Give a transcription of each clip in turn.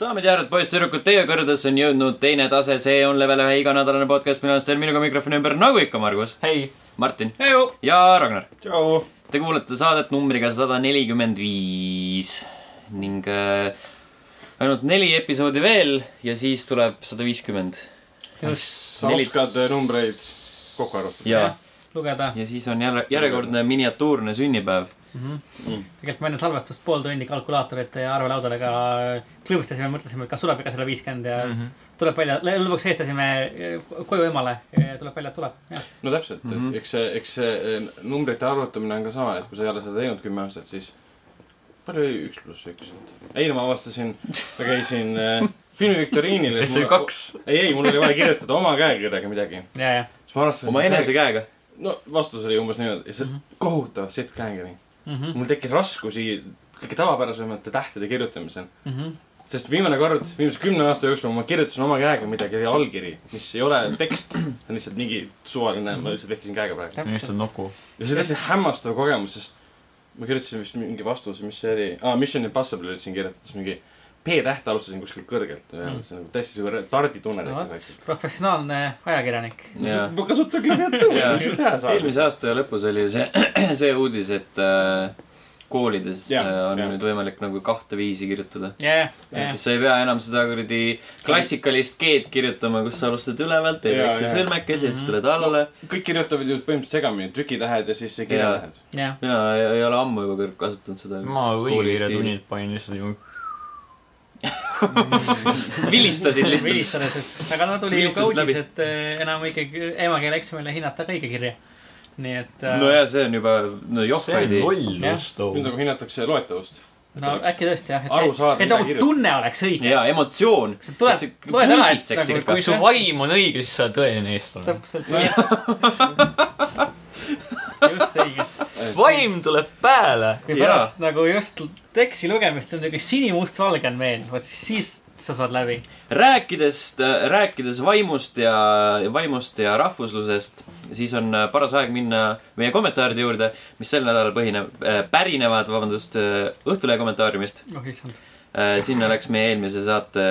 daamid ja härrad , poisssüdrukud , teie kõrgedesse on jõudnud teine tase , see on level ühe iganädalane podcast , mina olen Sten , minuga mikrofoni ümber , nagu ikka , Margus , hei . Martin Heiu . ja Ragnar . tšau . Te kuulete saadet numbriga sada nelikümmend viis ning äh, ainult neli episoodi veel ja siis tuleb sada viiskümmend just , sa Neli- oskad äh, numbreid kokku arvutada . ja , lugeda . ja siis on jälle järjekordne miniatuurne sünnipäev . tegelikult me enne salvestust pool tundi kalkulaatorite ja arvelaudadega klõbistasime , mõtlesime , et kas tuleb ikka selle viiskümmend ja mm -hmm. tuleb välja , lõpuks eestasime eh, koju emale , tuleb välja , et tuleb . jah , no täpselt mm , -hmm. eks see , eks see eh, numbrite arvutamine on ka sama , et kui sa ei ole seda teinud kümme aastat , siis palju oli üks pluss üks ? eile ma avastasin , ma käisin äh, filmiviktoriinil . et see oli . kaks . ei , ei , mul oli vaja kirjutada oma käekirjaga midagi . ja , ja . siis ma avastasin . oma enese . käega . no vastus oli umbes niimoodi , see mm -hmm. kohutav sitt käekiri . Mhm. mul tekkis raskusi kõige tavapärasemate tähtede kirjutamisel . Mhm. sest viimane kord , viimase kümne aasta jooksul ma kirjutasin oma käega midagi , oli allkiri , mis ei ole tekst , see on lihtsalt mingi suvaline , ma lihtsalt vehkisin käega praegu . lihtsalt nuku . ja see oli lihtsalt hämmastav kogemus , sest ma kirjutasin vist mingi vastuse , mis see oli ah, , Mission Impossible ütlesin kirjutades mingi P-tähte alustasin kuskilt kõrgelt , see on nagu täiesti siuke tarditunnel Hmm. No no, vot. väikselt . professionaalne ajakirjanik . Jaa. ma kasutan klaviatuuri Jaa. , mis ma teha saan . eelmise aasta lõpus oli ju see , see uudis , et äh, koolides ja, Jah, on ja. jah. nüüd võimalik nagu kahte viisi kirjutada . ja , ja , ja , ehk siis sa ei pea enam seda kuradi klassikalist G-d kirjutama , kus sa alustad ülevalt , teed Jaa, väikse jaa. sõlmekese ja Mhm. siis tuled alla . kõik kirjutavad ju põhimõtteliselt segamini , trükitähed ja siis see kirjatähed . ja , mina ei, ei ole ammu juba kõrg- kasutanud seda . ma õigekirjatunnid panin lihtsalt ju . vilistasid lihtsalt . vilistades , aga no tuli ju ka Vilistades läbi. uudis , et eh, enam ikkagi emakeele eksamile hinnatakse õigekirja . nii et eh, no ja see on juba , no johvaid see on ei . lollus nüüd too . nagu hinnatakse loetavust . no äkki tõesti jah , Aru et , saada, et mida nagu kirjutada. tunne oleks õige . ja emotsioon . sa tuled , loed ära , et nagu kui su vaim on õige , siis sa oled tõeline eestlane . täpselt just õige . vaim tuleb peale . kui Jaa. pärast nagu just teksti lugemist on niisugune sinimustvalge on meil , vot siis sa saad läbi . rääkides , rääkides vaimust ja , vaimust ja rahvuslusest , siis on äh, paras aeg minna meie kommentaaride juurde , mis sel nädalal põhineb , pärinevad , vabandust , Õhtulehe kommentaariumist . oh issand . Äh, sinna läks meie eelmise saate ,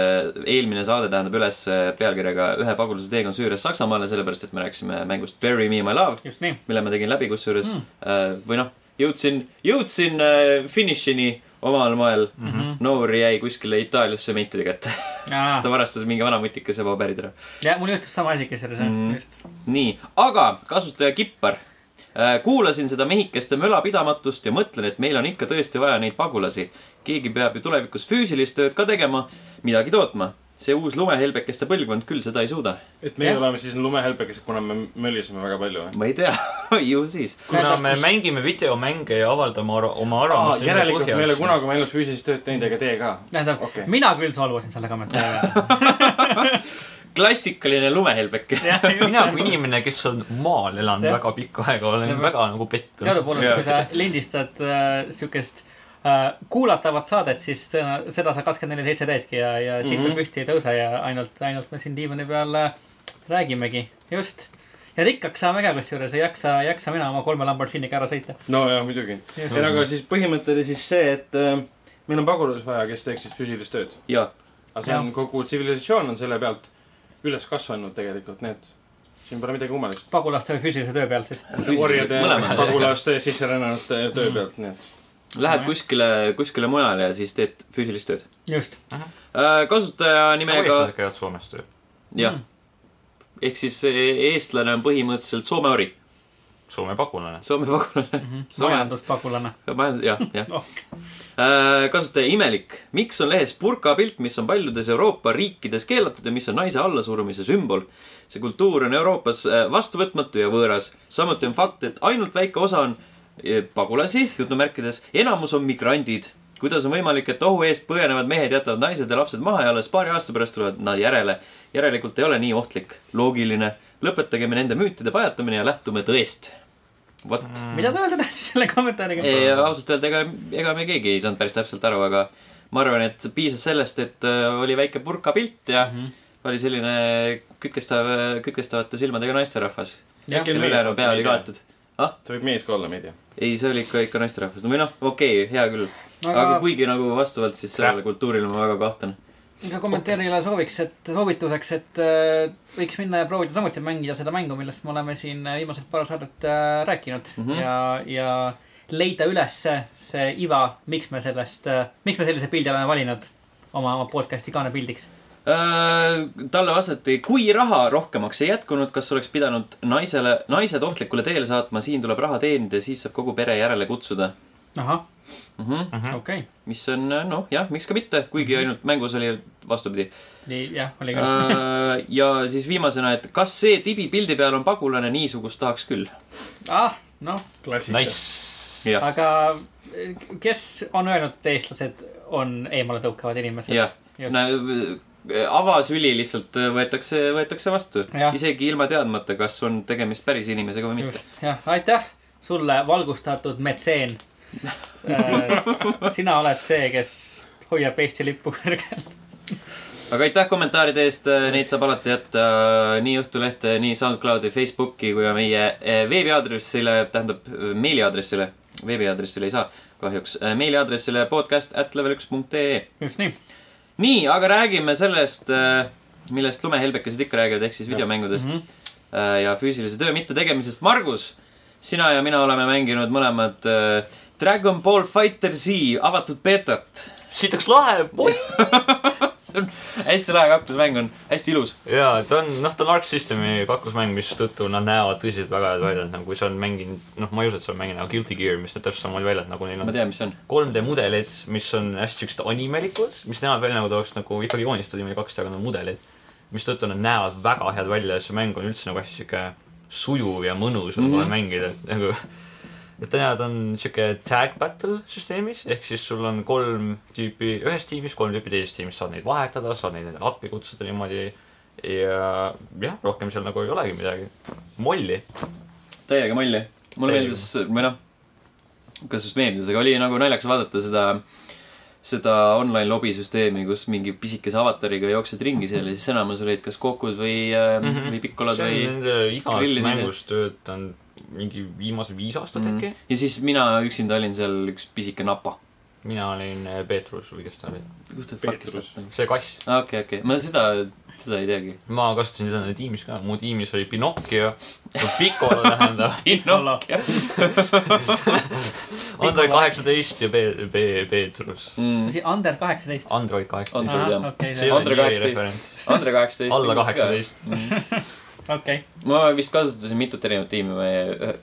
eelmine saade tähendab üles äh, pealkirjaga Ühe pagulase teekond Süüriast Saksamaale , sellepärast et me rääkisime mängust Bury me my love , just nii . mille ma tegin läbi kusjuures mm. . või noh , jõudsin , jõudsin äh, finišini omal moel mm . -hmm. noor jäi kuskile Itaaliasse meitide kätte , Ah. sest ta varastas mingi vana mutikese paberid ära . ja mul juhtus sama asi , kes selles Mhm. on , just . nii , aga kasutaja Kippar . kuulasin seda mehikeste mölapidamatust ja mõtlen , et meil on ikka tõesti vaja neid pagulasi . keegi peab ju tulevikus füüsilist tööd ka tegema , midagi tootma . see uus lumehelbekeste põlvkond küll seda ei suuda . et meie Jah. oleme siis lumehelbekesed , kuna me mölisime väga palju või ? ma ei tea , ju siis . kuna me mängime videomänge ja avaldame ar oma arvamust järelikult me ei ole kunagi oma elus füüsilist tööd teinud , ega teie ka . tähendab Okei. okay. , mina küll solvusin selle kommentaari peale . klassikaline lumehelbeke . mina kui inimene , kes on maal elanud Jah. väga pikka aega , olen Sellepärast- väga nagu pettunud . teadupoolest , kui sa lindistad äh, siukest äh, kuulatavat saadet , siis tõenä- seda sa kakskümmend neli seitse teedki ja , ja siit mm -hmm. püsti ei tõuse ja ainult , ainult me siin diivani peal äh, räägimegi , just . ja rikkaks saame ka kusjuures , ei jaksa , ei jaksa mina oma kolme Lamborghiniga ära sõita . nojah , muidugi . ei , aga siis põhimõte oli siis see , et äh, meil on pagulasi vaja , kes teeksid füüsilist tööd . ja , aga see on , kogu tsivilisatsioon on selle pealt üles kasvanud tegelikult , nii et siin pole midagi kummalist . pagulaste või füüsilise töö pealt siis . orjade , mõlemad . pagulaste , sisserännanute töö pealt , nii et . Lähed kuskile , kuskile mujale ja siis teed füüsilist tööd . just , kasutaja nimega eestlased , käivad Soomes tööl . jah . ehk siis eh, eestlane on põhimõtteliselt Soome ori , Soome pagulane . Soome pagulane . majanduspagulane . majand- , jah , jah Äh, Oh. . kasutaja imelik , miks on lehes burka pilt , mis on paljudes Euroopa riikides keelatud ja mis on naise allasurumise sümbol ? see kultuur on Euroopas äh, vastuvõtmatu ja võõras . samuti on fakt , et ainult väike osa on eh, pagulasi , jutumärkides , enamus on migrandid . kuidas on võimalik , et ohu eest põgenevad mehed jätavad naised ja lapsed maha ja alles paari aasta pärast tulevad nad järele ? järelikult ei ole nii ohtlik . loogiline . lõpetagem nende müütide pajatamine ja lähtume tõest . vot mm. . mida te öelda tahtsite selle kommentaariga ? ei , ausalt öelda , ega , ega me keegi ei saanud päris täpselt aru , aga ma arvan , et piisas sellest , et äh, oli väike purka pilt ja mm -hmm. oli selline kütkestav , kütkestavate silmadega naisterahvas . Jah. kelle ülejäänu pea oli kaetud . ah , ta võib mees ka olla , me ei tea . ei , see oli ikka , ikka naisterahvas , no või noh , okei okay, , hea küll . Aga- aga kuigi nagu vastavalt siis sellele kultuurile ma väga kahtlen . ka kommenteerijale sooviks , et soovituseks , et äh, võiks minna ja proovida samuti mängida seda mängu , millest me oleme siin äh, viimased paar saadet äh, rääkinud mm -hmm. ja , ja leida üles see iva , miks me sellest äh, , miks me sellise pildi oleme valinud oma , oma podcast'i kaanepildiks . Äh, talle vastati , kui raha rohkemaks ei jätkunud , kas oleks pidanud naisele , naised ohtlikule teele saatma , siin tuleb raha teenida ja siis saab kogu pere järele kutsuda ahah , mm . -hmm. okei , mis on noh , jah , miks ka mitte , Mhm. kuigi ainult mängus oli vastupidi . nii jah , oli ka Äh. uh... . ja siis viimasena , et kas see tibi pildi peal on pagulane , niisugust tahaks küll . ah , noh , klassika . Nice . jah , aga äh, kes on öelnud , et eestlased on eemale tõukavad inimesed ? jah , avasüli lihtsalt äh, võetakse , võetakse vastu Jah. , isegi ilma teadmata , kas on tegemist päris inimesega või mitte . just , jah , aitäh sulle , valgustatud metseen äh, . sina oled see , kes hoiab Eesti lippu kõrgel . aga aitäh kommentaaride eest , neid saab alati jätta äh, nii Õhtulehte , nii SoundCloudi , Facebooki kui ka meie eh, veebiaadressile , tähendab eh, meiliaadressile , veebiaadressile ei saa kahjuks , meiliaadressile podcast at level üks punkt ee . just nii , nii , aga räägime sellest , millest lumehelbekesed ikka räägivad , ehk siis videomängudest Mhm. mm -hmm. ja füüsilise töö mittetegemisest . Margus , sina ja mina oleme mänginud mõlemad eh, Dragon Ball Fighter Z avatud beetat . siit oleks lahe , poi . see on hästi lahe kaklusmäng on , hästi ilus . jaa , ta on , noh , ta on Arc Systemi kaklusmäng , mistõttu nad näevad tõsiselt väga head välja , et nagu sa oled mänginud , noh , ma ei usu , et sa oled mänginud , aga Guilty Gear , mis näeb täpselt samamoodi välja , et nagu neil ma on tean , mis see on . 3D mudelid , mis on hästi siuksed animelikud , mis näevad välja nagu ta oleks nagu ikkagi joonistatud niimoodi 2D , aga nad on mudelid . mistõttu nad näevad väga head välja ja see mäng on üldse nagu hästi sihuke sujuv ja mõnus on mm -hmm. mängida , et nagu . et täna ta on sihuke tag battle süsteemis , ehk siis sul on kolm tüüpi ühes tiimis , kolm tüüpi teises tiimis , saad neid vahetada , saad neid endale appi kutsuda niimoodi . ja jah , rohkem seal nagu ei olegi midagi . molli , täiega molli . mulle Täiega. meeldis , või noh , kas just meeldis , aga oli nagu naljakas vaadata seda , seda online lobisüsteemi , kus mingi pisikese avatariga jooksed ringi seal ja siis enamus olid kas kokud või mm , -hmm. või pikolad või Mm-hmm. Mhm. see on nende igas grillimine. mängus Mhm. töötanud mingi viimased viis aastat äkki mm. . ja siis mina üksinda olin seal üks pisike napa . mina olin äh, Peetrus või kes ta oli , What the fuck is Peetrus. that nagu ? see kass . okei , okei , ma seda , seda ei teagi . ma kasutasin teda nende tiimis ka , mu tiimis oli Pinocchio , Piccolo tähendab , Pinolla , Android kaheksateist ja Pe- , Pe- , Peetrus . mm. . Under kaheksateist . Android kaheksateist . Android, jah. okei See , on- Andre 18. Andre kaheksateist . alla kaheksateist . okei , ma vist kasutasin mitut erinevat tiimi , meie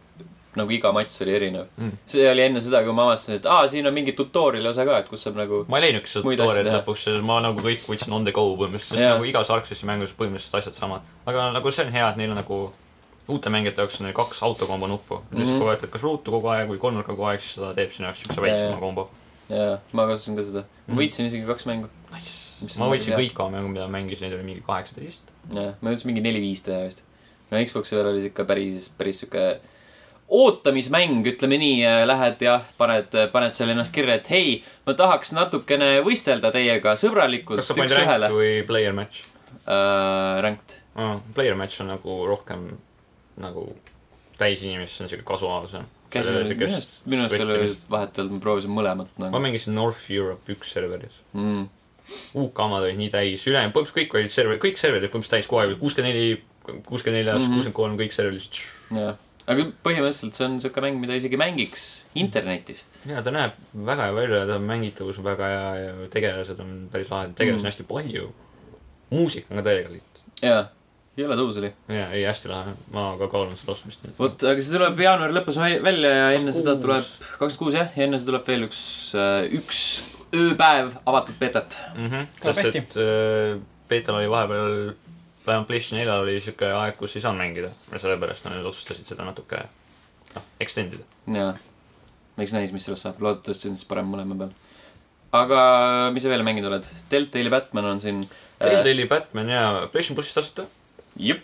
nagu iga matš oli erinev Mm. mm. . see oli enne seda , kui ma avastasin , et aa , siin on mingi tutorial'i osa ka , et kus saab nagu ma ei leidnud seda Muid asju tutorial'i teha. lõpuks , ma nagu kõik võtsin on the go põhimõtteliselt , sest Jaa. nagu igas Arksessi mängus põhimõtteliselt asjad samad . aga nagu see on hea , et neil on nagu uute mängijate jaoks on neil kaks autokombo nuppu . siis Mhm. kui võtad kas ruutu kogu aeg või kolmnurka kogu aeg , siis ta teeb sinu jaoks siukse Jaa, väiksema jaa. kombo . jaa , ma kasutasin ka seda . ma Mm. võitsin isegi kaks mängu . Mis ma on võtsin hea. kõik oma mängu , mida ma mängisin , neid oli mingi kaheksateist . jah , ma jõudsin mingi neli-viis teha vist . no Xbox'i peal oli see ikka päris , päris sihuke ootamismäng , ütleme nii , lähed jah , paned , paned seal ennast kirja , et hei , ma tahaks natukene võistelda teiega sõbralikult kas sa panid üks-ühele. ranked või player match Äh, ranked . uh, ? Player match on nagu rohkem nagu täis inimest , see on siuke kasuaalsem . käisin minu arust , minu arust seal oli . vahetult , ma proovisin mõlemat ma nagu . mängisin North Europe üks serveris . Mm. UK omad olid nii täis , ülejäänud põhimõtteliselt kõik olid server , kõik serverid olid põhimõtteliselt täis kogu aeg , kuuskümmend neli , kuuskümmend neljas , Mhm. kuuskümmend kolm , kõik serverid lihtsalt . jah , aga põhimõtteliselt see on siuke mäng , mida isegi mängiks internetis . ja ta näeb väga hea välja , ta mängitavus on väga hea ja tegelased on päris lahedad , tegelasi on hästi palju . muusika on ka täiega liht . jaa , jõle tõus oli . ja , ei hästi lahe , ma ka kaalun seda ostmist . vot , aga see tuleb jaanuari lõpus vä- välja ja enne seda 26. tuleb , kakskümmend kuus jah , ja enne seda tuleb veel üks , üks ööpäev avatud betat . mm . -hmm. Tuleb sest , hästi. et äh, Peeter oli vahepeal , vähemalt PlayStation neljal oli siuke aeg , kus ei saanud mängida ja sellepärast nad nüüd otsustasid seda natuke , noh , extend ida . jaa , eks näis , mis sellest saab , loodetavasti on siis parem mõlema peal . aga äh, mis sa veel mänginud oled ? Deltali Batman on siin . Telltale'i Batman ja PlayStation plussis tasuta , jep ,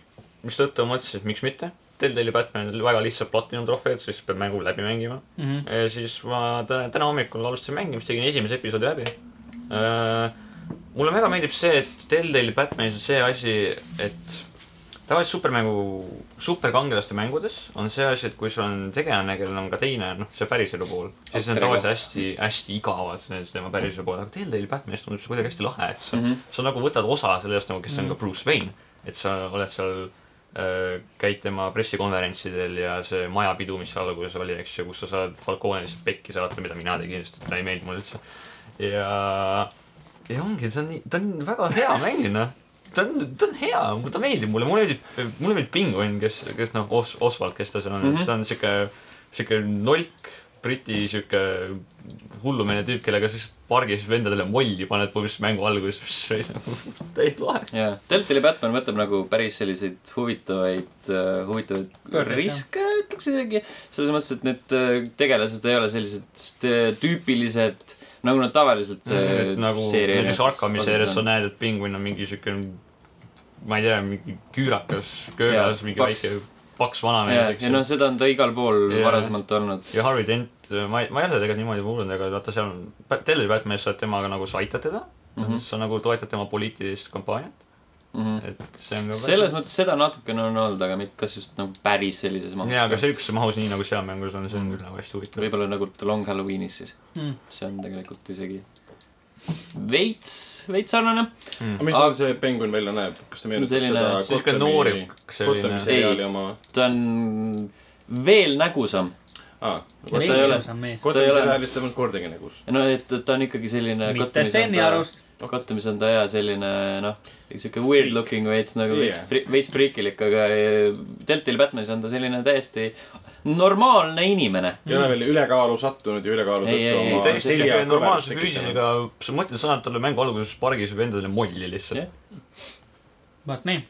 mistõttu ma mõtlesin , et miks mitte . Telltale'i Batman oli väga lihtsalt platinum trofeed , siis peab mängu läbi mängima . okay . ja siis ma täna , täna hommikul alustasin mängimist , tegin esimese episoodi läbi äh, . mulle väga meeldib see , et Telltale'i Batmanis on see asi , et tavaliselt supermängu , superkangelaste mängudes on see asi , et kui sul on tegelane , kellel on ka teine , noh , see päriselu pool , siis on Alter ego. tavaliselt hästi , hästi igavad need tema päriselu pool , aga Telltale Batmanist tundub see kuidagi hästi lahe , et sa mm , Mhm. -hmm. sa nagu võtad osa sellest nagu , kes on ka Bruce Wayne , et sa oled seal äh, käid tema pressikonverentsidel ja see majapidu , mis seal alguses oli , eks ju , kus sa saad Falcone lihtsalt pekki saata , mida mina tegin , sest ta ei meeldinud mulle üldse . ja , ja ongi , see on , ta on väga hea mäng , noh . ta on , ta on hea , ta meeldib mulle , mulle meeldib , mulle meeldib Penguin , kes , kes noh , Os- , Oswald , kes ta seal on mm , -hmm. Mhm. ta on sihuke , sihuke nolk , briti sihuke hullumeelne tüüp , kellega sa lihtsalt pargis vendadele molli paned põhimõtteliselt mängu alguses , mis oli nagu täiesti lahe . jaa , Deltali Batman võtab nagu päris selliseid huvitavaid , huvitavaid Pöördeid, riske , ütleks isegi . selles mõttes , et need äh, tegelased ei ole sellised st- tüüpilised , nagu nad tavaliselt äh, et nagu näiteks Arkami seerias sa on . näed , et pingvin on mingi siuke , ma ei tea , mingi küürakas , Jaa, köölas , mingi paks. väike paks vanamees , ja , eks ja noh , ju . seda on ta igal pool Jaa. varasemalt olnud . ja Harvey Dent , ma ei , ma ei ole tegelikult niimoodi kuulnud , aga vaata , seal on , Telleri Batmanis sa oled temaga nagu , sa aitad teda mm , Mhm. -hmm. sa nagu toetad tema poliitilist kampaaniat , et see on nagu ka selles mõttes seda natukene on olnud , aga mitte kas just nagu päris sellises jaa , aga mahus . sihukeses mahus , nii nagu seal mängus on , see on küll nagu hästi huvitav . võib-olla nagu Long Halloweenis siis , mm. . see on tegelikult isegi veits , veits sarnane . Mhm. aga mis Aga- tal see penguin välja näeb , kas ta meenutab Selline- seda sihuke Gotami , noorim , Gotami selline , seriaali oma või ? ta on veel nägusam . aa , ta ta ei ei ole- ole . mees , ta ei Gotami ole- seriaalis ta polnud kordagi nagu. nägus . no et , et ta on ikkagi selline . mitte Steni . arust . kottamis on ta jaa selline noh , siuke weird looking veits nagu veits Yeah. yeah. , veits friikilik , aga eh, Deltali Batmanis on ta selline täiesti normaalne inimene . ei ole veel ülekaalu sattunud ja ülekaalu Ei, ei, ei, tõttu ta oma just täiesti sihuke selja kõverust normaalse tekitanud . füüsisega , sa mõtled , sa annad talle mängu alguses pargis või endale molli lihtsalt Jah. yeah. . vot nii .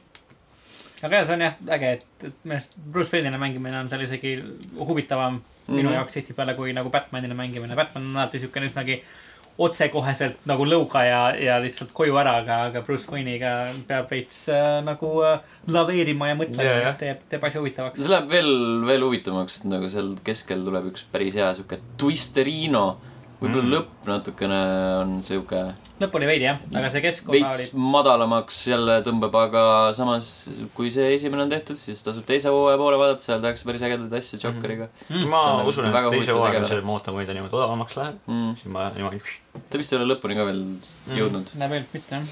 aga jah , see on jah äge , et , et minu arust Bruce Wayne'ina mängimine on seal isegi huvitavam minu Mhm. mm -hmm. jaoks tihtipeale kui nagu Batmanina mängimine . Batman on alati siukene üsnagi otsekoheselt nagu lõuga ja , ja lihtsalt koju ära , aga , aga Bruce Wayne'iga peab veits äh, nagu äh, laveerima ja mõtlema Jaa, yeah, , jah. mis teeb , teeb asja huvitavaks . see läheb veel , veel huvitavamaks , nagu seal keskel tuleb üks päris hea siuke twisterino . võib-olla Mm. mm. lõpp natukene on siuke lõpp oli veidi jah , aga see keskosa veits oli , madalamaks jälle tõmbab , aga samas , kui see esimene on tehtud , siis tasub teise hooaja poole vaadata , seal tehakse päris ägedaid asju Mhm. Jokeriga Mm, ma Ta on usun , et Mhm. väga teise huvitav hooaega tegelane. see mootor muide niimoodi odavamaks läheb , mm. . siis ma niimoodi . ta vist ei ole lõpuni ka veel Mhm. jõudnud , näeb ainult mitte jah .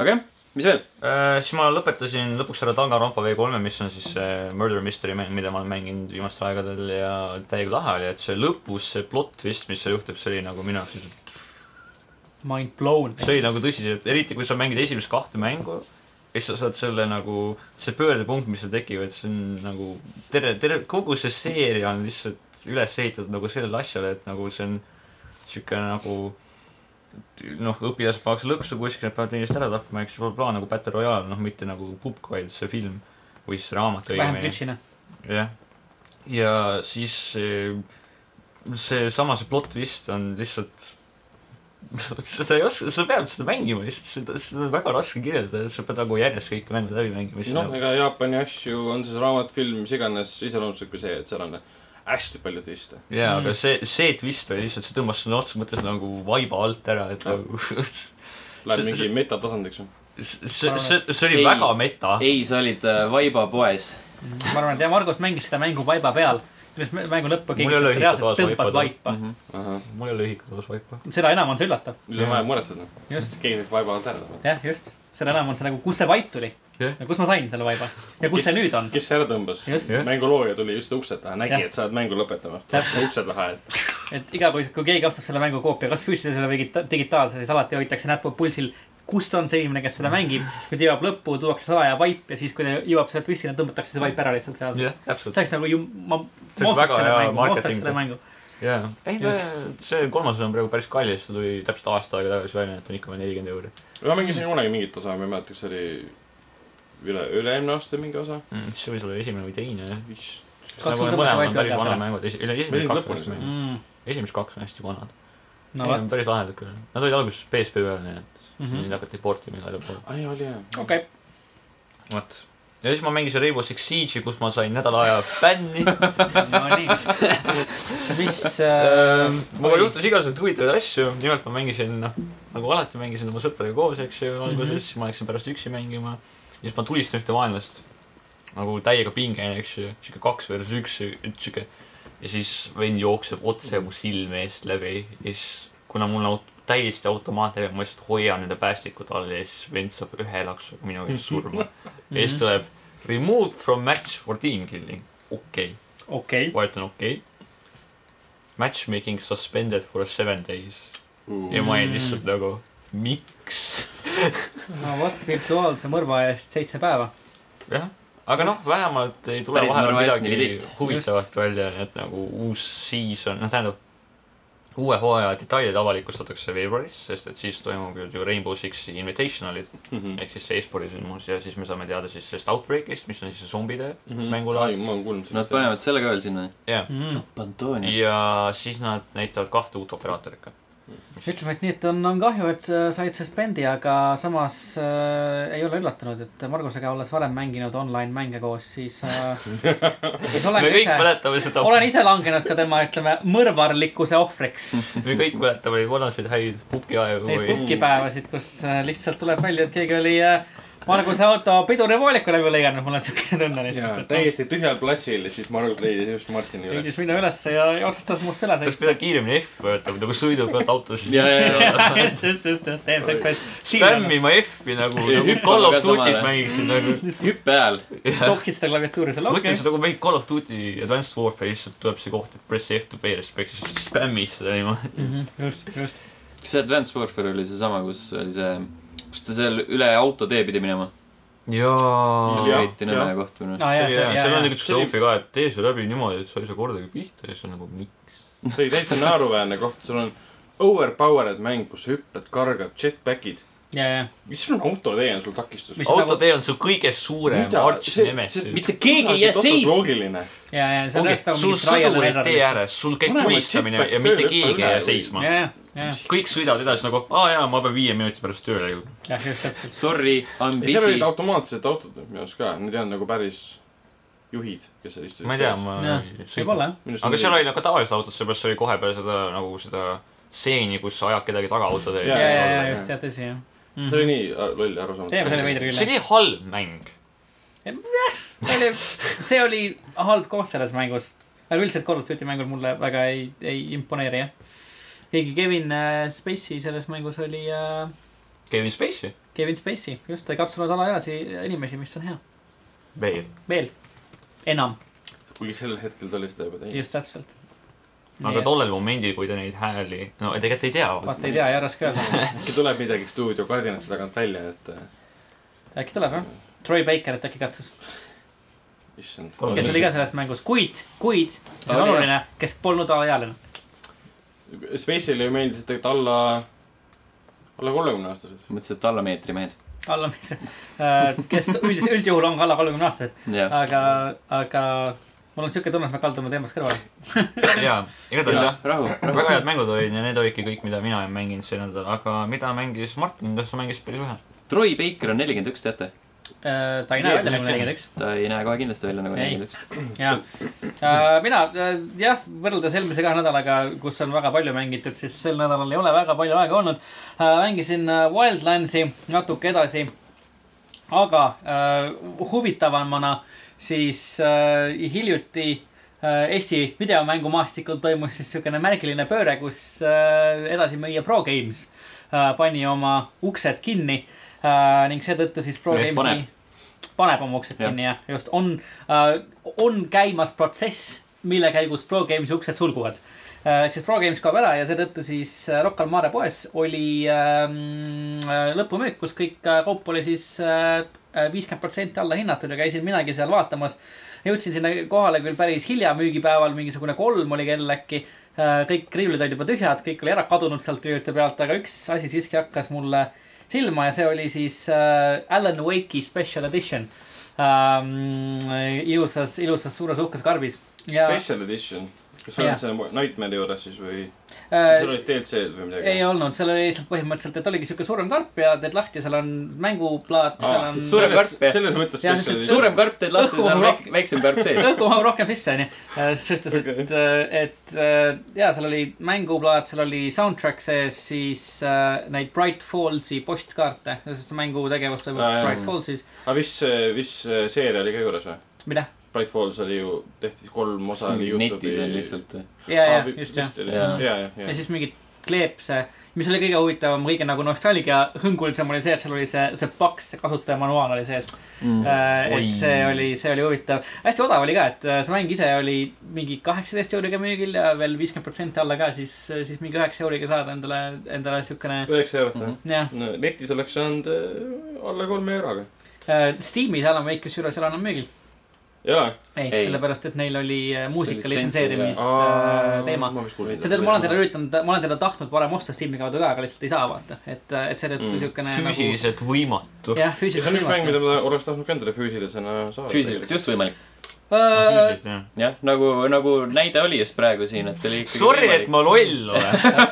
aga jah , mis veel ? Äh, siis ma lõpetasin lõpuks ära Danganronpa V3-e , mis on siis see murder mystery mäng , mida ma olen mänginud viimastel aegadel ja täiega lahe oli , et see lõpus see plot twist , mis seal juhtub , see oli nagu minu jaoks lihtsalt Mind blown . see oli nagu tõsiselt , eriti kui sa mängid esimest kahte mängu , siis sa saad selle nagu , see pöördepunkt , mis sul tekib , et see on nagu terve , terve , kogu see seeria on lihtsalt üles ehitatud nagu sellele asjale , et nagu see on sihuke nagu noh , õpilased pannakse lõksu kuskile , nad peavad teineteist ära tapma , eks ju , plaan nagu Battle Royale , noh , mitte nagu pukk , vaid see film või siis raamat vähem glitch'ina . jah , ja siis see- seesama , see plot twist on lihtsalt seda ei oska , sa pead seda mängima lihtsalt , seda , seda on väga raske kirjeldada , sa pead nagu järjest kõik mängud läbi mängima , siis noh , nagu ega Jaapani asju , on see raamat , film , mis iganes , iseloomustab kui see , et seal on hästi palju twiste . jaa , Mm. aga see , see twist oli lihtsalt , see tõmbas sõna otseses mõttes nagu vaiba alt ära , et nagu see , Läheb See- mingi metatasandiks või ? see , see oli Ei. ei, väga Ah. meta . ei , sa olid äh, Vaiba poes . ma arvan , et jah , Margus mängis seda mängu vaiba peal . siis mängu lõppu Mul ei keegi ole lihtsalt reaalselt ühikut Mhm. tõmbas vaeva vaipa . Mhm. ahah , mul ei ole ühikut osas vaipa . seda enam on see üllatav . siis on vaja muretseda . just , keegi võib vaiba alt ära tõmbata . jah , just . seda enam on see nagu , kus see vaip tuli Jah. ja kus ma sain selle vaiba ja kus see nüüd on . kes ära tõmbas ? just , Jah. mängulooja tuli just ukse taha , nägi Jah. , et sa oled mängu lõpetama . Täpselt. ukse taha , et et iga kord , kui keegi ostab selle mängu koopia , kas füüsilisele või digita- digitaalse , siis alati hoitakse näppu pulsil , kus on see inimene , kes seda mängib . kui ta jõuab lõppu , tuuakse salaja vaip ja siis , kui ta jõuab sealt vissile , tõmmatakse see vaip ära lihtsalt reaalselt . jah , täpselt see . oleks nagu ju , ma See oleks ma väga ostaks selle hea mängu , ma ostaks marketing. selle mängu . jaa , ei ta , see kolmas on praegu päris kallis , ta tuli täpselt aasta aega tagasi välja , et on ikka veel nelikümmend euri . ma mängisin kunagi mingit osa , ma ei mäleta , kas see oli üle , üle-eelmine aasta mingi osa . see võis olla esimene või teine jah . vist . Kas sul nagu lõpuks need mõlemad vaid on peal päris vanad peale? Mm, mängud , esi- , Ma ei esimesed tea, kaks on lõpuni hästi vanad . esimesed kaks on hästi vanad . no Ei, on vot . Mhm. päris lahedad küll . Nad olid alguses PSP peal , nii et neid hakati portima igal pool . aa jaa , oli jah . okei , vot . ja siis ma mängisin Rainbow Six Siege'i , kus ma sain nädala aja bänni . no nii . mis äh, mul juhtus igasuguseid huvitavaid asju , nimelt ma mängisin , noh , nagu alati mängisin oma sõpradega koos , eks ju , alguses , siis ma läksin pärast üksi mängima . ja siis ma tulistan ühte vaenlast nagu täiega pingeline , eks ju , sihuke kaks versus üks , üks sihuke . ja siis vend jookseb otse mu silme eest läbi ja siis , kuna mul on aut- täiesti automaatne , ma lihtsalt hoian nende päästikute all ja siis vend saab ühe laksuga minu käest surma . ja siis tuleb removed from match for team killing , okei okay. , okei , vajutan okei okay. . Matchmaking suspended for seven days ja ma olin Mm. lihtsalt nagu , miks ? no vot , virtuaalse mõrva eest seitse päeva . jah , aga noh , vähemalt ei tule Päris vahel Narva S14. midagi huvitavat välja , nii et nagu uus season , noh tähendab , uue hooaja detailid avalikustatakse veebruaris , sest et siis toimuvad ju Rainbow Six'i invitational'id Mm. Mhm. ehk siis see e-spordi sündmus ja siis me saame teada siis sellest Outbreak'ist , mis on siis see zombide mängulaad . ma olen kuulnud Nad panevad selle ka veel sinna . jah , Mm. Pantoonia . ja siis nad näitavad kahte uut operaatorit ka . ütleme , et nii , et on , on kahju , et sa said suspendi , aga samas äh, ei ole üllatunud , et Margusega olles varem mänginud online mänge koos , siis äh, , siis olen me ka kõik ise , mäletame seda , olen ise langenud ka tema , ütleme , mõrvarlikkuse ohvriks . me kõik mäletame neid vanaseid häid pukiaegu Neid või puhkipäevasid , kus äh, lihtsalt tuleb välja , et keegi oli äh, Marguse auto pidurivooliku läbi lõiganud , mul on siukene tunne jaa , lihtsalt . täiesti tühjal platsil ja siis Margus leidis just Martini leidis üles . minu ülesse ja ja otsustas must üle oleks sõita . pidanud kiiremini F vajutama , nagu sõidu pealt autos . ja , ja , ja . just , just , just , et teeb selleks veel spämmima F-i nagu , nagu hüppama Call of ka Duty't samale. mängiksin nagu . hüppe ajal . tohkis seda klaviatuuri seal , okei mõtlen . seda , kui mängid nagu Call of Duty Advanced Warfare , siis tuleb see koht , et press F to play respect , siis spämmid seda niimoodi . Mhm. just , just . kas see Advanced Warfare oli seesama , kus oli see , kus ta seal üle autotee pidi minema ? see oli jah, jaa . eriti jah. nõme koht minu arust . aa Ah, jaa , see , seal jaa , on jaa . nagu trofee ka , et tee see läbi niimoodi , et sa ei saa kordagi pihta ja siis on nagu miks . see oli täitsa naeruväärne koht , sul on overpowered mäng , kus sa hüppad , kargad , jetpack'id . jaa , jaa . mis sul on autotee on sul takistus ? Mis- nagu- autotee on su kõige suurem Mida? arch See- nemesis see- . mitte keegi ei jää seisma . loogiline . ja , ja see on ongi , tõesti sul sõdurid tee ääres , sul käib Paneme tulistamine chipback ja mitte tööle, keegi ei hüppa jää üle. seisma ja , ja , ja , kõik sõidavad edasi nagu , aa jaa , ma pean viie minuti pärast tööle jõudma . jah , just täpselt . Sorry , I m ja seal busy olid . automaatsed autod minu arust ka , need ei olnud nagu päris juhid , kes seal istusid . ma ei tea , ma Jah, võib-olla jah . aga seal oli nagu tavaliselt autos , seepärast oli kohe peal seda nagu seda stseeni , kus sa ajad kedagi taga auto teel . Jaa, ja , ja , jaa, ja jaa. just , jah , tõsi jah . see oli nii ar- loll ja arusaamatu . teeme selle veidra see küll , oli halb mäng . jah . see oli halb koht selles mängus . aga üldiselt Call of Duty mängud mulle väga ei , ei imponeeri , jah . keegi Kevin äh, Spacey selles mängus oli äh, Kevin Spacey . Kevin Spacey , just , ta ei katsunud alaealisi inimesi , mis on hea . veel . veel , enam , kuigi sel hetkel ta oli seda juba teinud . just täpselt . aga tollel momendil , kui ta neid hääli , no tegelikult ei tea . vaata ei tea , ei raske öelda . äkki tuleb midagi stuudio kardinate tagant välja , et äh, äkki tuleb jah ? Troy Bakerit äkki katsus , issand . Palun. kes oli ka selles mängus , kuid , kuid , see on Oli, oluline , kes polnud alaealine . Space'ile ju meeldisid tegelikult alla , alla kolmekümne aastased . mõtlesin , et alla meetri mehed . alla , kes üldis- , üldjuhul on ka alla kolmekümne aastased , jah . aga , aga mul on siuke tunne , et me kaldume teemast kõrvale . jaa , igatahes jah . rahu , väga head mängud olid ja need olidki kõik , mida mina olen mänginud see nädal , aga mida mängis Martin , kas sa mängisid päris vähe ? Troy Baker on nelikümmend üks , teate ? ta ei näe välja nagu nelikümmend üks . ta ei näe kohe kindlasti välja nagu Ei. nelikümmend üks . ja mina äh, jah , võrreldes eelmise kahe nädalaga , kus on väga palju mängitud , siis sel nädalal ei ole väga palju aega olnud . mängisin äh, Wildlandsi natuke edasi . aga äh, huvitavamana siis äh, hiljuti äh, Eesti videomängumaastikul toimus siis siukene märgiline pööre , kus äh, edasimüüja Pro Games äh, pani oma uksed kinni äh, ning seetõttu siis Pro Nii, Gamesi paneb. paneb oma uksed Jah. kinni jah , just on äh, , on käimas protsess , mille käigus Pro Gamesi uksed sulguvad äh, . ehk siis Pro Games kaob ära ja seetõttu siis äh, Rock al Mare poes oli äh, mm, lõpumüük , kus kõik äh, kaup oli siis äh, viiskümmend protsenti alla hinnatud ja käisin minagi seal vaatamas . jõudsin sinna kohale küll päris hilja müügipäeval , mingisugune kolm oli kell äkki . kõik riiulid olid juba tühjad , kõik oli ära kadunud sealt riiulite pealt , aga üks asi siiski hakkas mulle silma ja see oli siis äh, Alan Wake'i special edition ähm, . ilusas , ilusas suures uhkes karbis . Special edition . kas sa oled Jah. selle Nightmare'i juures siis või , seal äh, . olid DLC-d või midagi ei ? olnud , seal oli lihtsalt põhimõtteliselt , et oligi siuke suurem karp ja teed lahti , seal on mänguplaat , seal on . suurem karp, jah. Ah, selles mõttes Jah, lihtsalt spetsialist . suurem karp teed lahti , seal on väik- väiksem karp sees . õhku mahub rohkem sisse , onju . selles suhtes , et , et äh, jaa , seal oli mänguplaat , seal oli soundtrack sees , siis äh, neid Bright Fallsi postkaarte , sest see mängu tegevus toimub Aa, jah. Bright Fallsis . aga mis , mis äh, seeria oli ka juures või ? mida ? Bright Falls oli ju , tehti kolm osa . Ah, netis on . lihtsalt . ja , ja , just jah . Jaa. ja , ja , ja ja . siis mingid kleepse , mis oli kõige huvitavam , kõige nagu nostalgia hõngulisem oli see , et seal oli see , see paks , see kasutajamanuaal oli sees mm. . et Oi. see oli , see oli huvitav . hästi odav oli ka , et äh, see mäng ise oli mingi kaheksateist euriga müügil ja veel viiskümmend protsenti alla ka , siis , siis mingi üheksa euriga saad endale , endale siukene , üheksa eurot Mm. või ? jah . no netis oleks saanud äh, alla kolme euroga . Äh, Steamis Alan Wake kusjuures ei ole enam müügil . jaa . ei, ei. , Ei. sellepärast et neil oli äh, muusika litsentsi- litsenseerimis äh, teema . ma vist kuulsin See see tead , ma olen teda üritanud , ma olen teda tahtnud varem osta Steam'i kaudu ka , aga lihtsalt ei saa vaata , et , et seetõttu Mm. mm. siukene nagu . füüsiliselt võimatu . jah , ja see on üks mäng , füüsiliselt . mida ma oleks tahtnud ka endale füüsilisena saada . füüsiliselt just võimalik . Äh, füüsiliselt jah . jah , nagu , nagu näide oli just praegu siin , et oli ikkagi Sorry , et ma loll olen .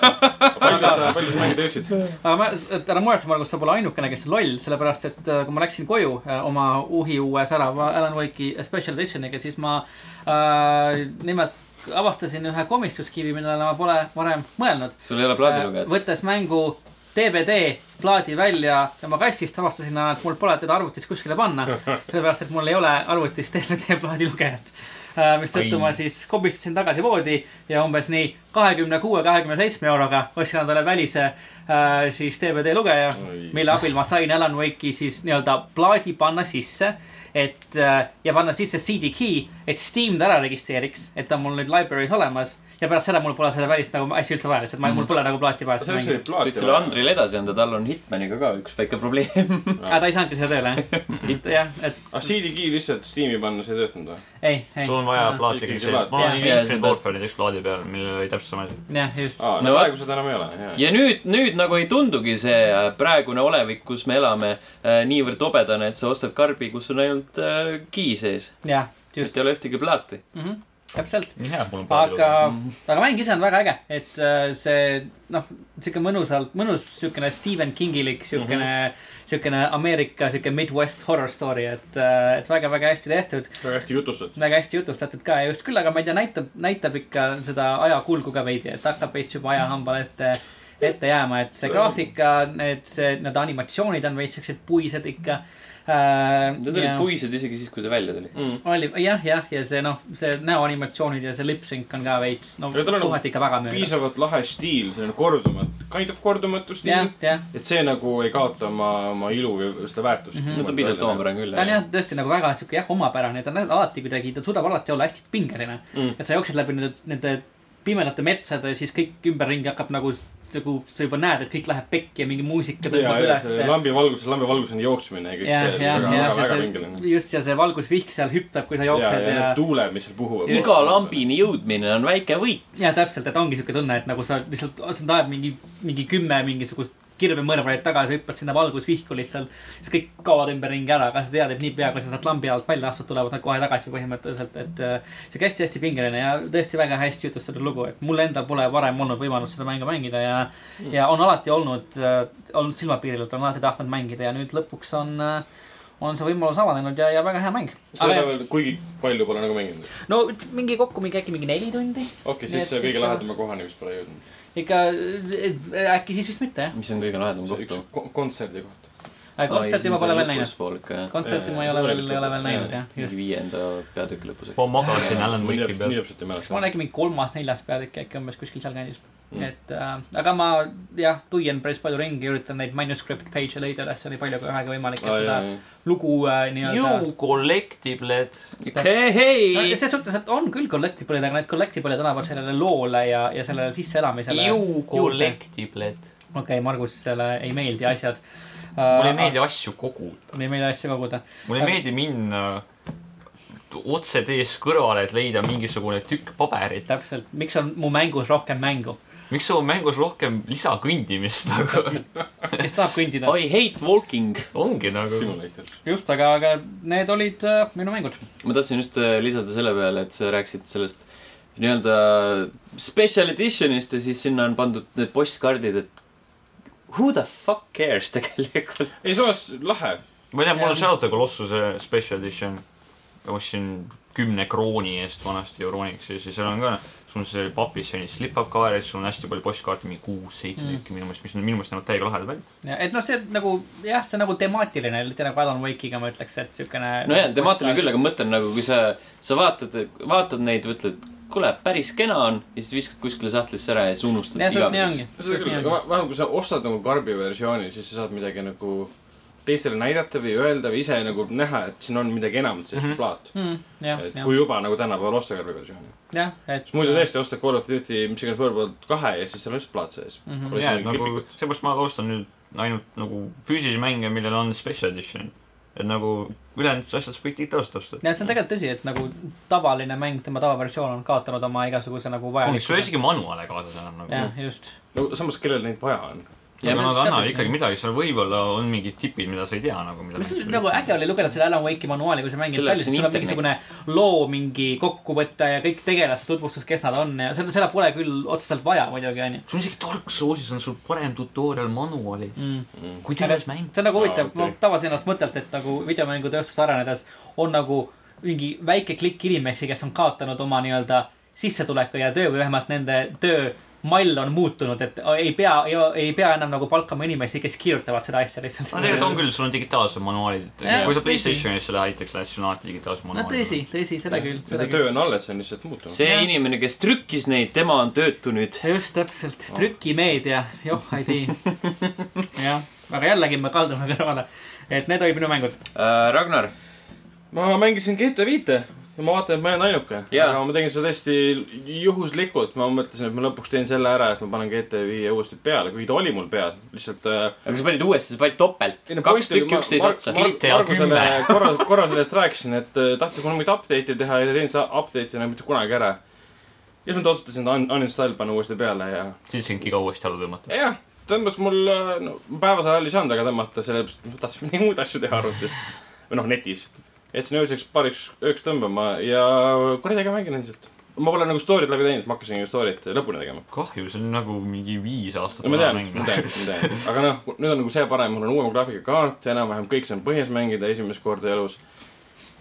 palju sa , palju sa mänge töötasid ? aga ma , et ära muretse , Margus , sa pole ainukene , kes on loll , sellepärast et äh, kui ma läksin koju äh, oma uhi uue särava Alan Wake'i special edition'iga , siis ma äh, nimelt avastasin ühe komistuskivi , millele ma pole varem mõelnud . sul ei ole Äh, plaadilugejat . võttes mängu DVD plaadi välja tema kastist , avastasin , et mul pole teda arvutist kuskile panna . sellepärast , et mul ei ole arvutist DVD plaadi lugejat . mistõttu Ai. ma siis kobistasin tagasi voodi ja umbes nii kahekümne kuue , kahekümne seitsme euroga ostsin endale välise äh, siis DVD lugeja Oi. , mille abil ma sain Alan Wake'i siis nii-öelda plaadi panna sisse . et äh, ja panna sisse CD key , et Steam ta ära registreeriks , et ta on mul nüüd library's olemas ja pärast seda mul pole seda välist nagu asja üldse vaja , lihtsalt ma , mul pole nagu plaati vaja . see oli sa võid plaat . selle Andrile edasi anda , tal on Hitmaniga ka üks väike probleem . aga ta ei saanudki seda tööle , jah ? jah , et ah , CD Key lihtsalt Steam'i panna , see ei töötanud või ? ei , ei . Mhm. sul on vaja plaati ikkagi kõik sees . mul Ah, plaat. on Jaa, Infinite seda- Warfare'i üks plaadi peal , millel oli täpselt sama asi . jah , just . aa , No no praegu vot. seda enam ei ole , jaa . ja nüüd , nüüd nagu ei tundugi see äh, praegune olevik , kus me elame , niivõrd obedane , et sa ostad karbi , kus on ainult äh, key sees . jah , et just Mhm. ei . ole ühtegi plaati . täpselt . nii hea , et mul on plaadi aga lugeja ., aga mäng ise on väga äge , et äh, see noh , sihuke mõnusalt , mõnus siukene Stephen Kingilik siukene Mhm. mm , -hmm. siukene Ameerika siuke Midwest horror story , et , et väga-väga hästi tehtud . väga hästi jutustatud . väga hästi jutustatud ka ja just küll , aga ma ei tea , näitab , näitab ikka seda ajakulgu ka veidi , et hakkab veits juba ajahambale ette , ette jääma , et see graafika , need , see , need animatsioonid on veits siuksed puised ikka äh, . Need olid puised isegi siis , kui see välja tuli . oli jah , jah , ja see noh , see näoanimatsioonid ja see lipsync on ka veits , no Ja tal on kohati ikka väga mööda . piisavalt lahe stiil , selline kordumatu , kind of kordumatu jah stiil ., jah , et see nagu ei kaota oma , oma ilu ja seda väärtust mm . Mhm. Nad on piisavalt omapärane küll . ta on jah , tõesti nagu väga sihuke jah , omapärane , ta on alati kuidagi , ta suudab alati olla hästi pingeline Mm. mm. . et sa jooksed läbi nende , nende pimedate metsade ja siis kõik ümberringi hakkab nagu , nagu sa juba näed , et kõik läheb pekki ja mingi muusika ja , tõmbab ja see ülesse lambi valguses , lambi valguseni jooksmine ja kõik jah , see jah , jah , väga , väga , ja väga see pingeline ., just ja see valgusvihk seal hüppab , kui sa ja , ja jooksed ja, ja, need tuuled , mis seal puhuvad . iga . lambini jõudmine on väike võit . ja täpselt , et ongi siuke tunne , et nagu sa lihtsalt , sind ajab mingi , mingi kümme mingisugust kirbemõrvarit taga ja sa hüppad sinna valgusvihku lihtsalt . siis kõik kaovad ümberringi ära , aga sa tead , et niipea kui sa sealt lambi alt välja astud , tulevad nad kohe tagasi põhimõtteliselt , et äh, siuke hästi-hästi pingeline ja tõesti väga hästi jutustatud lugu , et mul endal pole varem olnud võimalust seda mängu mängida ja mm. ja on alati olnud , olnud silmapiiril , et olen alati tahtnud mängida ja nüüd lõpuks on , on see võimalus avanenud ja , ja väga hea mäng . seda veel kuigi palju pole nagu mänginud . no üt- mingi kokku mingi äkki mingi neli tundi okei , Nii siis et see kõige ikka- lähedama kohani vist pole jõudnud . ikka äh, äkki siis vist mitte jah . mis on kõige lahedam see koht üks . ko- kontserdi koht . kontserti ma pole veel näinud . näinud . kontserti ma ei Jaa, ole jaa, veel , jaa, ei ole veel jaa, näinud jah , mingi just . viienda peatüki lõpus . ma magasin Alan nii Wake'i täpselt , nii peal . täpselt ei mäleta . ma olen äkki mingi kolmas-neljas peatükk äkki umbes kuskil seal kandis . et äh, aga ma jah , tuien päris palju ringi , üritan neid manuscript page'e leida üles nii palju kui vähegi võimalik , et seda lugu äh, nii-öelda . You collectible'd . hei , hei . selles suhtes , et on küll collectible'id , aga need collectible'id annavad sellele loole ja , ja sellele sisseelamisele . You okei collectible'd . okay, , Margusele ei meeldi asjad . mulle ei meeldi asju koguda . mulle ei meeldi asju koguda . mulle ei meeldi minna otse tees kõrvale , et leida mingisugune tükk paberit . täpselt , miks on mu mängus rohkem mängu , miks sul on mängus rohkem lisakõndimist nagu ? kes tahab kõndida . I hate walking . ongi nagu . Simulator . just , aga , aga need olid äh, minu mängud . ma tahtsin just äh, lisada selle peale , et sa rääkisid sellest nii-öelda special edition'ist ja siis sinna on pandud need postkaardid , et who the fuck cares tegelikult . ei , samas lahe . ma ei tea , mul Jah. on Shadow of the Colossuse special edition . ostsin kümne krooni eest vanasti eurooniks ja siis seal on ka , sul on see papis selline slip-up kaar ja siis sul on hästi palju postkaarte , mingi kuus-seitse Mm. tükki minu meelest , mis on minu meelest näevad täiega lahedad välja . ja et noh , see nagu jah , see on nagu temaatiline , mitte nagu Alan Wake'iga ma ütleks , et siukene . nojah , temaatiline küll , aga ma mõtlen nagu , kui sa , sa vaatad , vaatad neid , ütled , kuule , päris kena on ja siis viskad kuskile sahtlisse ära ja siis unustad jah , see nii igaveseks ongi . seda küll , aga va- vähemalt kui sa ostad nagu karbi versiooni , siis sa saad midagi nagu teistele näidata või öelda või ise nagu näha , et siin on midagi enamat , see on Mhm. plaat . Hmm, jah , et jah , kui juba nagu tänapäeval osta karbi versiooni . jah , et . siis muidu . tõesti ostad Call of Duty , mis iganes World kahe ja siis seal on lihtsalt plaat sees . Mhm. Pole jah , isegi nagu klipikut. seepärast ma ostan nüüd ainult nagu füüsilisi mänge , millel on special edition . et nagu ülejäänud asjad sa võid digitaalselt osta . jah , see on tegelikult tõsi , et nagu tavaline mäng , tema tavaversioon on kaotanud oma igasuguse nagu sul vajalikkuse . isegi manuaale kaasas enam nagu . jah , just . no samas , kellel neid vaja on ? ja Ja nad see- annavad see- ikkagi midagi , seal võib-olla on mingid tipid , mida sa ei tea nagu . mis on nagu äge oli lugeda selle Alan Wake'i manuaali , kui sa mängid Selleks sellist , on sul on internet. mingisugune loo mingi kokkuvõte ja kõik tegelaste tutvustus , kes nad on ja seda , seda pole küll otseselt vaja muidugi , onju . sul on isegi Dark Soulsis on sul parem tutorial manuaalis mm. Hmm. kui terves mäng . see on nagu Aa, huvitav , ma okei. tabasin ennast mõttelt , et nagu videomängutööstus arenedes on nagu mingi väike klikk inimesi , kes on kaotanud oma nii-öelda sissetuleku ja töö või vähemalt nende töö mall on muutunud , et ei pea , ei pea enam nagu palkama inimesi , kes kirjutavad seda asja lihtsalt no . tegelikult on küll , sul on digitaalsed manuaalid Jah, . kui sa tõsi. Playstationisse lähed näiteks , lähed , sul on alati digitaalsed no manuaalid . tõsi , tõsi , seda küll , seda see küll . töö on alles , see on lihtsalt muutunud . see Jah. inimene , kes trükkis neid , tema on töötu nüüd . just täpselt , trükimeedia , joh , ei tea . jah , aga jällegi me kaldume kõrvale , et need olid minu mängud . Äh, Ragnar , ma mängisin GTA viite ja ma vaatan , et ma jään ainuke . Jaa. aga ma tegin seda täiesti juhuslikult , ma mõtlesin , et ma lõpuks teen selle ära , et ma panen GTA viie uuesti peale , kuigi ta oli mul peal , lihtsalt äh, aga sa panid uuesti , sa panid topelt ei no . kaks point oli- tükki ma- üksteise Mar- otsa Mar- . GTA Margusele kümme. korra , korra sellest rääkisin , et äh, tahtis mul mingit update'i teha ja ei teinud seda update'i enam mitte kunagi ära . ja siis ma otsustasin ta un- uninstall panna uuesti peale ja , siis sind iga uuesti alla tõmmata . ja jah , tõmbas mul , no päevasel ajal ei saanud aga tõmmata , sellepärast et ma tahtsin mingeid muid asju teha arvutis . või noh , netis . jätsin ööseks paariks ööks tõmbama ja kuradi äge mängin endiselt . ma pole nagu story'd läbi teinud , ma hakkasin ju story't lõpuni tegema . kahju , see on nagu mingi viis aastat no ma tean , ma tean , ma tean , aga noh , nüüd on nagu see parem , mul on uuem graafikakaart , enam-vähem kõik saan põhjas mängida esimest korda elus .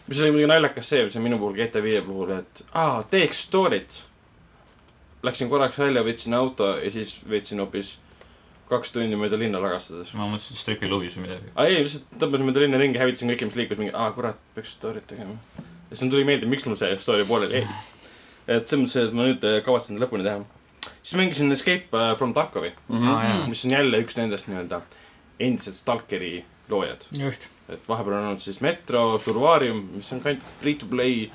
mis oli muidugi naljakas see , mis on minu puhul GTA viie puhul , et aa , teeks story't . Läksin korraks välja , võtsin auto ja siis veetsin hoopis kaks tundi mööda linna lagastades . ma mõtlesin , et stripilubis või midagi . aa ei , lihtsalt tõmbasin mööda linna ringi , hävitasin kõike , mis liikus , mingi aa , kurat , peaks story't tegema . ja siis mulle tuli meelde , miks mul see story pooleli jäi . et selles mõttes , et ma nüüd eh, kavatsen ta lõpuni teha . siis mängisin Escape eh, from Tarkovi Mhm. aa Ah, jaa . mis on jälle üks nendest nii-öelda endised Stalkeri loojad . just . et vahepeal on olnud siis Metro , Survarium , mis on ka ainult free to play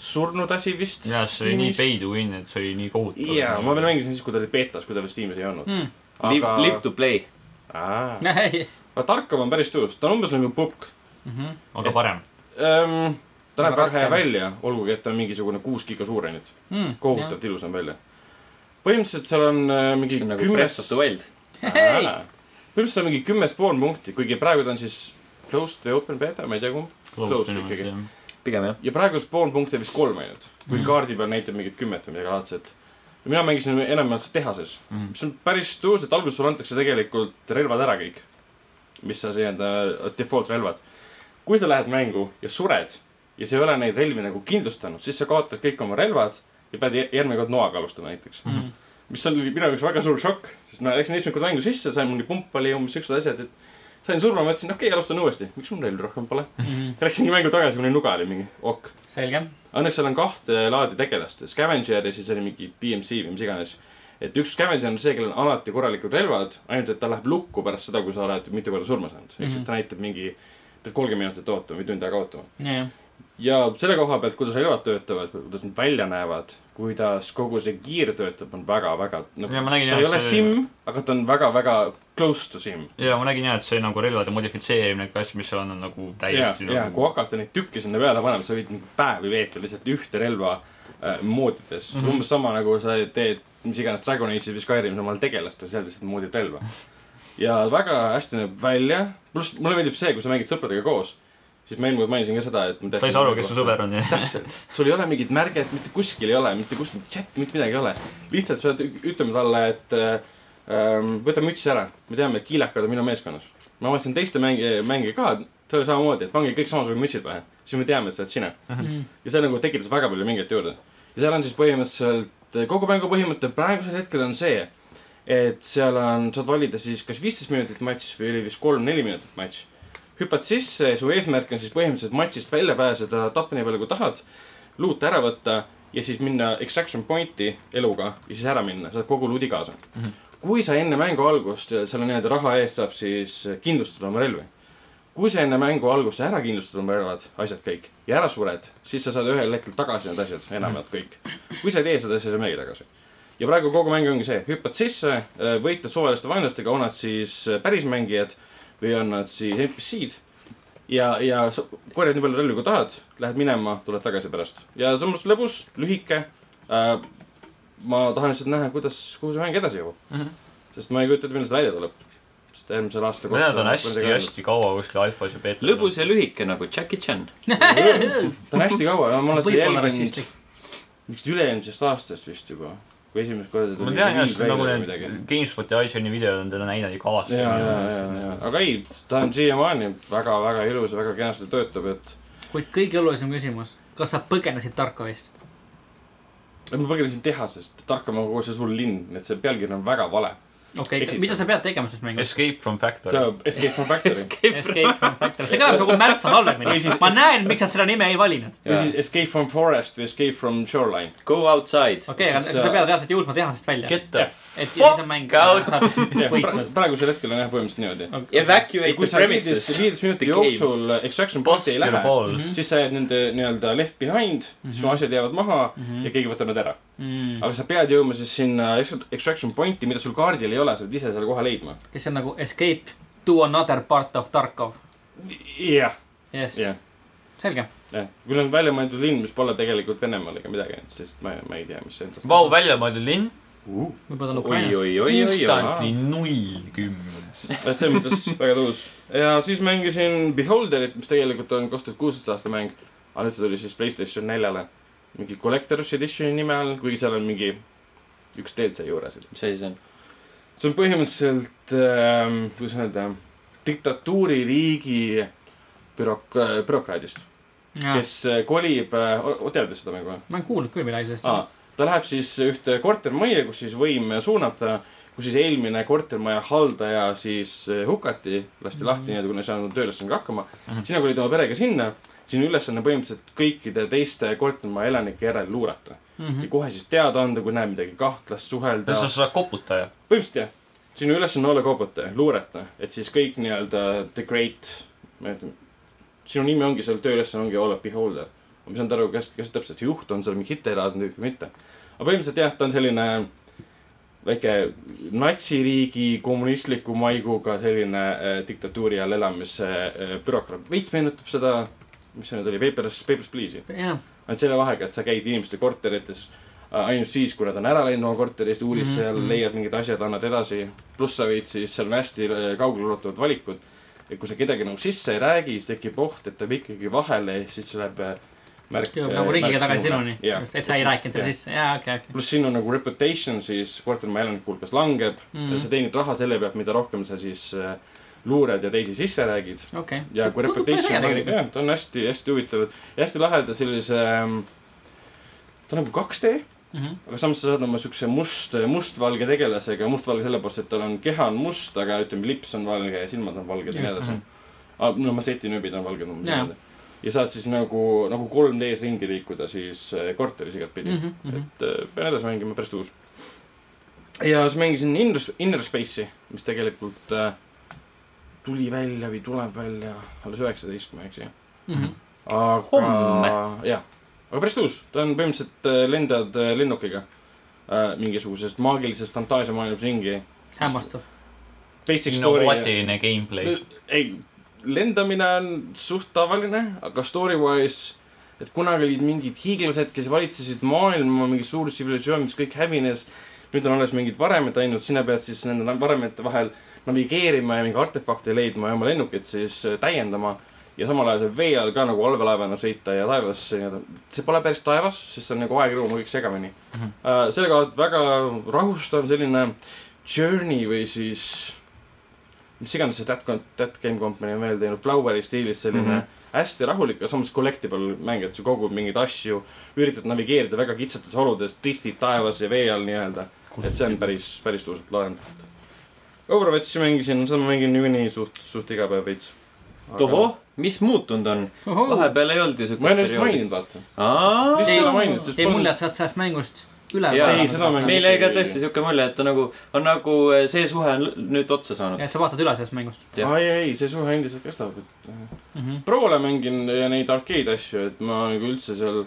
surnud asi vist . jaa , see oli nii . pay to win , et see oli nii kohutav . jaa , ma veel . mängisin siis , kui ta oli beetas , kui ta veel Steamis ei Hmm. olnud . Hmm. Live , live . to play . aga jah , Tarkov on päris tõus , ta on umbes nagu pukk . Mhm. aga parem . Ehm, ta Väga näeb väga hea raske. välja , olgugi et ta on mingisugune kuus giga suure nüüd . Hmm. kohutavalt ilus on välja . põhimõtteliselt seal on äh, mingi see on nagu kümnes Breath of the Wild . Hei! Aa. põhimõtteliselt see on mingi kümmes pool punkti , kuigi praegu ta on siis closed või open beta , ma ei tea kumb . Close ikkagi. pigem jah . ja praegust pool punkti on vist kolm ainult , kui Mhm. kaardi peal näitab mingit kümmet või midagi laadset . mina mängisin enamjaolt tehases , Mhm. mis on päris tõus , et alguses sulle antakse tegelikult relvad ära kõik , mis on nii-öelda default relvad . kui sa lähed mängu ja sured ja sa ei ole neid relvi nagu kindlustanud , siis sa kaotad kõik oma relvad ja pead jä- järgmine kord noaga alustama näiteks . Mm. Mhm. mis oli minu jaoks väga suur šokk , sest ma läksin esimest korda mängu sisse , sain mingi pump oli ja umbes siuksed asjad , et sain surma , mõtlesin , okei okay, , alustan uuesti , miks mul relvi rohkem pole . Läksingi mängu tagasi , mul oli nuga oli mingi ok . selge . Õnneks seal on kahte laadi tegelast , Scavenger ja siis oli mingi BMC või mis iganes . et üks Scavenger on see , kellel on alati korralikud relvad , ainult et ta läheb lukku pärast seda , kui sa oled mitu korda surma saanud . ehk siis Mhm. ta näitab mingi , pead kolmkümmend minutit ootama või tund aega ootama . jah , ja selle koha pealt , kuidas relvad töötavad , kuidas nad välja näevad , kuidas kogu see kiir töötab , on väga-väga ja nagu, . ma nägin ta ei ole sim , aga ta on väga-väga close to sim . ja ma nägin jah , et see nagu relvade modifitseerimine , kas , mis on, on nagu ja , täiesti ja kui nagu hakata neid tükke sinna peale panema , sa võid mingi päevi veeta lihtsalt ühte relva äh, moodides mm . Mhm. -hmm. umbes sama nagu sa teed mis iganes Dragon Age'is või Skyrimis omal tegelast ja seal lihtsalt moodid relva . ja väga hästi näeb välja , pluss mulle meeldib see , kui sa mängid sõpradega koos , siis ma eelmine kord mainisin ka seda , et ma sa ei saa aru , kes su . sõber on ja täpselt , sul ei ole mingit märget , mitte kuskil ei ole , mitte kuskil chat , mitte midagi ei ole . lihtsalt sa pead ü- ütlema talle , et ähm, võta müts ära , me teame , et kiilakad on minu meeskonnas . ma vaatasin teiste mänge , mänge ka , see oli samamoodi , et pange kõik samasugused mütsid pähe , siis me teame , et sa oled sina . Mm. ja see nagu tekitas väga palju mingeid juurde . ja seal on siis põhimõtteliselt , kogu mängu põhimõte praegusel hetkel on see , et seal on , saad valida siis kas viisteist minutit matš või oli vist kolm-neli minutit matš . hüppad sisse ja su eesmärk on siis põhimõtteliselt matšist välja pääseda , tappa nii palju kui tahad , luut ära võtta ja siis minna extraction point'i eluga ja siis ära minna , saad kogu luudi kaasa mm . Mhm. -hmm. kui sa enne mängu algust selle nii-öelda raha eest saab siis kindlustada oma relvi . kui sa enne mängu algust ära kindlustad oma relvad , asjad kõik ja ära sured , siis sa saad ühel hetkel tagasi need asjad , enamjaolt kõik . kui sa ei tee seda , siis sa ei saagi tagasi . ja praegu kogu mäng ongi see , hüppad sisse , võitled suvaliste vaenlastega , on nad siis äh, päris mängijad või on nad siis NPC-d . ja , ja sa korjad nii palju relvi , kui tahad , lähed minema , tuled tagasi pärast ja samas lõbus , lühike äh, . ma tahan lihtsalt näha , kuidas , kuhu see mäng edasi jõuab , sest ma ei kujuta ette , millal see välja tuleb . sest eelmisel aastal . mõned on hästi-hästi kaua kuskil alfas ja beetas . lõbus ja lühike nagu Jackie Chan . ta on hästi kaua , ma olen seda võib-olla jälginud rassistlik . vist üle-eelmisest aastast vist juba , kui esimest korda ma tuli tean jah , Wii sest välja nagu või need midagi. GameSpoti ja iTunes'i videod on nagu teda näinud ikka aastaid . ja , ja , ja , ja , aga ei , ta on siiamaani väga , väga ilus ja väga kenasti töötab , et kuid kõige olulisem küsimus , kas sa põgenesid Tarkovist ? et ma põgenesin tehasest , tarkam on kogu see suur linn , nii et see pealkiri on väga vale . okei okay, , Exit. mida sa pead tegema selles mängus ? Escape from see Factory . on Escape from Factory Escape from Factory , see kõlab nagu märksa halvemini Või siis- . ma näen , miks nad seda nime ei valinud . või siis Escape from Forest või Escape from Shoreline . Go outside . okei , aga Siis, sa äh, pead reaalselt jõudma tehasest välja . Get the et ja siis fuck on mäng out . võitnud . praegusel hetkel on jah põhimõtteliselt niimoodi . Evacuate kui the sa viieteist , premises . viieteist minuti The game. jooksul äh, extraction boss point'i ei your lähe , Mhm. balls . siis sa jääd nende nii-öelda left behind , siis su asjad jäävad maha Mhm. ja keegi võtab nad ära . Mm. aga sa pead jõudma siis sinna extra- extraction point'i , mida sul kaardil ei ole , sa pead ise selle koha leidma . kes on nagu escape to another part of Tarkov . jah , jess , jah , selge . jah . kui on välja mõeldud linn , mis pole tegelikult Venemaal ega midagi , et siis ma , ma ei tea , mis see endast Vau , väljamõeldud linn . uh, . võib-olla ta on oi , Ukrainas . oi , oi , oi , oi . instantly null kümnes . et selles mõttes väga tõus . ja siis mängisin Beholderit , mis tegelikult on kaks tuhat kuusteist aasta mäng . aga nüüd ta tuli siis Playstation neljale . mingi Collector's Editioni nime all , kuigi seal on mingi üks DLC juures . mis asi see on ? see on põhimõtteliselt ähm, , kuidas öelda , diktatuuririigi bürok- , bürokraadist , kes äh, kolib äh, , tead seda mängu või ? ma olen kuulnud küll midagi sellest aa , ta läheb siis ühte kortermajja , kus siis võim suunab ta , kus siis eelmine kortermaja haldaja siis äh, hukati , lasti lahti nii-öelda , kuna ei saanud töölesandega hakkama Mhm. . sina kolid oma perega sinna , sinu ülesanne põhimõtteliselt kõikide teiste kortermaja elanike järel luurata mm . ja -hmm. kohe siis teada anda , kui näed midagi kahtlast , suhelda . kas Mhm. sa oled koputaja ? põhimõtteliselt jah , sinu ülesanne on olla kaubataja , luureta , et siis kõik nii-öelda the great , ma ei tea , sinu nimi ongi seal tööülesanne ongi olla beholder . ma ei saanud aru , kes , kes täpselt see juht on seal , mingi hiteraadne tüüp või mitte . aga põhimõtteliselt jah , ta on selline väike natsiriigi kommunistliku maiguga selline äh, diktatuuri all elamise äh, bürokraat , veits meenutab seda , mis see nüüd oli , Papers , Papers , Please'i . jah , ainult selle vahega , et sa käid inimeste korterites äh, ainult siis , kui nad on ära läinud oma korterist , uurid mm Mhm. -hmm. seal , leiad mingid asjad , annad edasi . pluss sa võid siis , seal on hästi äh, kaugeleulatuvad valikud . et kui sa kedagi nagu sisse ei räägi , siis tekib oht , et ta jääb ikkagi vahele ja siis see läheb äh, märk . jõuab nagu riigiga tagasi sinuni . et sa ei rääkinud talle sisse , jaa , okei , okei . pluss sinu nagu reputation siis kortermaja elanike hulgas langeb mm . Mhm. -hmm. sa teenid raha selle pealt , mida rohkem sa siis äh, luured ja teisi sisse räägid . okei . ja kui Reputation on väga , jah , ta on hästi , hästi huvitav ja hästi laheda sellise , ta on nagu 2D , Mhm. aga samas sa saad oma siukse must , mustvalge tegelasega , mustvalge sellepärast , et tal on keha on must , aga ütleme , lips on valge ja silmad on valged ja nii edasi . no matseti nööbid on valged umbes Jaa. niimoodi . ja saad siis nagu , nagu 3D-s ringi liikuda siis äh, korteris igatpidi . Mhm, et äh, pean edasi mängima , päris uus . ja siis mängisin Inner , Inner Space'i , mis tegelikult äh, tuli välja või tuleb välja alles üheksateist , kui ma ei eksi . Mhm. Homme. aga , jah , aga päris uus , ta on põhimõtteliselt äh, lendad äh, lennukiga äh, mingisuguses maagilises fantaasiamaailmas ringi . hämmastav . basic story , innovaatiline gameplay . ei , lendamine on suht tavaline , aga story wise , et kunagi olid mingid hiiglased , kes valitsesid maailma , mingi suur tsivilisatsioon , mis kõik hävines . nüüd on alles mingid varemed ainult , sina pead siis nende varemete vahel navigeerima ja mingi artefakte leidma ja oma lennukit siis äh, täiendama . ja samal ajal seal vee all ka nagu allveelaevana sõita ja taevas nii-öelda , see pole päris taevas , sest see on nagu aegruum kõik segamini mm . Mhm. -hmm. Uh, sellega väga rahustav selline journey või siis mis iganes see That, Con- that Game Company on veel teinud , Floweri stiilis selline mm -hmm. hästi rahulik , aga samas collectible mäng , et sa kogud mingeid asju , üritad navigeerida väga kitsates oludes , driftid taevas ja vee all nii-öelda . et see on päris , päris tuusalt lahendatud . Overwatchi mängisin , seda ma mängin niikuinii suht , suht iga päev veits . tohoh , mis muutunud on ? Oh. vahepeal ei olnud ju ma enne siukest vist maininud , vaata . aa , vist ei ole ei , maininud , sest ei mul jääb sealt sellest mängust üle . Jaa, ei, seda ma ei- meil jäi ka tõesti siuke mulje , et ta nagu on nagu see suhe on l- nüüd otsa saanud . et sa vaatad üle sellest mängust jah. ei , ei , see suhe endiselt kestab , et . mm . -hmm. Prole mängin ja neid arcade asju , et ma nagu üldse seal .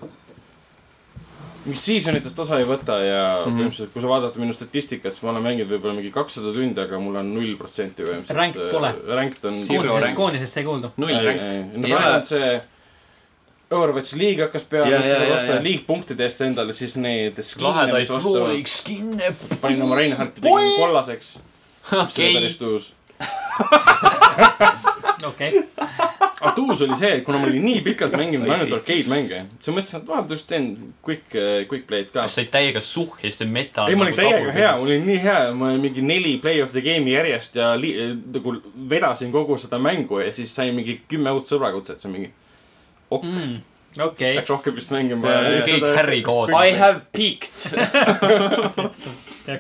mingist seasonitest osa ei võta ja Mhm. põhimõtteliselt , kui sa vaadad minu statistikat , siis ma olen mänginud võib-olla mingi kakssada tundi , aga mul on null protsenti põhimõtteliselt . Ranked pole. . Ranked on . Zero rank. koondisest sai kuulda . null Äh, ränk . no Ei ma arvan , ole. et see Overwatchi liig hakkas peale , Jaa, et sa saad jaa, osta jaa, liigpunktide eest endale siis need skin'e , lahedaid mis ostavad . prooviks kinni . panin oma Reinhardt tegin kollaseks . see oli Okei. päris tuus . okei , aga Ah, tuus oli see , et kuna ma olin nii pikalt mänginud Oi. ainult arcade-mänge , siis ma mõtlesin , et vaata , just teen quick , quick play'd ka . kas sa olid täiega suh ja siis teed meta . nagu ei , ma olin täiega hea , ma olin nii hea , ma olin mingi neli play of the game'i järjest ja li- nagu vedasin kogu seda mängu ja siis sain mingi kümme uut sõbrakutset , see on mingi . Mhm. okei . peaks rohkem vist Jaa, jaa. kõik mängima . Harry kood . Äh, I have peaked .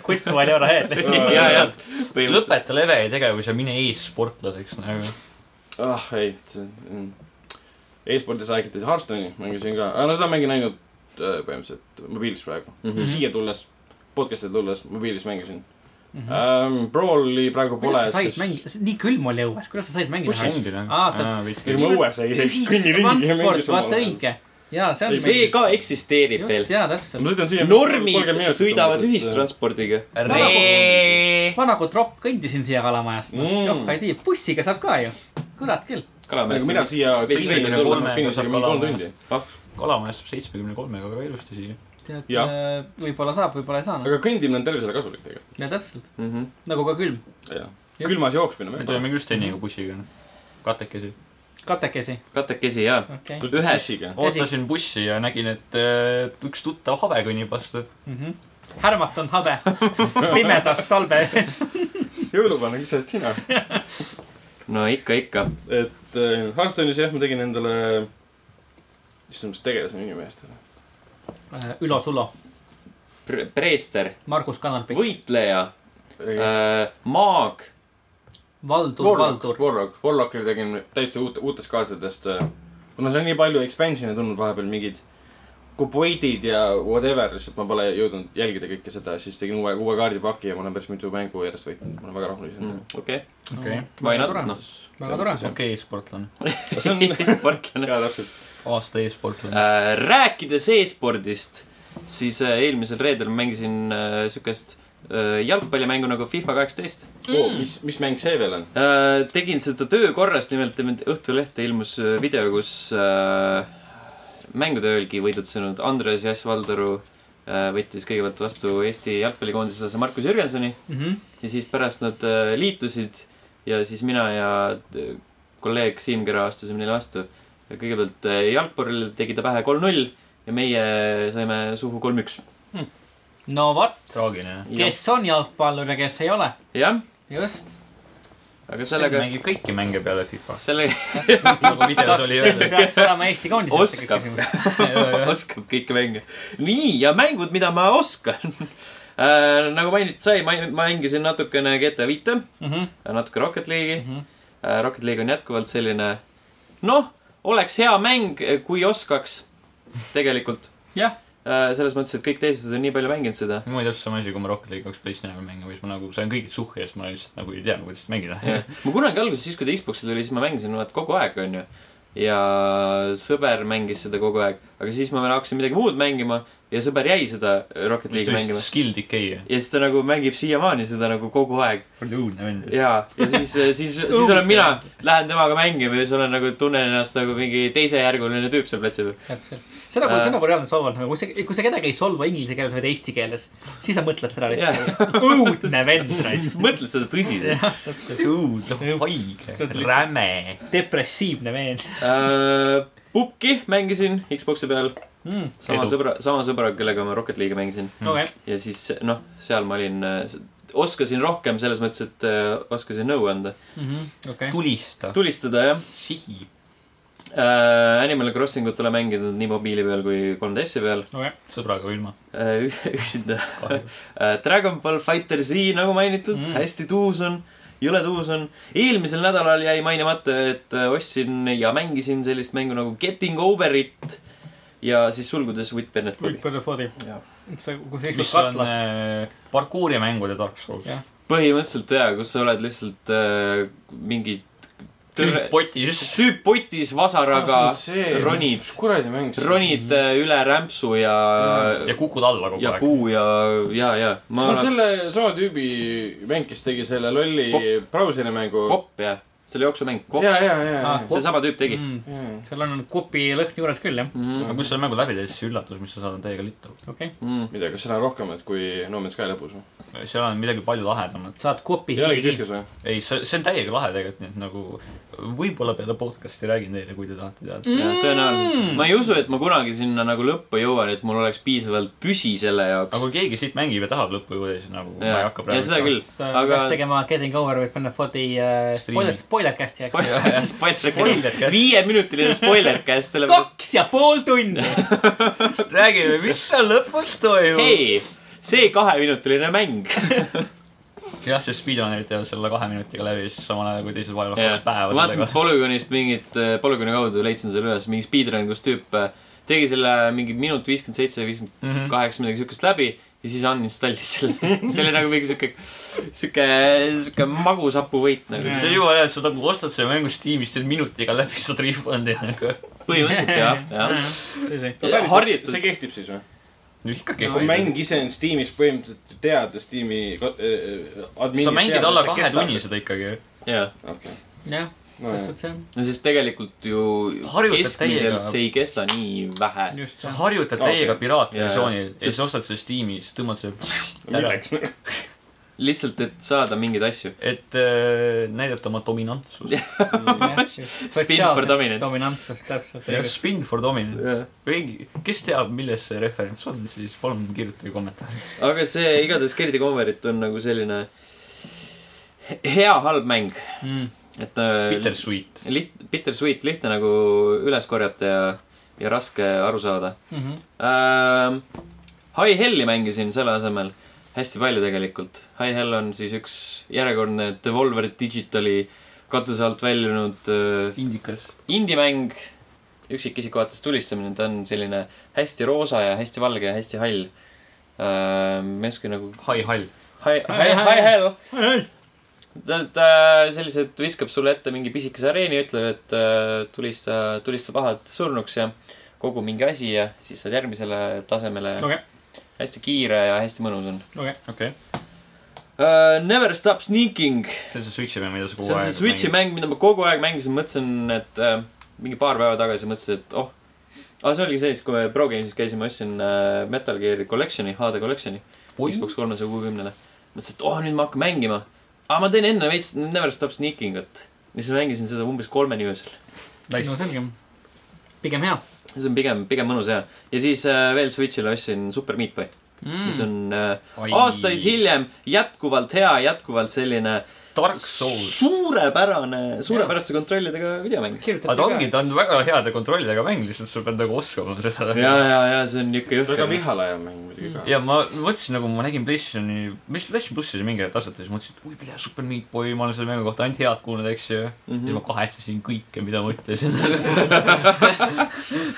Quick while you are ahead . ja , ja . lõpeta leveli tegevus ja mine e-sportlaseks nagu . ah ei , see mm. . e-spordis räägiti siis Hearthstone'i , mängisin ka , aga no seda mängin ainult äh, põhimõtteliselt mobiilis praegu mm . Mhm. -hmm. siia tulles , podcast'i tulles mobiilis mängisin mm . -hmm. Um, Brawli praegu pole Mhm. kuidas . sa said mängi- , nii külm oli õues , kuidas sa said mängida ? Aa, sa- ei , ma Äh, õues ei käinud , kõnnin ringi ja mängisin vaata . õige . ja see on . see ka eksisteerib veel just ,. jaa , täpselt . ma sõidan siia . normid sõidavad . ühistranspordiga . Ree . vana kui tropp kõndisin siia kalamajast , noh Mm. mm. , joh , ei tea , bussiga saab ka ju , kurat küll . aga Nagu mina siia . nagu Veits veidikene kolmega saab kolm kalama. tundi . kalamajas saab seitsmekümne kolmega väga ilusti siia . tead äh, Jah. , võib-olla saab , võib-olla ei saa , noh , aga kõndimine on tervisele kasulik tegelikult . ja täpselt , Mhm. nagu ka külm , jah , Jah. külmas jooksmine . me tulime just enne ju bussiga . katekesi . katekesi , katekesi ja . Mhm. okei okay. Ühes- bussiga . ootasin bussi ja nägin , et äh, üks tuttav habe kõnnib vastu . mm -hmm. . härmatanud habe pimedas talve ees . jõuluvana , kes sa oled sina ? no ikka , ikka . et äh, Hearthstone'is jah , ma tegin endale , issand , mis tegelase nimi meest oli . Äh, Ülo Sulo , preester , Margus Kanarpik , võitleja , Äh, maag , Valdur , Warlock , Valdur , Warlock , Warlockile tegin täiesti uut , uutest kaartidest . kuna seal on nii palju expansion'e tulnud vahepeal mingid kuboidid ja whatever , lihtsalt ma pole jõudnud jälgida kõike seda , siis tegin uue , uue kaardipaki ja ma olen päris mitu mängu järjest võitnud , ma olen väga rahul sellega . Mm, okei , okei , why not , Tore. Mm. noh . Väga tore. okei , e-sportlane . see on , jaa , sportlane . täpselt . aasta e-sportlane . Äh, rääkides e-spordist , siis äh, eelmisel reedel mängisin äh, siukest äh, jalgpallimängu nagu FIFA kaheksateist . Oh, mis , mis mäng see veel on ? Äh, tegin seda töö korras , nimelt Õhtulehte ilmus äh, video , kus äh, mängude öölgi võidutsenud Andres Jass Valdaru äh, võttis kõigepealt vastu Eesti jalgpallikoondislase Markus Jürgensoni Mhm. ja siis pärast nad äh, liitusid ja siis mina ja äh, kolleeg Siim Kera astusime neile vastu . ja kõigepealt äh, jalgpallile tegi ta pähe kolm-null ja meie saime suhu kolm-üks . no vot , traagiline . jah , kes on jalgpallur ja kes ei ole , just , aga sellega , mängib kõiki mänge peale FIFA-s . sellega nagu videos kas oli te öeldud . peaks olema Eesti koondises ? Oskab. oskab kõiki mänge . nii , ja mängud , mida ma oskan Äh, nagu mainitud sai , ma ma mängisin natukene GTA viite , Mhm. natuke Rocket League'i . Äh, Rocket League on jätkuvalt selline , noh , oleks hea mäng , kui oskaks tegelikult . Jah. . selles mõttes , et kõik teised on nii palju mänginud seda . mul oli täpselt sama asi , kui ma Rocket League kaks PlayStationi peal mängin , siis ma nagu sain kõigilt suhhi ja siis ma lihtsalt nagu ei tea , kuidas mängida . ma kunagi alguses , siis kui ta Xbox'i tuli , siis ma mängisin vaat kogu aeg , onju . ja sõber mängis seda kogu aeg , aga siis ma veel hakkasin midagi muud mängima ja sõber jäi seda Rocket vist League'i mängima . vist Skill Decay . ja siis ta nagu mängib siiamaani seda nagu kogu aeg õudne vend . ja , ja siis , siis , siis olen mina , lähen temaga mängima ja siis olen nagu , tunnen ennast nagu mingi teisejärguline tüüp seal platsi peal . täpselt , seda , kui Äh. seda , kui reaalne solvab nagu , kui sa , kui sa kedagi ei solva inglise keeles , vaid eesti keeles , siis sa mõtled seda lihtsalt . õudne vend raisk . mõtled seda tõsiselt ? jah , täpselt . õudne , haige , räme . depressiivne vend . Äh, Pupki mängisin Xbox'i peal , sama Edu. sõbra , sama sõbraga , kellega ma Rocket League'i mängisin Mm. okei , ja siis noh , seal ma olin , oskasin rohkem selles mõttes , et äh, oskasin nõu anda , okei . tulista , tulistada jah . sihi . Animal Crossing ut olen mänginud nii mobiili peal kui 3DS-i peal sõbraga või ilma . äh, ü- üksinda . Äh, Dragon Ball Fighter Z nagu mainitud Mm. mm. , hästi tuus on , jõle tuus on . eelmisel nädalal jäi mainimata , et äh, ostsin ja mängisin sellist mängu nagu Getting Over It ja siis sulgudes With Bennett Fully . Wikipediafoodi . Jah. sa , kui sa istud mis on katlas . äh, parkuurimängude Dark Souls . Jah. põhimõtteliselt jaa , kus sa oled lihtsalt äh, mingi tüüp potis . tüüp potis vasaraga , ronid. kuradi mäng see on? ronid äh, üle rämpsu ja Mhm. ja , kukud alla kogu ja aeg . puu ja , ja , ja . ma see on olen selle sama tüübi mäng , kes tegi selle lolli Pop- brauseri mängu . kopp jah , selle jooksumäng , kopp , ja , ja , ja , Ah, ja . seesama tüüp tegi . seal on kopi lõhn juures küll , jah . Mm aga kui sa selle mängu läbi teed , siis üllatus , mis sa saad , on täiega litu . okei . -hmm. mida , kas seda on rohkem , et kui No Man's Sky lõpus või ? seal on midagi palju lahedamat . saad kopi . ei olegi tühjus või ? ei , see , see on täiega lahe tegelikult , nii et nagu võib-olla peale podcast'i räägin teile , kui te tahate teada . jah , tõenäoliselt . ma ei usu , et ma kunagi sinna nagu lõppu jõuan , et mul oleks piisavalt püsi selle aga jaoks . kui keegi siit mängib ja tahab lõppu jõuda , siis nagu ma ei ja hakka , ja praegu . seda küll , aga . aga peaks tegema Getting Over with Benefoti äh, spoiler , Streaming. spoiler cast'i . spoiler , spoiler käes . viieminutiline spoiler käest , sellepärast kaks ja pool tundi . räägime , mis seal lõpus toimub hey. . hei , see kaheminutiline mäng . jah , see speedrunnerid teevad selle kahe minutiga läbi , siis samal ajal kui teised vaevavad ma kaks päeva vaatasin sellega . Polügoonist mingit , Polügooni kaudu leidsin selle üles , mingi speedrun , kus tüüp äh, tegi selle mingi minut viiskümmend seitse , viiskümmend Mhm. kaheksa , midagi siukest läbi ja siis uninstallis selle . see oli nagu mingi siuke , siuke , siuke magusapu võit nagu . see on jumala hea , et sa nagu ostad selle mängu Steamist , teed minutiga läbi , saad refund'i nagu . põhimõtteliselt jah , jah . Ja harjutud. see kehtib siis või ? ikkagi kui mäng ise on Steamis põhimõtteliselt ju tead , Steam'i ko- äh, admin . sa mängid alla kahe tunni . seda ikkagi . jah , okei , jah , nojah . täpselt see . no sest tegelikult ju Harjutad keskmiselt täiega. see ei kesta nii vähe . just sa . harjutad täiega Okei. piraatversiooni Jaa, noh? ja jaa. siis ostad selle Steamis , tõmbad selle ära , milleks ? lihtsalt , et saada mingeid asju . et äh, näidata oma dominantsust . Spin for dominance. dominantsust , täpselt . Spin for dominance . keegi , kes teab , milles see referents on , siis palun kirjutage kommentaari . aga see igatahes Gerdi Converit on nagu selline he- hea-halb mäng , Mm. et äh, Bittersweet . liht- , bittersweet , lihtne nagu üles korjata ja , ja raske aru saada Mhm. ähm, . High Helli mängisin selle asemel hästi palju tegelikult . High Hell on siis üks järjekordne Devolver Digitali katuse alt väljunud äh, Indikas . indie-mäng , üksikisiku vaates tulistamine , ta on selline hästi roosa ja hästi valge ja hästi hall äh, . ma ei oska nagu High High . Hi- hi- hi- hello. ta , ta selliselt viskab sulle ette mingi pisikese areeni , ütleb , et äh, tulista , tulista pahad surnuks ja kogu mingi asi ja siis saad järgmisele tasemele Okei. hästi kiire ja hästi mõnus on okei okay. . uh, . Never Stop Sneaking , see on see Switch'i mäng , mida sa kogu see on see Switch'i mäng . mäng , mida ma kogu aeg mängisin , mõtlesin , et uh, mingi paar päeva tagasi mõtlesin , et oh , aga see oligi see , siis kui me Pro Games'is käisime , ostsin uh, Metal Gear Collection'i , HD Collection'i . Xbox kolmesaja kuuekümnele . mõtlesin , et oh , nüüd ma hakkan mängima . aga ma teen enne veits Never Stop Sneakingut . ja siis ma mängisin seda umbes kolmeni öösel . no selge . pigem hea . see on pigem , pigem mõnus ja . ja siis äh, veel Switch'ile ostsin Super Meat Boy mm. , mis on äh, aastaid . hiljem jätkuvalt hea , jätkuvalt selline Dark Souls . suurepärane , suurepäraste kontrollidega videomäng . aga ta ongi , ta on väga heade kontrollidega mäng , lihtsalt sa pead nagu oskama seda . ja , ja , ja see on niuke väga jõhker . vihale ajav mäng muidugi ka . ja ma mõtlesin nagu , ma nägin PlayStationi , mis PlayStation plussis oli mingi aeg tasuta , siis mõtlesin , et oi , plee , Super Meat Boy , ma olen selle mängu kohta ainult head kuulnud , eks ju . Mhm. siis ma kahetsesin kõike , mida ma ütlesin .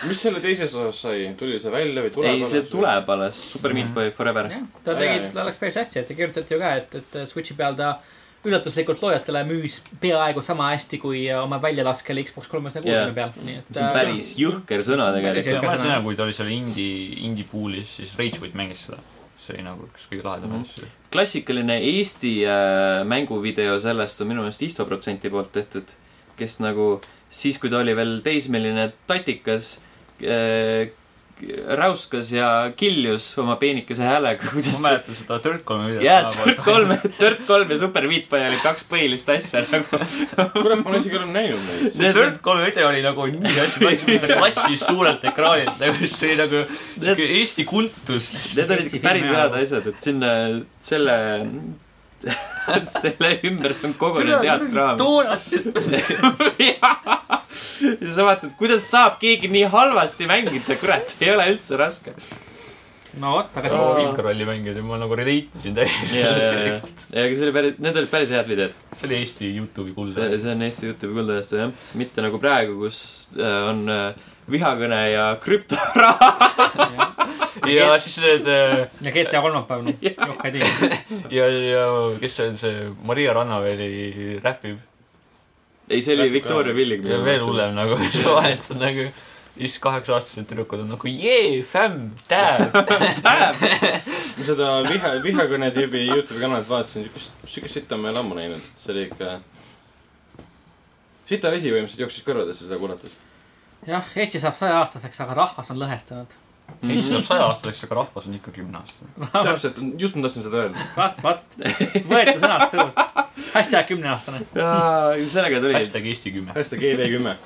mis selle teises osas sai , tuli see välja või tuleb ? ei , see . tuleb alles , Super Meat Boy Forever . jah , ta tegi , tal läks päris hästi , et ta kirjutati ju ka , et , et Switch'i peal ta üllatuslikult loojatele müüs peaaegu sama hästi kui äh, oma väljalaskel Xbox kolmesaja kuuekümne peal , nii et . äh, see on päris jõhker sõna tegelikult . ma mäletan enam , kui ta oli seal indie , indie pool'is , siis Rage Quit mängis seda . see oli nagu üks kõige Mhm. lahedamaid asju . klassikaline Eesti äh, mänguvideo sellest on minu meelest Isto Protsenti poolt tehtud , kes nagu siis , kui ta oli veel teismeline tatikas äh, , räuskas ja kiljus oma peenikese häälega , kuidas ma . mäletan seda Dirt kolme videot . jaa , Dirt kolm , Dirt kolm ja Super Meat Boy olid kaks põhilist asja nagu . kurat , ma olen isegi olen näinud neid . see Dirt kolme video oli nagu nii hästi kaitstud , see oli massis suurelt ekraanilt , nagu see oli nagu siuke Eesti kultus . Need olid ikka päris head asjad , et sinna , selle , selle ümber on kogunenud head kraami . toonad . ja sa vaatad , kuidas saab keegi nii halvasti mängida , kurat , ei ole üldse raske . no vot , aga kas Aa. siis . Vilkarolli mängijad ja ma nagu relate isin täiesti . ja , ja , ja , ja aga see oli päris , need olid päris head videod . see oli Eesti Youtube'i kulda see , see on Eesti Youtube'i kuldajastu jah , mitte nagu praegu , kus äh, on äh, vihakõne ja krüptoraha . ja siis need äh, ja GTA kolmapäev , noh , joh ei tea . ja , ja kes see on , see Maria Rannaveeli räpib ei , see oli Väga- Victoria Villig . ja veel . hullem nagu see vahet on nagu siis kaheksa-aastased tüdrukud on nagu jee , fämm , tää . ma seda viha , vihakõne tüübi Youtube'i kanalit vaatasin , siukest , siukest sitta ma ei ole ammu näinud . see oli ikka , sita vesi põhimõtteliselt jooksis kõrvadesse seda kuulates . jah , Eesti saab sajaaastaseks , aga rahvas on lõhestunud . siis saab sajaaastaseks , aga rahvas on ikka kümneaastane . täpselt , just ma tahtsin seda öelda . vat , vat , võeta sõnad suus . hästi hea kümneaastane . sellega tuli , hashtag Eesti kümme . hästi GV kümme .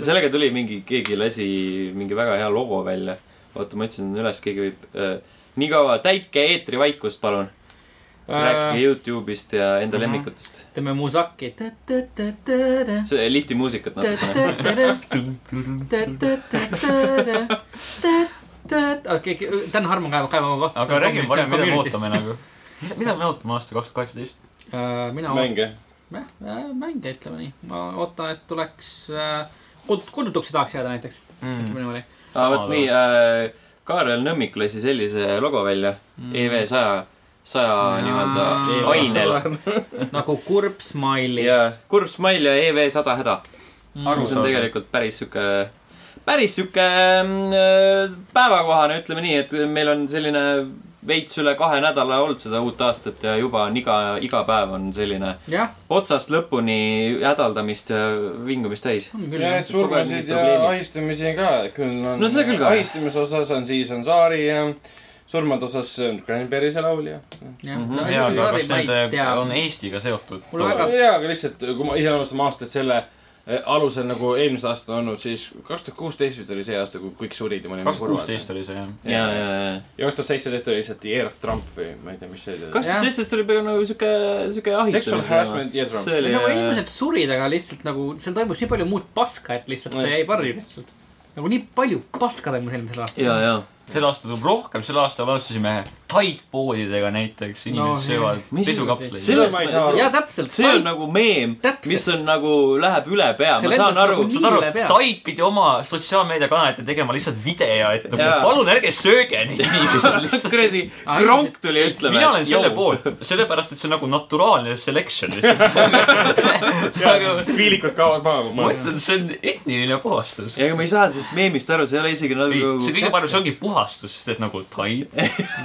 sellega tuli mingi , keegi lasi mingi väga hea logo välja . oota , ma otsin üles , keegi võib äh, . nii kaua täike eetrivaikust , palun . Äh. Äh. rääkige Youtube'ist ja enda Mhm. lemmikutest . teeme muusaki . see lifti muusikat natukene . okei , Dan Harmon kaevab , kaevab oma kohta . aga räägime parem , mida me ootame . nagu . mida me ootame aastal kaks tuhat kaheksateist ? Äh, mina ootan , mänge . mänge , ütleme nii . ma ootan , et tuleks , kodutuks ei tahaks jääda näiteks , Hmm. ütleme niimoodi . aa , Sama vot nii äh, . Kaarel Nõmmik lasi sellise logo välja mm. . EV saja , saja Jaa. nii-öelda EV100. ainel . nagu kurb smiley . Mm. ja kurb smile ja EV sada häda . mis on Arusaadav. tegelikult päris sihuke , päris sihuke mm, päevakohane , ütleme nii , et meil on selline veits üle kahe nädala olnud seda uut aastat ja juba on iga , iga päev on selline jah , otsast lõpuni hädaldamist ja vingumist täis . on küll . ja surmasid ja probleemid. ahistamisi on ka , küll on . No seda küll ka. ahistamise osas on siis on Saari ja surmade osas on Cranberry see laulja . jaa , aga kas need äh, on jah . Eestiga seotud ? Mul väga- jaa , aga lihtsalt , kui ma iseloomustame aastat selle eh, alusel nagu eelmisel aastal olnud , siis kaks tuhat kuusteist oli see aasta , kui kõik surid ja me olime kaks tuhat kuusteist . oli see jah . ja , ja , ja . ja kaks tuhat seitseteist oli lihtsalt Year of Trump või ma ei tea , mis see oli . kaks tuhat seitseteist oli pigem nagu sihuke , sihuke Sexual ahistamine . harassment Year of Trump . see oli nagu inimesed surid , aga lihtsalt nagu seal toimus nii palju muud paska , et lihtsalt see Jah. jäi parju lihtsalt . nagu nii palju paska toimus eelmisel aastal . ja , ja . sel aastal tuleb rohkem , sel aastal alustasime taidpoodidega näiteks , No, inimesed söövad mis- pesukapsleid . Seda ma ei saa aru. ja täpselt . see on nagu meem , Täpselt. mis on nagu , läheb üle pea , See ma saan lendas aru nagu . nii- saad aru Mille , peal? Tait pidi oma sotsiaalmeediakanalite tegema lihtsalt video , et nagu, Jaa. palun ärge sööge neid inimesi lihtsalt . kuradi Aa, kronk tuli ütlema . mina olen selle . poolt , sellepärast et see on nagu naturaalne selection lihtsalt . aga viilikud kaovad maha , kui ma ma ütlen , see on etniline puhastus . ega ma ei saa sellest meemist aru , see ei ole isegi ei , nagu see . kõige parem , see ongi puhastus , sest et nagu Tait ,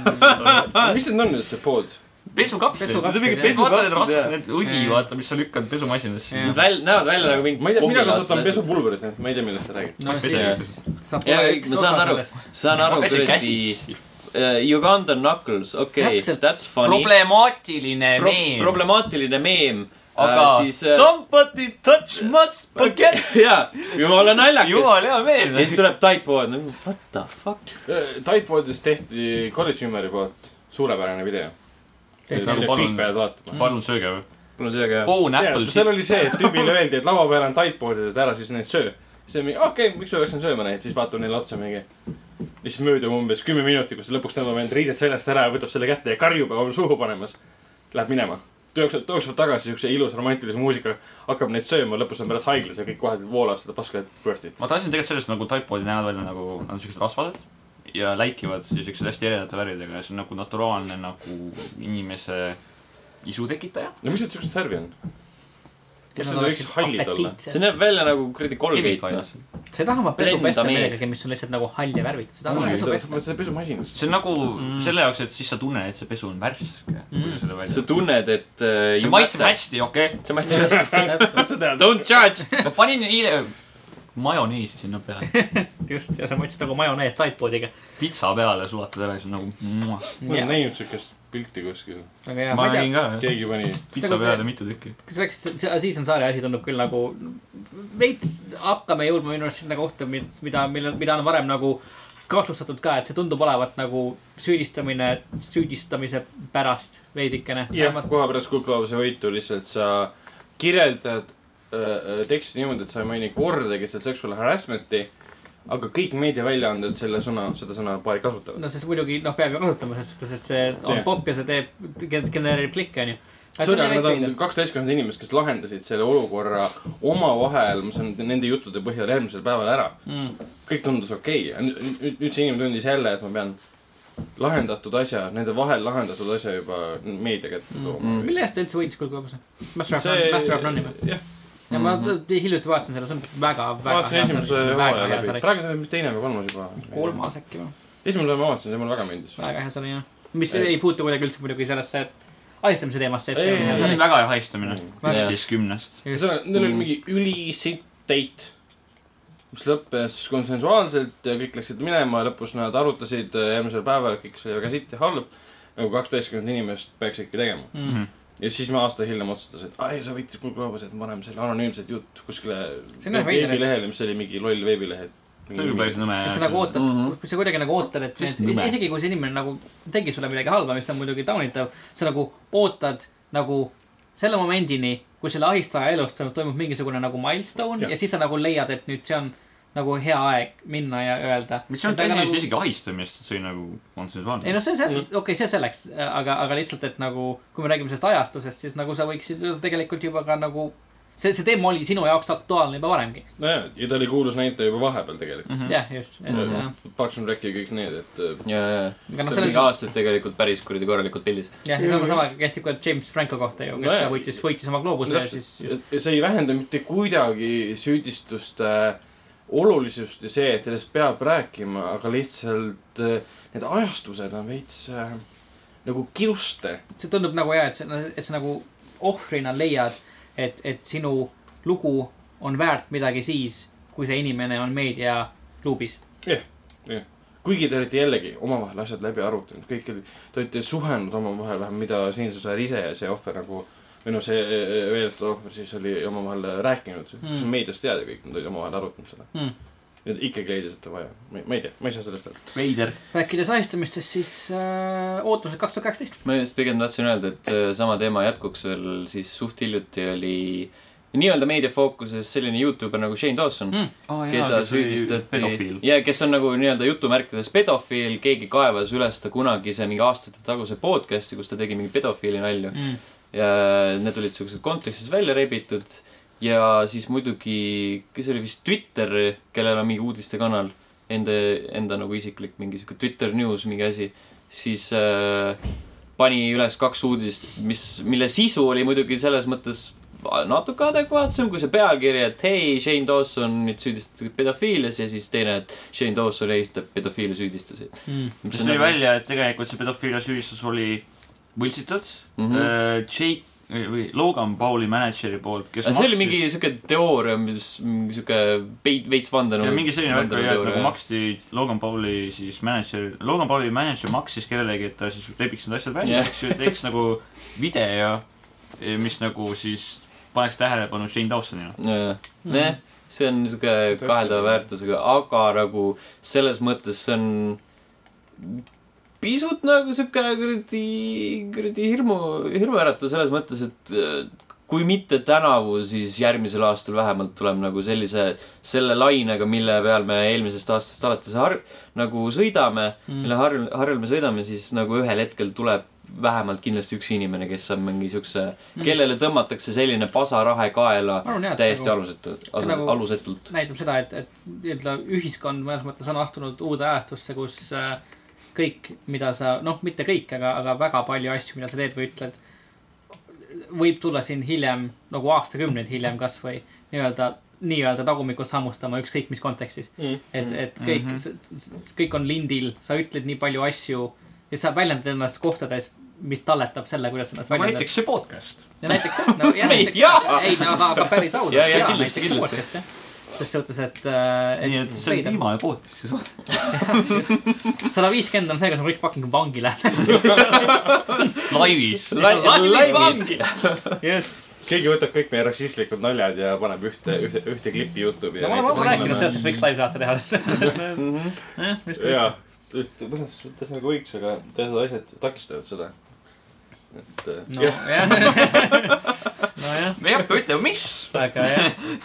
mõtlen . mis need on üldse pood ? pesukapslid . Pesukapslid, vaata need jah. Pesukapslid, rasked , jah. need õli , Jaa. vaata , mis sa lükkad pesumasinasse Jah. . Väl- , näevad välja nagu mingi . ma ei tea , mina kasutan . pesupulbrit , nii et ma ei tea , millest sa räägid . no siis saab Jaa, kohe ei, üks ma osa saan aru. sellest . saan aru , käsi kuradi käsitsi . uh, Uganda Knuckles , okei okay, , Täpselt. that's funny . problemaatiline Pro meem . problemaatiline meem . aga uh, siis, siis uh, . somebody touch my spaghetti . jaa , jumala naljakas . jumala hea meel ja . siis tuleb taipo , nagu, what the fuck . Tidepodis Eh, tehti College Humori poolt suurepärane video . Tehti, aga mida palun- kõik peavad vaatama . palun sööge või ? mul on see ka . Bone apple Mm. seal oli see , et tüübile öeldi , et laua peal on taippoodid , et ära siis neid söö . siis oli mingi , okei okay, , miks ma peaksin sööma neid , siis vaatab neile otsa mingi . ja siis möödub umbes kümme minutit , kus ta lõpuks tõmbab end riided seljast ära ja võtab selle kätte ja karjub oma suhu panemas . Läheb minema . jookseb , jookseb tagasi siukse ilusa romantilise muusikaga , hakkab neid sööma , lõpus on pärast haiglas ja kõik kohe voolavad seda paska , et worth it . ma tahtsin tegelikult sellest nagu taipoodi näevad välja nagu , nad on siuksed rasvased ja läikivad ja siuksed hästi erinevate väridega ja see on nagu naturaalne nagu inimese isu tekitaja . no mis need siuksed särvi on ? Kas need nagu võiks hallid olla? ? see näeb välja nagu kuradi kolmkümmend noh . see sa ei taha oma pesu pesta Lendameed. millegagi , mis on lihtsalt nagu hall ja värvitud , sa tahad oma pesu sa pesta . paned seda pesumasinas . on nagu mm. Mm. selle jaoks , et siis sa tunned , et see pesu on värske mm. . sa tunned , et uh, . see maitseb hästi , okei okay? . see maitseb hästi . sa tead , Don't judge . ma panin eile , majoniisi sinna peale , just , ja sa mõtlesid nagu majonees Tidepoodiga . pitsa peale sulatad ära , siis on nagu . ma olen näinud siukest pilti kuskil , aga jaa , ma ma ei tea , nägin ka , keegi pani , pitsa Nagu see- peale mitu tükki . kas oleks , see Aziz Ansari asi tundub küll nagu veits , hakkame jõudma minu arust sinna kohta , mida , mille , mida on varem nagu kahtlustatud ka , et see tundub olevat nagu süüdistamine süüdistamise pärast veidikene . jah , koha pärast kuklaabase võitu lihtsalt sa kirjeldad äh, äh, teksti niimoodi , et sa ei maini kordagi seal sexual harassment'i , aga kõik meediaväljaanded selle sõna , seda sõna paari kasutavad . no sest muidugi noh , peab ju kasutama , sest , sest see on Jah. nagu popp ja see teeb , genereerib klikke onju . Sorry , aga nad on kaksteistkümnendad inimesed , kes lahendasid selle olukorra omavahel , ma saan nende juttude põhjal järgmisel päeval ära . Mm. kõik tundus okei okay. . nüüd , nüüd see inimene tundis jälle , et ma pean lahendatud asja , nende vahel lahendatud asja juba meedia kätte tooma Mm. mm. . mille eest ta üldse võitis Kuldkoobasse ? Master of None , Master of None'i või ? see , jah , ja ma hiljuti vaatasin selle , see on väga , ma väga vaatasin esimese väga hooaja hea läbi . sari . praegu ta on vist teine või kolmas juba . kolmas äkki või ? esimese ma vaatasin , see mulle väga meeldis . väga hea sari jah . mis Ei. ei puutu kuidagi üldse muidugi sellesse ahistamise teemasse , et Ei, see on ei, hea see sari oli . väga hea haistamine , Väga. viisteist kümnest . just , Mm. seal , neil oli mingi ülisitt date , mis lõppes konsensuaalselt ja kõik läksid minema ja lõpus nad arutasid äh, järgmisel päeval , kõik see oli väga sitt ja halb . nagu kaksteistkümmend inimest peaks ikka tegema . Mm. ja siis me aasta hiljem otsustasid , aa ei , sa võitsid mul gloobus , et me paneme selle anonüümset jutt kuskile See on jah veider, et- veebilehele , mis oli mingi loll veebileht . see oli päris nõme et sa nagu jah . ootad mm , Mhm. -hmm. sa kuidagi nagu ootad , et Just need, nõme. isegi kui see inimene nagu tegi sulle midagi halba , mis on muidugi taunitav , sa nagu ootad nagu selle momendini , kui selle ahistaja elus toimub, toimub mingisugune nagu milstone ja. Jah. ja siis sa nagu leiad , et nüüd see on nagu hea aeg minna ja öelda . mis on tehniliselt nagu... isegi ahistamist , see oli nagu konsensuaalne . ei noh , see , see Mhm. , okei okay, , see selleks , aga , aga lihtsalt , et nagu , kui me räägime sellest ajastusest , siis nagu sa võiksid ju tegelikult juba ka nagu , see , see teema oli sinu jaoks aktuaalne juba varemgi . nojah , ja ta oli kuulus näitaja juba vahepeal tegelikult . Mm. jah , just , et Mm. Mhm. jah , Äh, Parks and Rec ja kõik need , et äh, ja , ja , aga ja noh , selles mingi aastaid tegelikult päris kuradi korralikult pildis . jah , ja sama , sama kehtib ka James Franco kohta ju , kes Nojah. ka võitis , võitis oma gloobuse ja siis just, täpselt , see ei vähenda mitte kuidagi süüdistuste olulisust ja see , et sellest peab rääkima , aga lihtsalt äh, need ajastused on veits äh, nagu kiuste . see tundub nagu jaa , et sa , et sa nagu ohvrina leiad , et , et sinu lugu on väärt midagi siis , kui see inimene on meediaklubis . kuigi te olite jällegi omavahel asjad läbi arutanud , kõik oli , te olite suhelnud omavahel vähem , mida siinsusajal ise ja see ohver nagu , või noh , see äh, veedetud ohver siis oli omavahel rääkinud Hmm. mm. , see on meediast teada kõik , nad olid omavahel arutanud seda Mm. ja ta ikkagi leidis , et on vaja , ma ei tea , ma ei saa sellest aru . veider . rääkides ahistamistest , siis äh, ootused kaks tuhat kaheksateist . ma just pigem tahtsin öelda , et äh, sama teema jätkuks veel siis suht hiljuti oli nii-öelda meediafookuses selline Youtuber nagu Shane Dawson Mm. mm. , keda süüdistati pedofiil . ja kes on nagu nii-öelda jutumärkides pedofiil , keegi kaevas üles ta kunagise mingi aastate taguse podcast'i , kus ta tegi mingi pedofiili nalju Mm. ja need olid siuksed kontekstis välja rebitud ja siis muidugi , kes oli vist Twitter , kellel on mingi uudistekanal , enda , enda nagu isiklik mingi siuke Twitter news , mingi asi , siis äh, pani üles kaks uudist , mis , mille sisu oli muidugi selles mõttes natuke adekvaatsem kui see pealkiri , et hei , Shane Dawson nüüd süüdistatud pedofiilias ja siis teine , et Shane Dawson esitab pedofiili süüdistusi . Mm. siis tuli nagu- välja , et tegelikult see pedofiilia süüdistus oli võltsitud mm . Mhm. -hmm. Jake või Logan Pauli mänedžeri poolt , kes Äh, see oli mingi siuke teooria , mis mingi siuke pei- , veits vandenõu . ja mingi selline värk oli jah , et nagu maksti Logan Pauli siis mänedžer , Logan Pauli mänedžer maksis kellelegi , et ta siis lepiks need asjad välja Jah. yeah. , eks ju , teeks nagu video , mis nagu siis paneks tähelepanu Shane Dawsonile . nojah , nojah , see on siuke kaheldava väärtusega , aga nagu selles mõttes see on pisut nagu siukene kuradi , kuradi hirmu , hirmuäratav selles mõttes , et äh, kui mitte tänavu , siis järgmisel aastal vähemalt tuleb nagu sellise , selle lainega , mille peal me eelmisest aastast alates har- , nagu sõidame , Mm. mille harjul , harjul me sõidame , siis nagu ühel hetkel tuleb vähemalt kindlasti üks inimene , kes on mingi siukse , Mm. kellele tõmmatakse selline pasarahe kaela ma arvan jah , et täiesti nagu, alusetult , see nagu- alusetult . näitab seda , et , et nii-öelda ühiskond mõnes mõttes on astunud uude ajastusse , kus äh, kõik , mida sa , noh , mitte kõik , aga , aga väga palju asju , mida sa teed või ütled , võib tulla siin hiljem nagu aastakümneid hiljem kasvõi nii-öelda , nii-öelda tagumikus hammustama ükskõik mis kontekstis . et , et kõik Mhm. mm , -hmm. kõik on lindil , sa ütled nii palju asju ja sa väljendad ennast kohtades , mis talletab selle , kuidas ennast nagu väljendad . näiteks see podcast . ja näiteks jah , no ja Me- näiteks , jaa! ei no aga , aga päris ausalt . Jaa, jaa, kindlasti, kindlasti. . ses suhtes , et, äh, nii et see on leida. viimane pood , mis sa saad . sada viiskümmend on see , kas me kõik fucking vangi lähme . laivis . laivis . just , keegi võtab kõik meie rassistlikud naljad ja paneb ühte , ühte , ühte klippi Youtube'i . no ma olen ammu rääkinud sellest , et võiks laivsaate teha . jah , just . jaa , et mõnes suhtes nagu võiks , aga teatud asjad takistavad seda . et eh, jah , nojah , nojah , me ei hakka ütlema , mis . väga hea .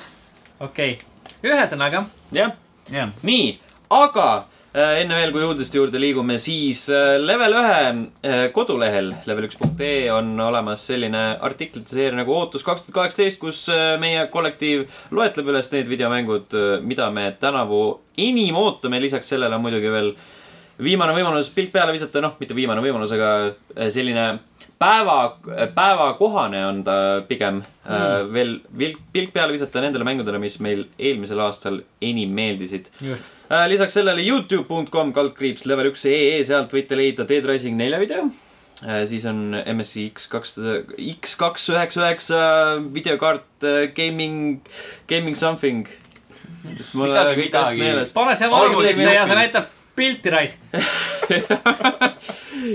okei , ühesõnaga , jah , jah , nii , aga äh, enne veel , kui uudiste juurde liigume , siis äh, level ühe äh, kodulehel level1.ee on olemas selline artiklite seeria nagu Ootus kaks tuhat kaheksateist , kus äh, meie kollektiiv loetleb üles need videomängud , mida me tänavu enim ootame , lisaks sellele on muidugi veel viimane võimalus pilk peale visata , noh , mitte viimane võimalus , aga äh, selline päeva , päevakohane on ta pigem mm. . veel vilk , pilk peale visata nendele mängudele , mis meil eelmisel aastal enim meeldisid . just , Äh, lisaks sellele Youtube.com kaldkriips level üks ee , sealt võite leida Dead Rising nelja video . siis on MSI X kakssada , X kaks üheksa üheksa videokaart äh, gaming , gaming something . sest mul ei ole Midagi, kõik hästi midagi. meeles . pane see valgusesse ja see näitab pilti raisk .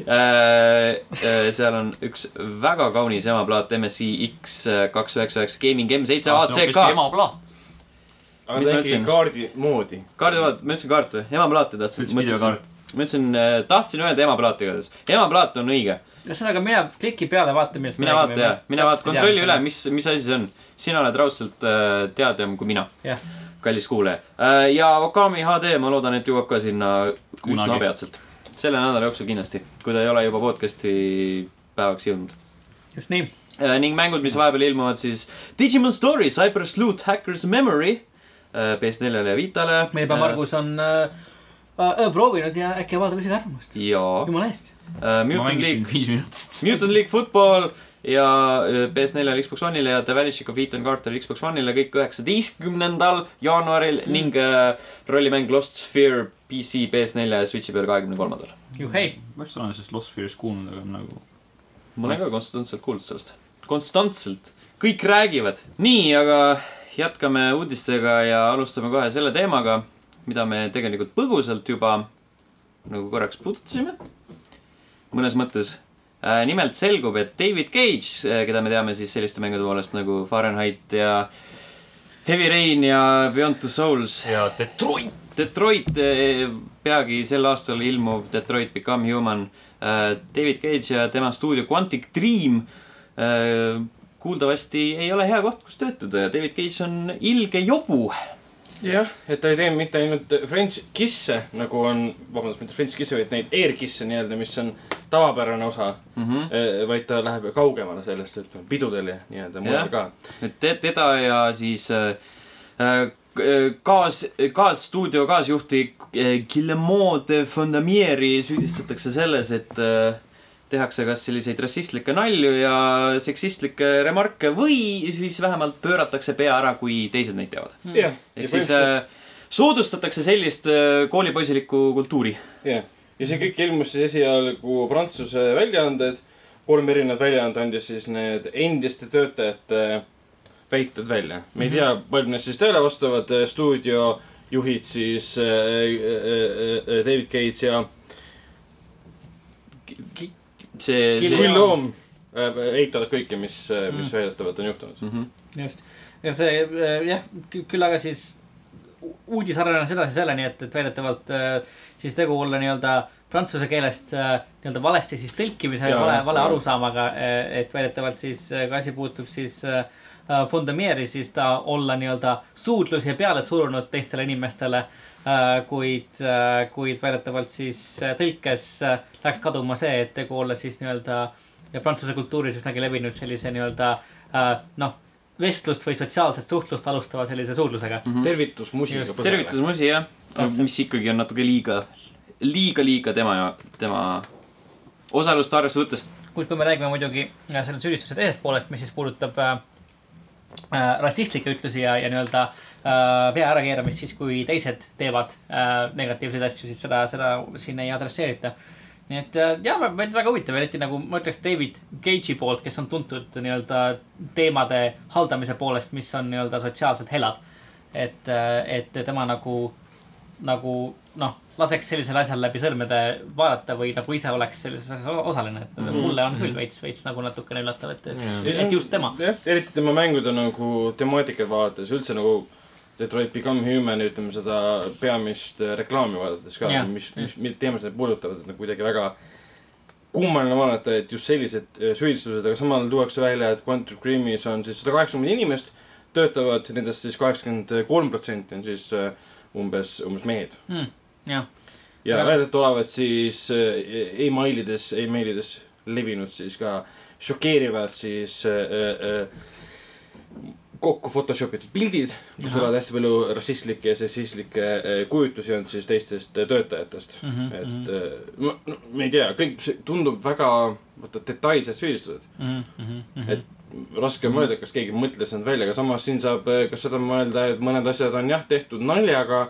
Äh, äh, seal on üks väga kaunis emaplaat MSI X kaks üheksa üheksa Gaming M7 Ah, ACK . emaplaat . aga mis ma ta ikkagi ütlesin? kaardi moodi . kaardivaat , ma ütlesin kaart või ? emaplaati tahtsin . üks videokaart . ma ütlesin , äh, tahtsin öelda emaplaat igatahes . emaplaat on õige . ühesõnaga , mine kliki peale , vaata , millest mine vaata ja , mine vaata , kontrolli üle ,. mis , mis asi see on . sina oled raudselt äh, teadjam kui mina Jah. . kallis kuulaja äh, . ja Okami HD , ma loodan , et jõuab ka sinna üsna Kunagi. peatselt . selle nädala jooksul kindlasti , kui ta ei ole juba podcast'i päevaks jõudnud . just nii , Äh, ning mängud , mis vahepeal ilmuvad siis Digimon Story , Cyber Sleuth , Hackers Memory äh, PS4-le ja Vitale . meie päev . Margus on äh, äh, proovinud ja äkki avaldab isegi arvamust . jaa , jumala eest , ma Mutant mängisin League , viis minutit . Mutant League Football ja äh, PS4-le , Xbox One'ile ja The Vanishing of Ethan Carter Xbox One'ile kõik üheksateistkümnendal jaanuaril ning äh, rollimäng Lost Sphere PC , PS4 ja Switchi peal kahekümne kolmandal . juhei , ma vist olen sellest Lost Fear'ist kuulnud , aga nagu . ma olen ka konstantselt kuulnud sellest , konstantselt , kõik räägivad . nii , aga jätkame uudistega ja alustame kohe selle teemaga , mida me tegelikult põgusalt juba nagu korraks puudutasime . mõnes mõttes . nimelt selgub , et David Cage , keda me teame siis selliste mängude poolest nagu Fahrenheit ja Heavy Rain ja Beyond Two Souls , ja Detroit . Detroit , peagi sel aastal ilmuv Detroit Become Human , David Cage ja tema stuudio Quantic Dream äh, kuuldavasti ei ole hea koht , kus töötada ja David Cage on ilge jobu . jah , et ta ei tee mitte ainult French kiss'e , nagu on , vabandust , mitte French kiss'e , vaid neid air kiss'e nii-öelda , mis on tavapärane osa mm . -hmm. Eh, vaid ta läheb ju kaugemale sellest , et pidudel ja Jah. nii-öelda mujal ka . et te- teda ja siis äh, äh, kaas , kaasstuudio kaasjuhti äh, Guillemot de Fondamieri süüdistatakse selles , et äh, tehakse kas selliseid rassistlikke nalju ja seksistlikke remarke või siis vähemalt pööratakse pea ära , kui teised neid teevad . jah , ja Mm. ehk siis põhimõtteliselt- äh, soodustatakse sellist äh, koolipoisilikku kultuuri . jah. ja see kõik ilmus siis esialgu Prantsuse väljaanded , kolm erinevat väljaandet andis siis need endiste töötajate väited välja . me ei tea , palju need siis tõele vastavad , stuudiojuhid siis äh, äh, äh, David Gates ja see , see Will Loom äh, eitavad kõike , mis , mis väidetavalt on juhtunud . Mhm. just . ja see äh, jah , küll aga siis u- uudis arenes edasi selleni , et , et väidetavalt äh, siis tegu olla nii-öelda prantsuse keelest äh, nii-öelda valesti siis tõlkimise ja Jaa, vale , vale jaa. arusaamaga , et väidetavalt siis , kui asi puutub siis äh, äh, Fondamieri , siis ta olla nii-öelda suudlusi peale surunud teistele inimestele . Uh, kuid uh, , kuid väidetavalt siis äh, tõlkes uh, läks kaduma see , et tegu olla siis nii-öelda ja prantsuse kultuuris üsnagi levinud sellise nii-öelda uh, noh , vestlust või sotsiaalset suhtlust alustava sellise suudlusega . tervitus muusika . tervitas Musi jah , Täpselt. mis ikkagi on natuke liiga , liiga , liiga tema ja tema osalust arvesse võttes . kuid kui me räägime muidugi äh, selle süüdistuse teisest poolest , mis siis puudutab äh, äh, rassistlikke ütlusi ja , ja nii-öelda äh, pea ärakeeramist , siis kui teised teevad äh, negatiivseid asju , siis seda , seda siin ei adresseerita . nii et äh, jah , väga huvitav , eriti nagu ma ütleks David Cage'i poolt , kes on tuntud nii-öelda teemade haldamise poolest , mis on nii-öelda sotsiaalselt helad . et , et tema nagu , nagu noh , laseks sellisel asjal läbi sõrmede vaadata või nagu ise oleks selles asjas o- osaline , et Mhm. mulle on küll veits , veits nagu natukene üllatav , et , et , Jaa. et just tema . jah , eriti tema mängude nagu temaatikat vaadates , üldse nagu Detroit Become Human , ütleme seda peamist eh, reklaami vaadates ka Jah, , mis , mis , mis teemasid need puudutavad , et nagu kuidagi väga kummaline vaadata , et just sellised eh, süüdistused , aga samal ajal tuuakse välja , et Quantum Dreamis on siis sada kaheksakümmend inimest töötavad , nendest siis kaheksakümmend kolm protsenti on siis eh, umbes , umbes mehed . Mm, jah , ja Jah. väidetavalt olevat siis eh, emailides , emailides levinud siis ka šokeerivalt siis eh, eh, eh, kokku Photoshop itud pildid , kus Ahah. olevat hästi palju rassistlikke ja sessistlikke eh, kujutlusi olnud siis teistest eh, töötajatest mm . Mhm, -hmm. et eh, ma , no ma ei tea , kõik see tundub väga , vaata detailsed süüdistused . mm-hmm, Et- raske on mõelda , kas keegi mõtles nad välja , aga samas siin saab eh, ka seda mõelda , et mõned asjad on jah , tehtud naljaga ,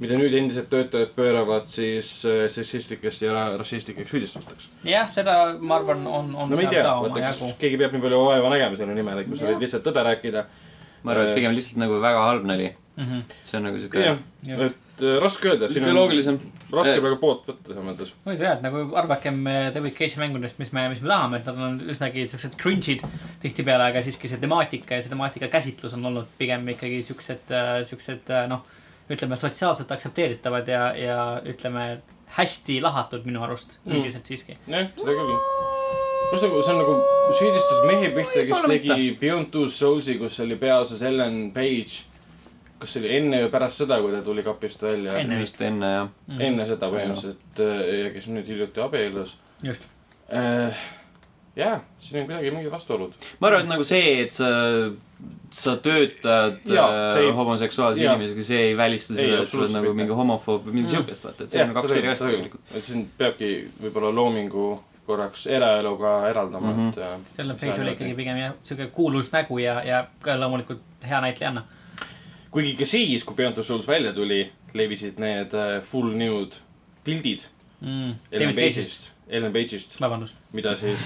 mida nüüd endised töötajad pööravad siis eh, sessistlikest ja ra- rassistlikeks süüdistusteks . jah , seda ma arvan , on , on no ma ei seal tea , ka vaata , kas omajagu . keegi peab nii palju vaeva nägema selle nimel , et kui sa Jah. võid lihtsalt tõde rääkida . ma arvan , et pigem lihtsalt nagu väga halb nali . Mm-hmm. see on nagu siuke jah , et eh, raske öelda , et siin siuke on loogilisem . raske Eh. praegu poolt võtta selles mõttes . muidu jah , et nagu arvakem eh, David Cage'i mängudest , mis me , mis me tahame , et nad on üsnagi siuksed cringe'id tihtipeale , aga siiski see temaatika ja see temaatika käsitlus on olnud pigem ikkagi siuksed , siuksed eh, noh , ütleme sotsiaalselt aktsepteeritavad ja , ja ütleme hästi lahatud minu arust Mm. üldiselt mm. siiski . jah , seda küll . pluss nagu see on nagu süüdistus mehe pihta , kes Võib-olla tegi Beyond Two Souls'i , kus oli peaosas Ellen Page . kas see oli enne või pärast seda , kui ta tuli kapist välja ? Enne minu arust enne Mm. jah . Mm-hmm. enne seda põhimõtteliselt eh, ja kes nüüd hiljuti abiellus . just , jaa , siin on kuidagi mingid vastuolud . ma arvan , et nagu see , et sa , sa töötad Jaa, äh, see ei- homoseksuaalse jaa. inimesega , see ei välista Ei, seda , et sa oled absoluutselt nagu mingi mitte. homofoob või mingi Mm. siukest , vaata , et see on kaks eri asja tegelikult . et siin peabki võib-olla loomingu korraks eraeluga eraldama Mhm. mm , -hmm. selle See Page on oli okei. ikkagi pigem jah , siuke kuulus nägu ja , ja ka loomulikult hea näitlejanna . et kuigi ka siis , kui Beyond Two Souls välja tuli , levisid need eh, full nude pildid Ellen Mm. David Cage'ist , Page'ist , Ellen Page'ist , vabandust . mida siis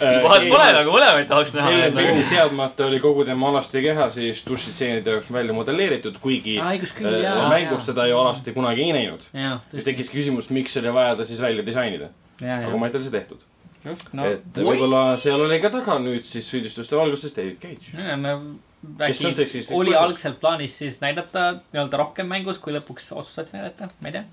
Äh, vahel pole nagu mõlemaid tahaks Ellen näha . nagu- Page'i teadmata oli kogu tema alasti keha siis dušitseenide jaoks välja modelleeritud , kuigi aa , õigus Ah, küll , eh, jaa . mängus seda ju alasti kunagi ei näinud . jaa , tõesti . siis tekkis küsimus , miks oli vaja ta siis välja disainida , jaa , aga jaa . ma ei tea , oli see tehtud just , no, . no et võib-olla seal oli ka taga nüüd siis süüdistuste valguses David Cage . Ja, no, kes on äkki seksistlik oli . algselt plaanis siis näidata nii-öelda rohkem mängus , kui lõpuks otsustati näidata , ma ei tea ,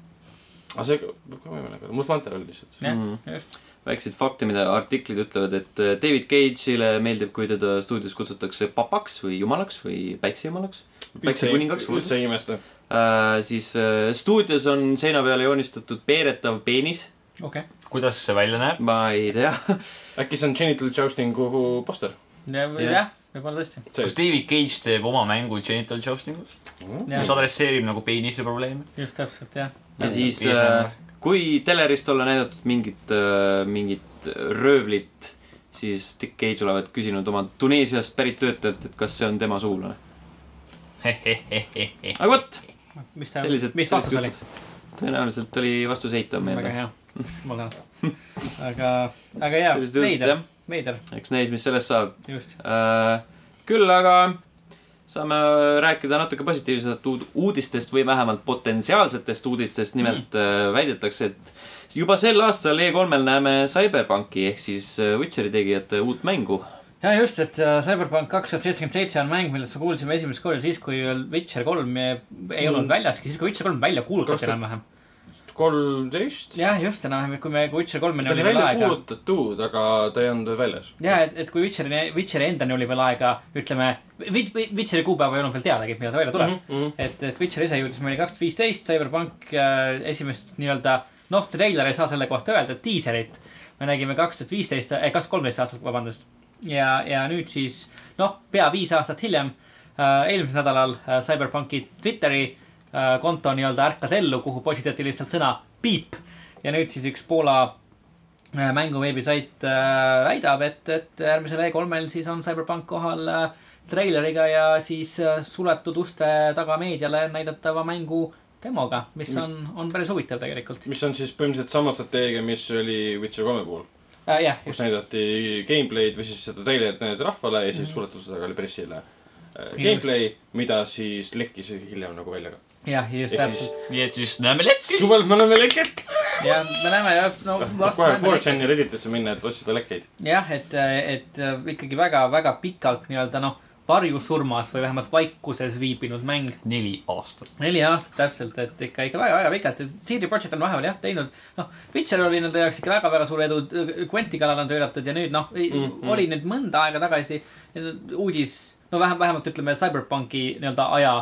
aga see võib ka võimalik olla , must mantel oli lihtsalt . jah Mm. mm. , just . väikseid fakte , mida artiklid ütlevad , et äh, David Cage'ile meeldib , kui teda stuudios kutsutakse papaks või jumalaks või päiksejumalaks , päiksekuningaks . üldse ei imesta . Äh, siis äh, stuudios on seina peale joonistatud peeretav peenis , okei kuidas see välja näeb ? ma ei tea . äkki see on genital jousting'u poster ? okay. , Jah. jah , võib-olla tõesti . kas David Cage teeb oma mängu genital joustingus , mis jah , adresseerib nagu peenise probleemi ? Nagu just täpselt , jah . ja siis äh, kui telerist olla näidatud mingit , mingit röövlit , siis Dick Cage olevat küsinud oma Tuneesiast pärit töötajalt , et kas see on tema suulane . aga vot , mis ta , sellised , mis vastus oli ?? tõenäoliselt oli vastus eitav meil . väga hea , ma tänan . aga , aga jaa , sellised jutud veider , jah , veider , eks näis , mis sellest saab . just . küll aga saame äh, rääkida natuke positiivsemat uud- uudistest või vähemalt potentsiaalsetest uudistest . nimelt Mhm. mm. väidetakse , et juba sel aastal E3-l näeme Cyberpunki ehk siis äh, Witcheri tegijate uut mängu . ja just , et äh, Cyberpunk kaks tuhat seitsekümmend seitse on mäng , millest me kuulsime esimest korda siis , kui veel Witcher kolm eh, ei olnud Mm. väljaski , siis kui Witcher kolm välja kuulutati Kaks tuhat- enam-vähem . kolmteist ? jah , just enam-vähem , kui me , kui Witcher kolmeni ta oli oli veel välja aega kuulutatud , aga ta ei olnud veel väljas . ja , et , et kui Witcheri , Witcheri endani oli veel aega , ütleme , Witcheri kuupäeva ei olnud veel teadagi , et millal ta välja tuleb mm . -hmm. -hmm. et , et Witcher ise jõudis meile kaks tuhat viisteist , Cyberpunk äh, esimest nii-öelda , noh , treiler ei saa selle kohta öelda , diiselit me nägime kaks tuhat viisteist , kaks tuhat kolmteist aastal , vabandust . ja , ja nüüd siis , noh , pea viis aastat hiljem äh, , eelmisel nädalal äh, Cyberpunki Twitteri äh, konto nii-öelda ärkas ellu , kuhu postitati lihtsalt sõna piip ja nüüd siis üks Poola äh, mängu veebisait äh, väidab , et , et järgmisel E3-l siis on Cyberpunk kohal äh, treileriga ja siis äh, suletud uste taga meediale näidatava mängu demoga , mis Mis- on , on päris huvitav tegelikult . mis on siis põhimõtteliselt sama strateegia , mis oli Witcher kolme puhul , Äh, jah , kus just , Mhm. näidati gameplay'd või siis seda treilerit näidati rahvale ja siis suletusega oli pressile . gameplay , mida siis lekkis hiljem nagu välja ka . jah , just ehk siis täpselt . nii et siis näeme lekki . suvel me oleme leket . jah , me näeme jah , no las Noh, kohe näeme . 4chan'i redditesse minna , et otsida lekkeid . jah , et , et äh, ikkagi väga-väga pikalt nii-öelda noh , varjusurmas või vähemalt vaikuses viibinud mäng . neli aastat . neli aastat täpselt , et ikka , ikka väga-väga pikalt . CD Projekt on vahepeal jah teinud , noh , Witcher oli nende jaoks ikka väga-väga suur edu , Quenti kallal on töötatud ja nüüd noh mm , Mhm. -hmm. oli nüüd mõnda aega tagasi uudis , no vähem , vähemalt ütleme Cyberpunki nii-öelda aja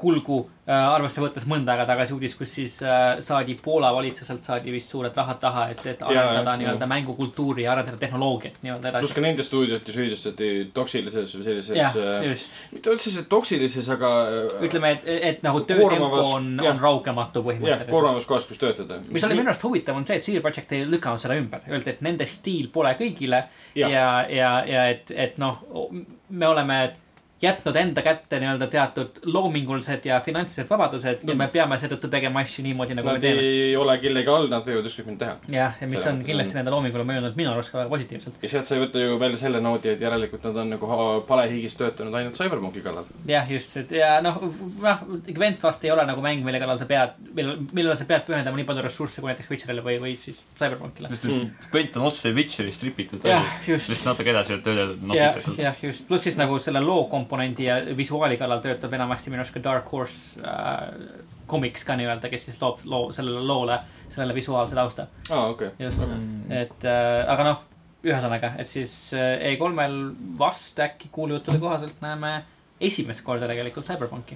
kulgu äh, arvesse võttes mõnda aega tagasi uudis , kus siis äh, saadi Poola valitsuselt saadi vist suured rahad taha , et , et arendada jah, nii-öelda mängukultuuri ja arendada tehnoloogiat nii-öelda pluss edasi . ka nende stuudiot ju süüdistati toksilises või jah sellises ,, just , mitte otseselt toksilises , aga . ütleme , et , et nagu töötempo Koormavas- on , jah. on raugematu jah , põhimõtteliselt . koormavas kohas , kus töötada . mis oli minu arust huvitav , on see , et CD Projekt ei lükanud seda ümber , öeldi , et nende stiil pole kõigile ja , Jah. ja , ja, ja et , et noh , me oleme jätnud enda kätte nii-öelda teatud loomingulised ja finantsilised vabadused ja me peame seetõttu tegema asju niimoodi , nagu me Nad teeme . ei ole kellegi all , nad võivad ükskõik mida teha . jah , ja mis Selles on mõttes kindlasti on- nende loomingule mõjunud minu arust ka väga positiivselt . ja sealt sai võtta ju välja selle noodi , et järelikult nad on nagu ha- palehigis töötanud ainult Cyberpunki kallal . jah , just , et ja noh , noh , Gwent vast ei ole nagu mäng , mille kallal sa pead , millele , millele sa pead pühendama nii palju ressursse kui näiteks Witcherile või , või siis Cyberpunkile . sest et Quint on otse Witcherist ripitud Jah, välja. just. lihtsalt natuke edasi oled töödelnud jah , nohitsetud . jah , just , pluss siis nagu selle loo komponendi ja visuaali kallal töötab enamasti minu arust ka Dark Horse äh, komiks ka nii-öelda , kes siis loob loo , sellele loole , sellele visuaalse tausta , aa , okei . just . et äh, aga noh , ühesõnaga , et siis äh, E3-l vast äkki kuulujuttude kohaselt näeme esimest korda tegelikult Cyberpunki .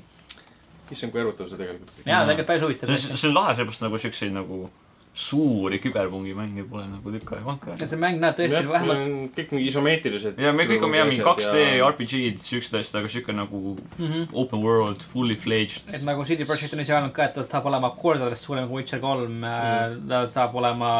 issand , kui erutav see tegelikult kõik . jaa , tegelikult päris see huvitav on , see on lahe , sellepärast nagu siukseid nagu suuri küberpungi mänge pole nagu tükk aega olnud ka . see mäng näeb tõesti vähemalt , kõik mingi isomeetrilised . ja me kõik oleme jah , mingi 2D . RPG-d , siuksed asjad , aga siuke nagu Mhm. open world , fully fledged et . nagu CD Projekt on ise öelnud ka , et ta saab olema kordades suurem kui Witcher kolm mm. , ta saab olema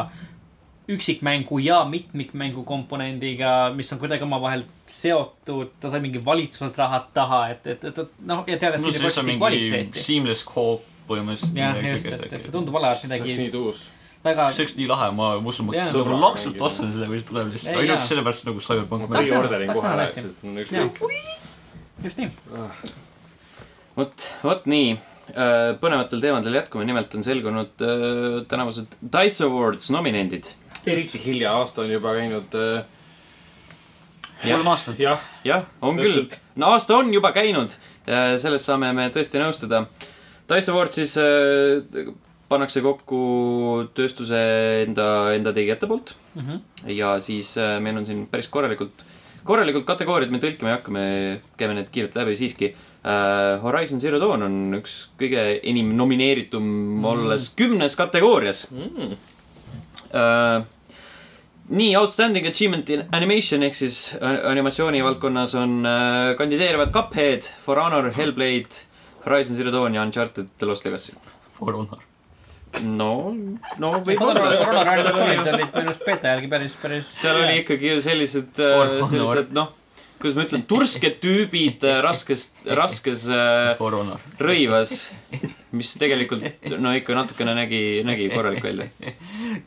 üksikmängu ja mitmikmängu komponendiga , mis on kuidagi omavahel seotud , ta sai mingi valitsuselt rahad taha , et , et , et et noh , ja teades no CD see lihtsalt Projekti mingi kvaliteeti . seamless co-op põhimõtteliselt . jah , just , et , et see tundub olevat see oleks midagi nii tuus . väga , see oleks nii lahe , ma ma usun , ma Jaa. sõbra laksult Sõbraga ostan selle , kui see tuleb lihtsalt Ei, . ainult jaa. sellepärast nagu Cyberpunk tahaks näha- Pre-orderin tahaks kohe näha ära , hästi. et on jah ükskõik ., just nii , vot , vot nii . põnevatel teemadel jätkume , nimelt on selgunud äh, tänavused Dice Awards nominendid . eriti hilja aasta on juba käinud . kolm aastat . jah , jah , on küll . no aasta on juba käinud , sellest saame me tõesti nõustuda . Dice Awards siis äh, pannakse kokku tööstuse enda , enda tegijate poolt mm . -hmm. ja siis äh, meil on siin päris korralikult , korralikult kategooriad , me tõlkima ei hakka , me käime need kiirelt läbi siiski äh, . Horizon Zero Dawn on üks kõige enim nomineeritum mm. olles kümnes kategoorias Mm. äh, . nii , Outstanding Achievement in Animation ehk siis a- animatsiooni valdkonnas on äh, kandideerivad Cuphead , For Honor , Hellblade , Horizon Zero Dawn ja Uncharted The Lost Legacy . For Honor . no , no võib-olla . koroona reaktsioonid olid minu arust beeta järgi päris , päris . seal oli ikkagi ju sellised äh, Or- , sellised noh , kuidas ma ütlen , tursked tüübid äh, raskes , raskes äh, For Honor . rõivas , mis tegelikult no ikka natukene nägi , nägi korralik välja .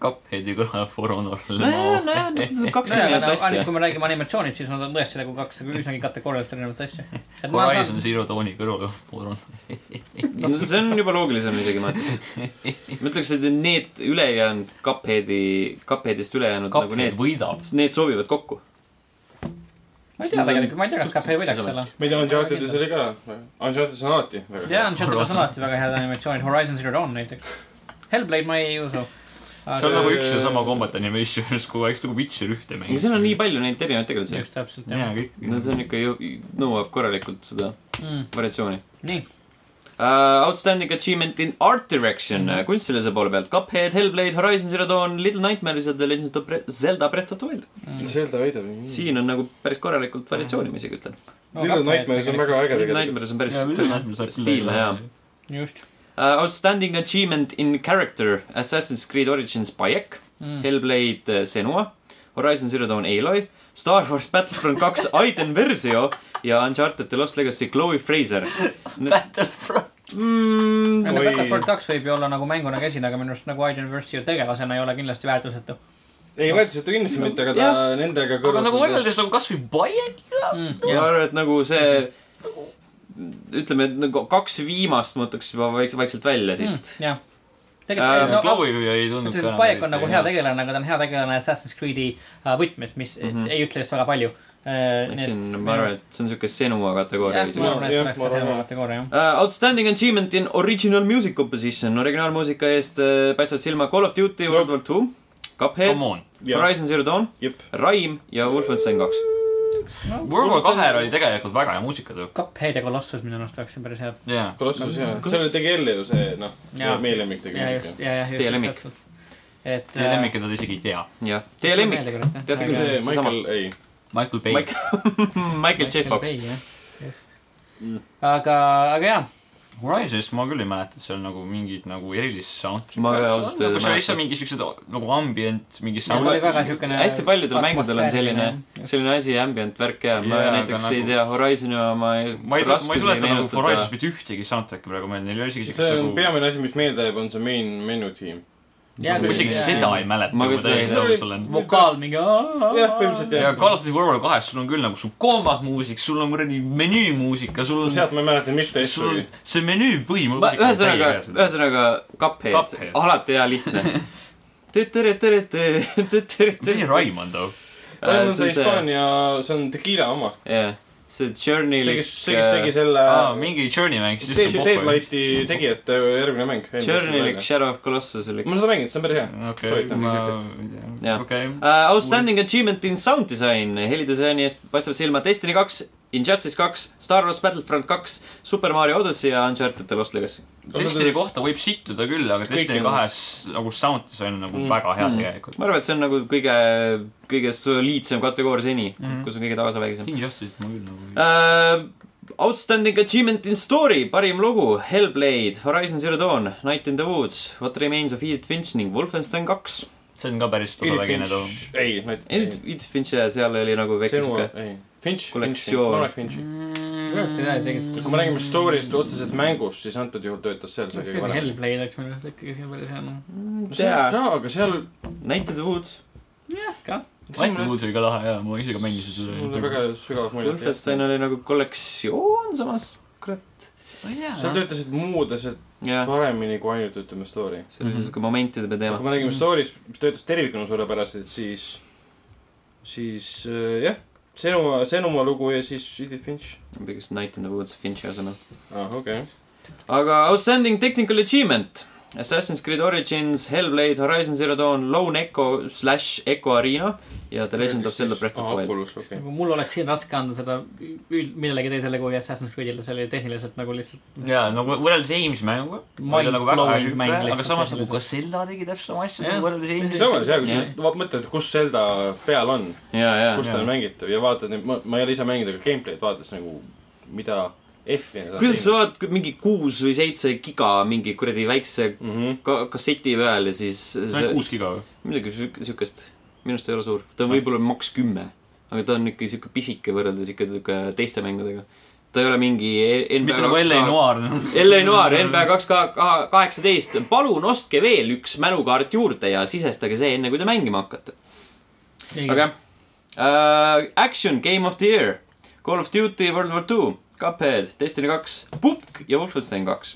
Cupheadi kõrval For Honor . nojah , nojah , kaks erinevat asja . kui me räägime animatsioonid , siis nad on tõesti nagu kaks üsnagi kategooriliselt erinevat asja . et ma saan Horizon Zero Dawni kõrval For Honor . no see on juba loogilisem isegi , ma ütleks . ma ütleks , et need ülejäänud Cupheadi , Cupheadist ülejäänud nagu Cuphead need , võidab . need sobivad kokku . ma ei tea tegelikult , ma ei tea , kas Cafe võidaks selle . ma ei tea , Uncharted'is oli ka . Uncharted'is on alati väga jaa , hea . Uncharted on alati väga head animatsioonid , Horizon Zero Dawn näiteks . Hellblade ma ei usu . see on aga nagu üks ja sama combat animation'is , kui eks nagu Witcher ühte aga mängib . seal on nii palju neid erinevaid tegelasi . just täpselt jah jaa , kõik . no see on ikka ju , nõuab korralikult seda mm, . variatsiooni . nii , Uh, outstanding achievement in art direction mm -hmm. kunstilise poole pealt . Cuphead , Hellblade , Horizon Zero Dawn , Little Nightmares ja The Legend of Bre Zelda Breath of the Wild mm . Zelda võidab . -hmm. siin on nagu päris korralikult variatsiooni , ma isegi ütlen . No Little Cuphead Nightmares on tegelikult. väga äge Little tegelikult . Nightmares on päris , päris stiilne jaa uh, . just Uh, Outstanding achievement in character Assassin's Creed Origins Bayek , mm. . Hellblade uh, Senua , Horizon Zero Dawn Aloy , Star Wars Battlefront kaks Aiden Versio ja Uncharted The Lost Legacy Chloe Fraser . Mm, Battlefront . no Oi. Battlefrond kaks võib ju olla nagu mänguna käsin , aga minu arust nagu Iron Verse'i tegelasena ei ole kindlasti väärtusetu ei , vaidluseta kindlasti mitte , aga ta Jah. nendega Noh. aga nagu kõrvutas . võrreldes nagu kasvõi Bayek . mm, . ma jah , arvan , et nagu see , ütleme , et nagu kaks viimast ma võtaks juba vaikselt , vaikselt välja siit . Mm, jah . Ähm, tegelikult , no , Chloe ei tundu ütleme , et Paik on nagu hea tegelane , aga ta on hea tegelane Assassin's Creed'i äh, võtmes , mis mm -hmm. ei ütle just väga palju . Äh, ehk Mhm. siin ma arvan , et see on siuke Senua kategooria jah , ma isegi . arvan , et see Jah, oleks ma ka arvan selle ka. kategooria , jah . Uh, outstanding achievement in original music composition , originaalmuusika eest uh, paistavad silma Call of Duty , World War Two , Cuphead Come , on . Horizon Zero Dawn , jep . Raim ja Wolfenstein kaks . World War kahel oli tegelikult väga hea muusikatükk . Cuphead ja Colossus minu arust oleks siin päris head . jaa . Colossus jaa , Kas- see oli tegi jälle ju see noh Jaa. , meie lemmik tegi ja just , muusika . ja , jah , just . Teie lemmik. . et . äh, Teie lemmikud nad isegi ei tea . jah , teie lemmik ,? Teate, kui see Seesama. Michael , ei . Michael Bay . Mike , Michael J Fox . just Mm. . aga , aga jaa , Horizonist ma küll ei mäleta , et seal nagu mingit nagu erilist sound'i . Ma ka ausalt öeldes ei see oli mäleta. lihtsalt mingi siuksed nagu ambient , mingi ta sound oli . väga siukene . hästi paljudel mängudel on selline , selline asi , ambient värk ja ma Jaa, yeah, aga näiteks ei nagu- tea Horizoni oma ma ei , ma ei raskusi ei tuleta nagu Horizonist meenutada . mitte ühtegi soundtrack'i praegu meelde , neil ei ole isegi nagu- see on siukest peamine asi , mis meelde jääb , on see main menu tiim . Jaa, nagu , peamine- isegi jaa, seda jaa. ei mäleta , Ma kui ka ma täiesti seda ei- aus olen . vokaal mingi . jah , põhimõtteliselt ja jah . Call of Duty World War kahes sul on küll nagu , sul kombad muusik , sul on kuradi menüümuusika , sul on , sealt ma ei mäleta mitte sul on asjagi . see menüü ma , põhimuusika . ühesõnaga , ühesõnaga Cuphead Cuphead. , alati hea lihtne . tõi see oli . Raimond too . äh, see see on on see see , Hispaania , see on Tequila oma . jah , see see , Journey . kes , see , kes tegi selle äh, aa , mingi Journey mängis Dead , lihtsalt pop'i . Deadlighti tegijate järgmine mäng . Journey'lik Shadow of Colossus oli ma . olen seda mänginud , see on päris hea . okei , soovitan ma siukest. , Jah. okei . Uh, outstanding achievement in sound design , helidisaini eest paistavad silma Destiny kaks , Injustice kaks , Star Wars Battlefront kaks , Super Mario Odyssey ja Uncharted The Lost Legacy . Destiny kohta võib sittuda küll , aga Kõik Destiny on- kahes nagu sound design on nagu Mm. väga hea Mm. tegelikult . ma arvan , et see on nagu kõige , kõige soliidsem kategooria seni mm , Mhm. -hmm. kus on kõige tavavägisem Injustice'it ma küll nagu . uh, . Outstanding achievement in story , parim lugu , Hellblade , Horizon Zero Dawn , Night in the Woods , What Remains of Edith Finch ning Wolfenstein kaks . see on ka päris tugevvägine too . ei , näit- . Edith , Edith Finch ja seal oli nagu väike Senua sihuke ,, ei . Finch , Finch , kollektsioon. ma oleks Finchi . Mm. kui me räägime story'st otseselt mängust , siis antud juhul töötas seal see kõige parem . Hellblade oleks minu arust ikkagi siin päris hea , noh . no seal ka , aga seal . Mm, Night in the Woods , jah , ka . Michael Woods oli ka lahe ja ma ise ka mängisin mulle väga seda . sügavat muljet . Wolfenstein oli nagu kollektsioon samas , kurat , nagu- seal töötasid muud asjad jah . paremini kui ainult ütleme story . see oli Mhm. niisugune momentide kui teema . Mm. me räägime story'st , mis töötas tervikuna suurepäraselt , siis , siis äh, jah , Senua , Senua lugu ja siis Edith Finch . pigem Night in the Woods Finchi asemel . ah , okei . aga Outstanding Technical Achievement . Assassin's Creed Origins , Hellblade , Horizon Zero Dawn , Lone Echo slash Echo Arena ja The Legend of Zelda Breath Ah, of the Wild . Wild . nagu mul oleks siin raske anda seda üld- , millelegi teisele kui Assassin's Creed'ile , see oli tehniliselt nagu lihtsalt . jaa , no võrreldes eelmise mänguga . ma ei tea , nagu väga hea Mind-blowing mäng hüpe , aga lihtsalt samas nagu tehniliselt. ka Zelda tegi täpselt sama asja Jah. nagu võrreldes eelmise . samas jah , kui Jah. sa mõtled , kus Zelda peal on , ja , ja , kus ta jah. on mängitav ja vaatad , ma , ma ei ole ise mänginud , aga gameplay'd vaadates nagu , mida F-i . kuidas sa vaatad mingi kuus või seitse giga mingi kuradi väikse vaatad ? ka kasseti peal ja siis see on see, kuus giga või ? midagi siuk- siukest , minu arust ei ole suur , ta Ah. on võib-olla maks kümme , aga ta on ikka siuke pisike võrreldes ikka siuke teiste mängudega . ta ei ole mingi e- NBA mitte nagu kaks L.A. ka- Noir . LA Noir , NBA kaks ka- kaheksateist , palun ostke veel üks mälukaart juurde ja sisestage see enne , kui te mängima hakkate . aga jah uh, , Action , Game of the Year , Call of Duty , World War Two , Cuphead , Destiny kaks , Pupk ja Wolfenstein kaks .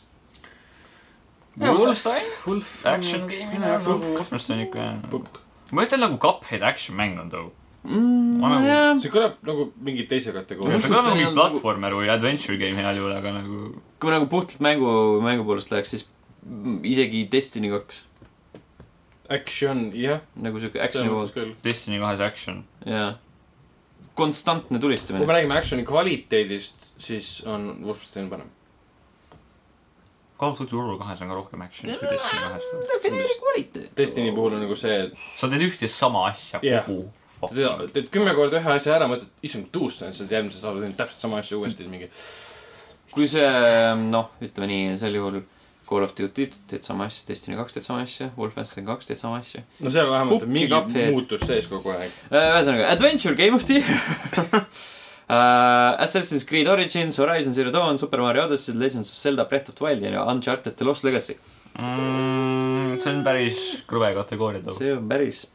Wolfenstein ? Wolf Action game'i nagu . Wolfenstein ikka jah . pukk . ma ütlen nagu Cuphead action mäng on too . Vana- kui see kõlab nagu mingi teise see kategooria Mm, on . ka nagu mingi platvormer või adventure game heal juhul , aga nagu me nagu puhtalt mängu , mängu poolest läheks , siis mm, isegi Destiny kaks , Action , jah . nagu siuke action'i poolt , Destiny kahes action . jaa . konstantne kui tulistamine . me räägime action'i kvaliteedist , siis on Wolfenstein parem . Call of Duty World kahes on ka rohkem action'it kui Destiny kahes . Destiny puhul on nagu see , et sa teed ühte ja sama asja Jah. kogu . sa tead , teed kümme korda ühe asja ära , mõtled , issand , tuust on , siis oled järgmises aastas teinud täpselt sama asja uuesti mingi . kui see , noh , ütleme nii , sel juhul Call of Duty teed sama asja , Destiny kaks teed sama asja , Wolfenstein kaks teed sama asja . no seal vähemalt on Pukki mingi Cuphead. muutus sees kogu aeg . ühesõnaga , Adventure Game of the Year . Uh, Assassin's Creed Origins , Horizon Zero Dawn , Super Mario Odyssey , Legends of Zelda , Breath of the Wild ja Uncharted The Lost Legacy . Mm, see on päris krõbe kategooria too . see on päris ,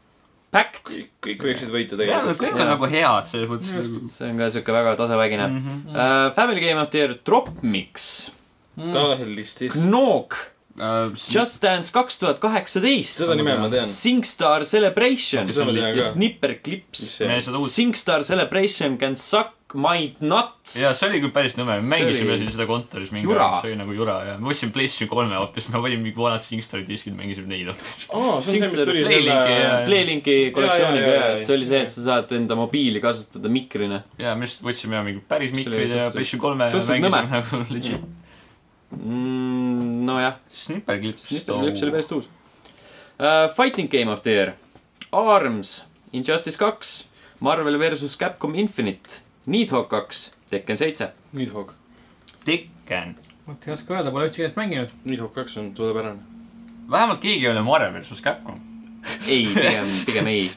Fact . kõik võiksid võita jah , tegelikult . kõik on Jaa. nagu head selles mõttes . see on ka siuke väga tasavägine mm . -hmm. Uh, Family Game of the Year Drop Mix , Mm, taolist siis . Knock , Just Just Dance kaks tuhat kaheksateist , seda nime ma tean . Singstar Celebration Seda ma tean ja ka. Snipper Clips . meil seda uut , Singstar Celebration can suck my nuts . ja see oli küll päris nõme , See me mängisime oli- siin seda kontoris mingi Jura. aeg , see oli nagu jura ja me ostsime PlayStation kolme hoopis , me valime mingi vanad Singstari diskid , mängisime neid hoopis . aa , see on see , mis tuli Play linki, jaa. selle . Playlinki kollektsiooniga Ja, ja, ja ja, , et see oli see , et sa saad enda mobiili kasutada mikrina . ja me just võtsime mingi päris See oli mikrid ja suhteliselt- PlayStation kolme ja suhteliselt nõme. Mhm. mängisime nagu legit . Mm, nojah , Snipper Clips . Snipper Clips oli päris uus . Fighting Game of the Year , Arms , Injustice kaks , Marvel versus Capcom Infinite , Needhog kaks , Tekken seitse . Nidhogg . Tekken . vot ei oska öelda , pole ühtegi neist mänginud . Nidhogg kaks on suurepärane . vähemalt keegi ei ole Marvel versus Capcom . ei , pigem , pigem ei .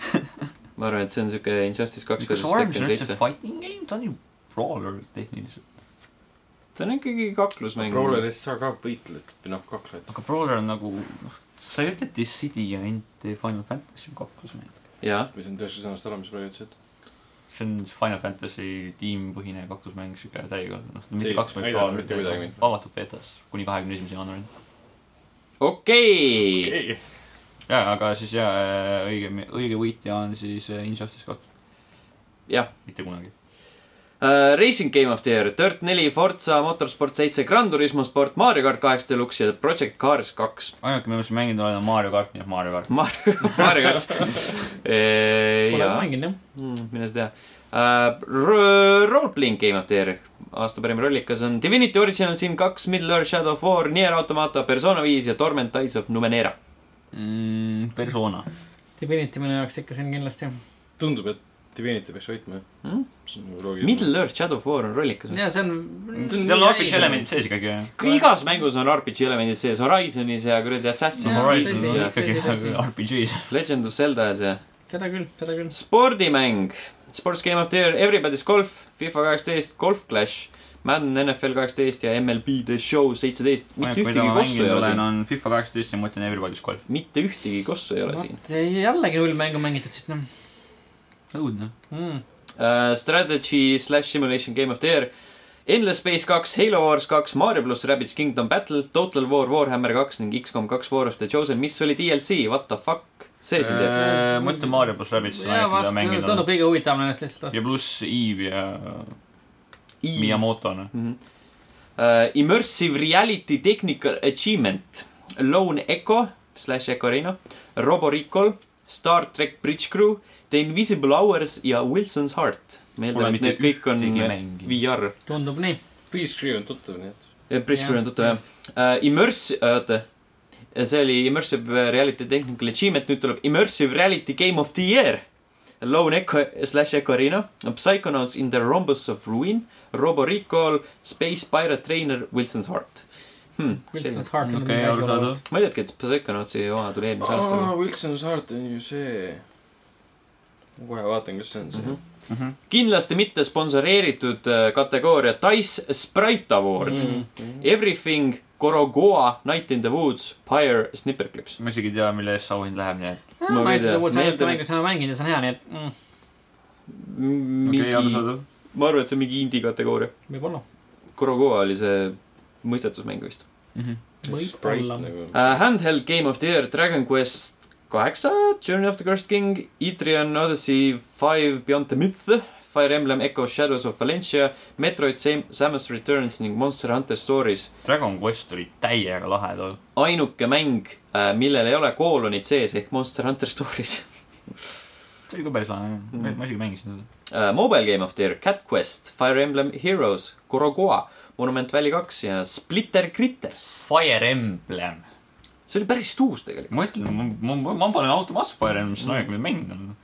ma arvan , et see on siuke Injustice kaks kas versus Orange Tekken on üldse seitse . fighting game , ta on ju brawler tehniliselt . ta on ikkagi kaklusmäng . Brawlerist sa ka võitled või noh , kakled . aga brawler on nagu , noh , sa ei ütle This City ja ainult Final Fantasy on kaklus meil . jah , ma ei saanud tõesti sõnast aru , mis praegu ütlesid . see on Final Fantasy tiimipõhine kaklusmäng , siuke täiega , noh , mitte See kaks ei mäng aidanud brawler mitte , kuidagi mind. avatud betas kuni kahekümne esimese jaanuarini . okei okay. . jaa , aga siis jaa , õige , õige võitja on siis äh, Injustice kaks . Jah. . mitte kunagi . Uh, Racing Game of the Year , Dirt neli , Forza , Motorsport seitse , Gran Turismo sport , Mario kart kaheksa deluks ja Project Cars kaks . ainuke , mida ma siin mänginud olen , on Mario kart , nii et Mario kart . Mario , Mario kart . Pole jaa , mänginud jah . mine sa tea uh, . Roleplaying Game of the Year , aasta parim rollikas on Divinity Original Sin kaks , Middle-earth Shadow of War , Nier Automata , Persona viis ja Torment Eyes of Numenera . Mm, Persona . Divinity minu jaoks ikka siin kindlasti . tundub , et Divinity peaks võitma jah Mm? . see on nagu loogiline . Middle-earth Shadow of War on rollikas . ja Mm, see seal Mm, on hoopis on . elemendid sees ikkagi , jah . igas mängus on RPG elemendid sees , Horizonis ja kuradi Jaa, Assassin's Horizon Creed'is on ja tõsi. ikkagi tõsi. RPG-s . Legend of Zelda's ja seda küll , seda küll . spordimäng , Sports Game of the Year , Everybody's Golf , FIFA kaheksateist , Golf Clash , Madden NFL kaheksateist ja MLB The Show seitseteist . mitte mida ühtegi kossu ma nagu ei mänginud ole olen , siin , on FIFA kaheksateist ja ma ütlen Everybody's Golf . mitte ühtegi kossu ei ole siin . jällegi null mängu mängitud siit noh õudne . mm. . Uh, Strategy slash simulation game of the year , Endless Space kaks , Halo Wars kaks , Mario pluss Rabbids Kingdom Battle , Total War Warhammer kaks ning X-kom kaks War of the Chosen , mis oli DLC , what the fuck , see siin teeb . Äh, ma ütlen Mario pluss Rabbids on ja ainuke , mida vastu , mängida on . tundub kõige huvitavam ennast lihtsalt ja vastu . pluss Eve ja Miyamoto , noh . Mhm. Uh, immersive Reality Technical Achievement , Lone Echo slash Ecorino , Roboricol , Star track Bridge Crew , The Invisible Hours ja Wilson's Heart . ma eeldan , et need kõik on VR . VR , tundub nii . Freeze Crew on tuttav , nii et . Eh, Bridge Crew on tuttav jah uh, . Immers- , oota , see oli Immersive Reality Technical Achievement , nüüd tuleb Immersive Reality Game of the Year . Lone Echo slash Ecorino , Psychonauts in the Rhombus of Ruin , Roboricol , Space Pirate Trainer , Wilson's Heart hmm, . Wilson's Heart on okei , arusaadav . ma ei teadki , et Psychonautsi oma tuli eelmise aa , aastaga . Wilson Saart on ju see . ma kohe vaatan , kas see on see Mhm. . kindlasti mitte sponsoreeritud äh, kategooria Dice Sprite Award mm . -hmm. Everything , Gorogoa , Night in the Woods , Pyre , Snipper Clips . ma isegi ei tea , mille eest see auhind läheb , nii et Ma ma ka ei ei tea tea. , ma Ma ei tea , eeldan, mängu seda mänginud ja see on hea , nii et mm, mingi okei , okay, , arusaadav . ma arvan , et see on mingi indie kategooria . võib-olla , Gorogoa oli see mõistetusmäng vist võib-olla . nagu uh, . Handheld Game of the Year , Dragon Quest kaheksa , Journey of the Cursed King , Etrian Odyssey Five Beyond the Myth , Fire Emblem Echo Shadows of Valencia , Metroid Sam- Samus Returns ning Monster Hunter Stories . Dragon Quest oli täiega lahe tol . ainuke mäng , millel ei ole koolonid sees ehk Monster Hunter Stories . see oli ka päris lahe , Mhm. ma isegi mängisin seda . Uh, Mobile Game of the Year , Cat Quest , Fire Emblem Heroes , Gorogoa , Monument Valley kaks ja Splitter Critters . Fire Emblem . see oli päris uus tegelikult , ma ütlen , ma , ma , ma panen automaatse Fire Emblem , see on ainuke , mida mängida on .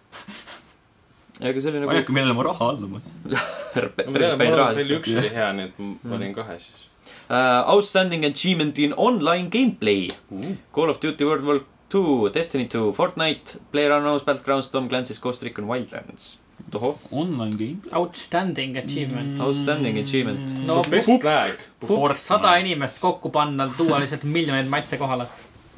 aga see oli nagu ainuke , millele ma raha alla panen . ma tean , päris et mul palju raha on veel siis . üks oli hea , nii et ma valin kahe siis . Uh, Outstanding achievement in online gameplay , Call of Duty World War Two , Destiny Two , Fortnite , PlayerUnknown's Battlegrounds , Tom Clancy's Ghost Recon Wildlands . tohoh , Online game . Mm. Outstanding achievement . Mm. outstanding achievement . no Best flag . puhk sada inimest kokku panna , tuua lihtsalt miljoneid matse kohale .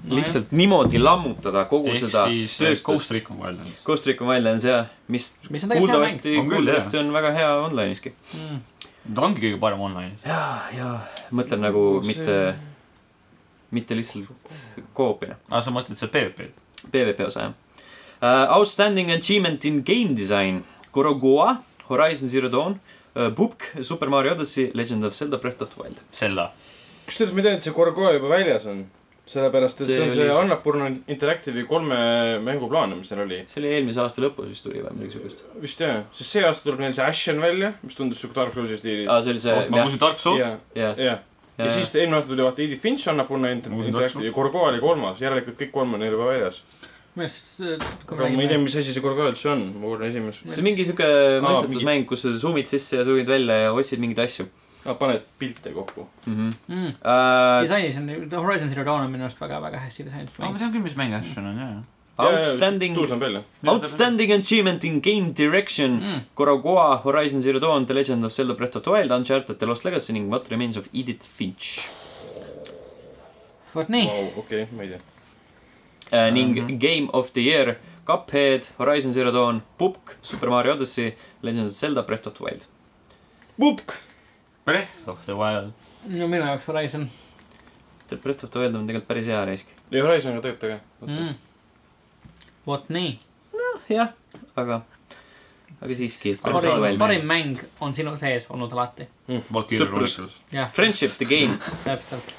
lihtsalt niimoodi lammutada kogu ehk seda siis eh, Ghost tööstust . Recon Wildlands . Ghost Recon Wildlands ja mis mis on tegelikult hea mäng kuuldavasti , On küll, kuuldavasti on väga hea online'iski . mm. . ta ongi kõige parem online . ja , ja mõtlen nagu See- mitte , mitte lihtsalt koopina , aa , Ah, sa mõtled seda PvP-d ? PVP osa jah uh, . Outstanding achievement in game design , Gorogoa , Horizon Zero Dawn uh, , Pupk , Super Mario Odyssey , Legend of Zelda , Breath of the Wild . Zelda . kusjuures ma tean , et see Gorgoa juba väljas on . sellepärast , et see, See see on see oli- Annapurna Interactive'i kolme mängu plaan , mis seal oli . see oli eelmise aasta lõpus vist tuli või midagi siukest . vist jah , sest see aasta tuleb neil see Ashen välja , mis tundus siuke Dark Soulsi stiilis . aa , Ah, see oli see , ma jah , kuulsin Dark Soul . jah , jah . jah . ja siis eelmine aasta tuli vaata Edith Finch Annapurna Inter- Mul on Interactive ja Gorgoa oli kolmas , järelikult kõik kolm on neil juba väljas . minu arust , äh, kui aga me ma ei tea , räägime , mis asi see Gorgoa üldse on , ma kuulen esimest . see on mingi siuke mõistatusmäng , kus sa zoom'id sisse ja zoom'id välja ja otsid mingeid asju Nad Ah, paned pilte kokku . mm . -hmm. mm. Uh, disainis on , Horizon Zero Dawn on minu arust väga-väga hästi disainitud aa , mäng ma . tean küll , mis mäng Ashen on , jaa . outstanding , tuus näeb välja . outstanding achievement in game direction mm. . Gorogoa , Horizon Zero Dawn , The Legend of Zelda Breath of the Wild , Uncharted , The Lost Legacy ning What Remains of Edith Finch vot nii , okei , ma ei tea . uh, . ning mm Mhm. -hmm. Game of the Year , Cuphead , Horizon Zero Dawn , Pupk , Super Mario Odyssey , Legend of Zelda Breath of the Wild . Pupk . Breath of the Wild . no minu jaoks Horizon The Breath of the Wild on tegelikult päris hea reisk . ja Horizoniga tööta ka . mm. . vot nii , jah , aga , aga siiski . parim , parim mäng on sinu sees olnud alati , Valkyrie Sõprus. Chronicles . jah , Friendship the game , täpselt .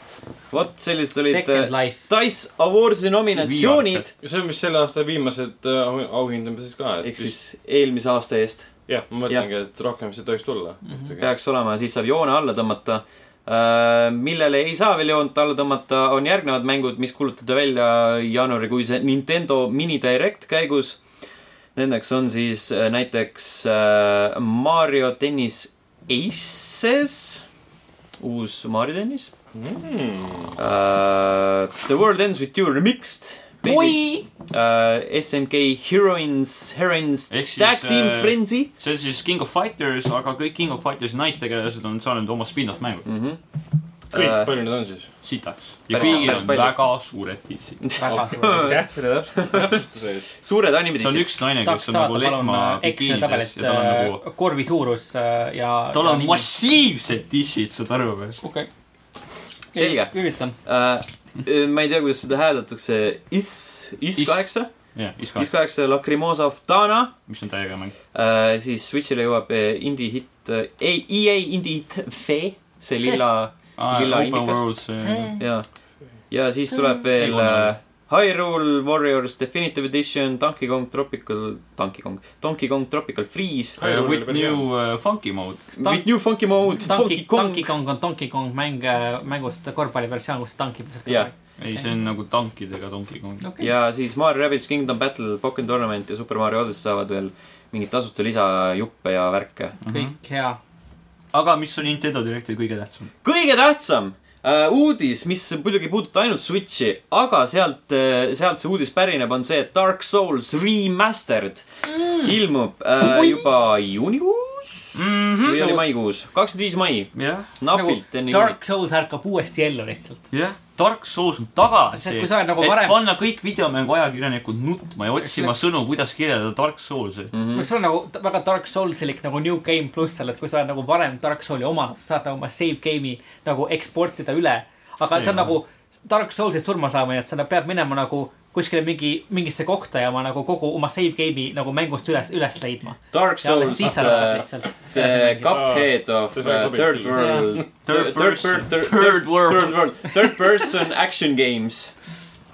vot sellised olid Second äh, Life , Dice Awardsi nominatsioonid . ja see on vist selle aasta viimased äh, au- auhindamised ka , et ehk siis eelmise aasta eest jah , ma mõtlengi , et rohkem seda ei tohiks tulla Mhm. mm . -hmm. peaks olema , siis saab joone alla tõmmata . millele ei saa veel joont alla tõmmata , on järgnevad mängud , mis kuulutada välja jaanuarikuise Nintendo mini direct käigus . Nendeks on siis äh, näiteks äh, Mario tennis Aces , uus Mario tennis . Mm. The world ends with you remixed . Äh, oi ! SNK Heroines , Heroines , ehk siis Tag Team äh, Frenzy . see on siis King of Fighters , aga kõik King of Fighters naistegelased on saanud oma spin-off mängud . mm . kõik Äh, uh, , palju neid on siis ? sitaks . ja Päris- kõigil päris on palju. väga suured tissid . väga Oh. suur . aitäh selle täpsuse , täpsustuse eest . suured see on animedissid . üks naine , tahaks kes on nagu saada palun lehma äh, Exceli bikiinides tabelit ja tal on nagu , äh, korvi suurus äh, ja . tal on . massiivsed tissid , saad aru või ? okei . Selge. üritan . Äh, ma ei tea , kuidas seda hääldatakse , IS , IS Is- kaheksa , jah , IS Iska , kaheksa Lacrimosa of Dana . mis on täiega mäng . siis Switch'ile jõuab eh, indie hitt , ei , EA indie hitt Fee , see lilla Lilla Äh, Open äh, indikas. World , see . ja , ja siis tuleb veel Ei, eh, Hyrule Warriors Definitive Edition , Donkey Kong Tropical , Donkey Kong , Donkey Kong Tropical Freeze . Hyrule oli äh, With Äh, päris hea. new uh, funky mode . With new funky mode , funky Donkey kong Donkey , Kong on Donkey Kong mäng , mängust korvpalliversioon , kus tankib . Jah. ei , see on nagu tankidega Donkey Kong . okei , ja siis Mario Rabbids Kingdom Battle , Pokken Tournament ja Super Mario Odyssey saavad veel mingeid tasuta lisajuppe ja värke . Mhm. kõik hea . aga mis on Nintendo Directi kõige tähtsam ? kõige tähtsam äh, uudis , mis muidugi ei puuduta ainult Switchi , aga sealt , sealt see uudis pärineb , on see , et Dark Souls Remastered mm. ilmub äh, juba juunikuus mm Mhm. -hmm. või oli maikuus , kakskümmend viis mai , jah , napilt enne juunit . Nagu Dark Souls ärkab uuesti ellu lihtsalt . jah , Dark Souls on tagasi . See, kui sa oled nagu varem- et panna kõik videomängu ajakirjanikud nutma ja otsima sõnu , kuidas kirjeldada Dark Soulsi . see on nagu t- väga Dark Soulsilik nagu New Game pluss seal , et kui sa oled nagu varem Dark Soulsi omanud , sa saad nagu oma save game'i nagu eksportida üle . aga see on Ei, nagu Dark Soulsist surma saamine , et sa pead minema nagu kuskile mingi , mingisse kohta ja oma nagu kogu oma save game'i nagu mängust üles , üles leidma . Dark ja Souls alles siis sa äh, saad uh, , lihtsalt . the Cuphead of See uh, sobib Third küll. World , Third person , third Third world . World , Third Person Action Games .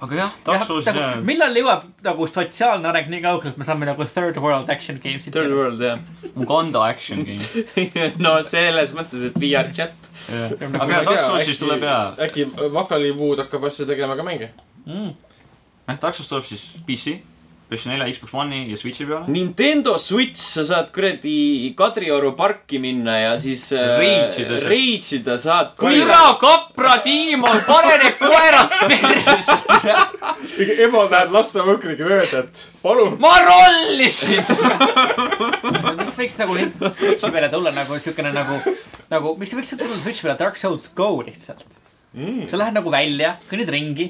aga jah , jah Dark , Souls nagu jah . millal jõuab nagu sotsiaalne areng nii kaugele , et me saame nagu third world action games'id . Third World jah , Uganda action game . no selles mõttes , et VR chat . aga jah , Dark Soulsist tuleb jaa . äkki Vakalipuud hakkab asja tegema ka mänge ? mm. . jah , Dark Souls tuleb siis PC , PS4 , Xbox One'i ja Switch'i peale . Nintendo Switch , sa saad kuradi Kadrioru parki minna ja siis äh, Rage ida seal. rage ida saad . kapra Tiimon , pane need koerad persse , ema läheb lastevankriga mööda , et palun . ma rollisin . miks võiks nagu nüüd Switch'i peale tulla nagu siukene nagu , nagu , miks võiks tulla Switch'i peale Dark Souls Go lihtsalt mm. ? sa lähed nagu välja , kõnnid ringi ,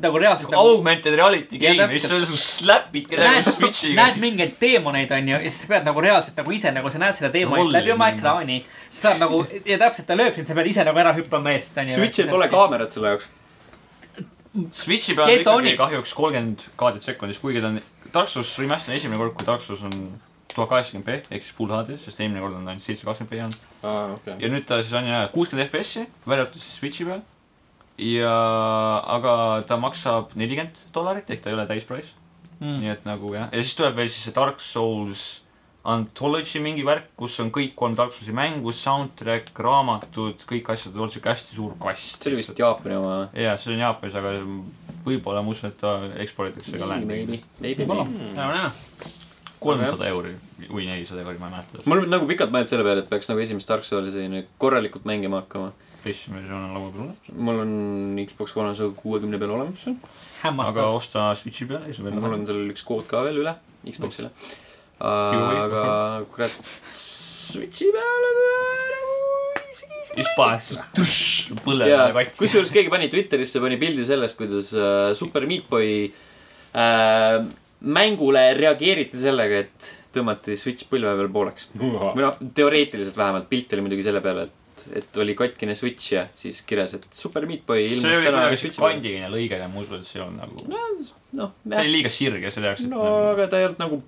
nagu reaalselt nagu augmented reality Jaa, game , mis täpselt. on , sa slap'id kedagi näed , switch'iga . näed mingeid teemoneid , onju , ja siis sa pead nagu reaalselt nagu ise nagu sa näed seda teemonit Rolli läbi oma minna. ekraani . sa saad nagu ja täpselt ta lööb sind , sa pead ise nagu ära hüppama eest , onju . Switch'il pole . kaamerat selle jaoks . Switch'i peal on Get on ikkagi it. kahjuks kolmkümmend kaadrit sekundis , kuigi ta on , Dark Souls Remaster on esimene kord , kui Dark Souls on tuhat kaheksakümmend B ehk siis full HD , sest eelmine kord on ta ainult seitsesada kakskümmend B olnud . aa , okei . ja nüüd ta siis on jah kuuskümmend FPS-i , välja arvatud siis Switch'i peal . ja , aga ta maksab nelikümmend dollarit ehk ta ei ole täisprice mm. . nii et nagu jah , ja siis tuleb veel siis see Dark Souls Anthology mingi värk , kus on kõik kolm Dark Soulsi mängu , soundtrack , raamatud , kõik asjad on siuke hästi suur kast . see oli vist Jaapani oma . jaa , see on Jaapanis , aga võib-olla ma usun , et ta eksporditakse ka maybe lääne . maybe , maybe . Mm. ära näe . kolmsada euri või nelisada euri , ma ei mäleta . mul on nagu pikalt mõelnud selle peale , et peaks nagu esimest Dark Soulsi selline korralikult mängima hakkama . PlayStation on laua peal olemas , mul on Xbox One on see kuuekümne peal olemas . aga hämmastav . osta Switchi peale ja siis on veel mul on lahe . sellel üks kood ka veel üle Xboxile . Giveaway. aga kurat , Switch'i peale ta nagu isegi siis paned siis tušš , põlve jaa peale , katti . kusjuures keegi pani Twitterisse , pani pildi sellest , kuidas äh, Super Meat Boy äh, mängule reageeriti sellega , et tõmmati Switch põlve peal pooleks . või noh , teoreetiliselt vähemalt , pilt oli muidugi selle peale , et , et oli katkine Switch ja siis kirjas , et Super Meat Boy see ilmus oli täna kuidagi Switchi peal . kandiline lõige ja ma usun , et see on nagu , noh , see oli liiga sirge selle jaoks , et no nagu- aga ta ei olnud nagu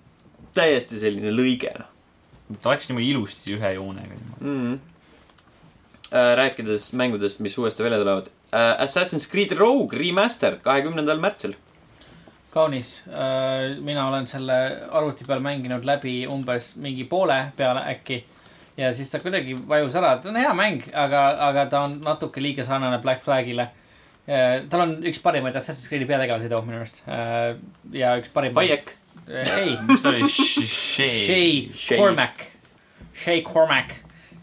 täiesti selline lõige , noh ta läks niimoodi ilusti ühe joonega . mm. . Äh, rääkides mängudest , mis uuesti välja tulevad . Assassin's Creed Rogue Remastered kahekümnendal märtsil . kaunis . mina olen selle arvuti peal mänginud läbi umbes mingi poole peale äkki . ja siis ta kuidagi vajus ära , ta on hea mäng , aga , aga ta on natuke liiga sarnane Black Flagile . tal on üks parimaid Assassin's Creed'i peategelasi too minu arust . ja üks parimaid . Vaiek . ei , mis ta oli , Shay ? Shay Shay. Cormac , Shay Cormac .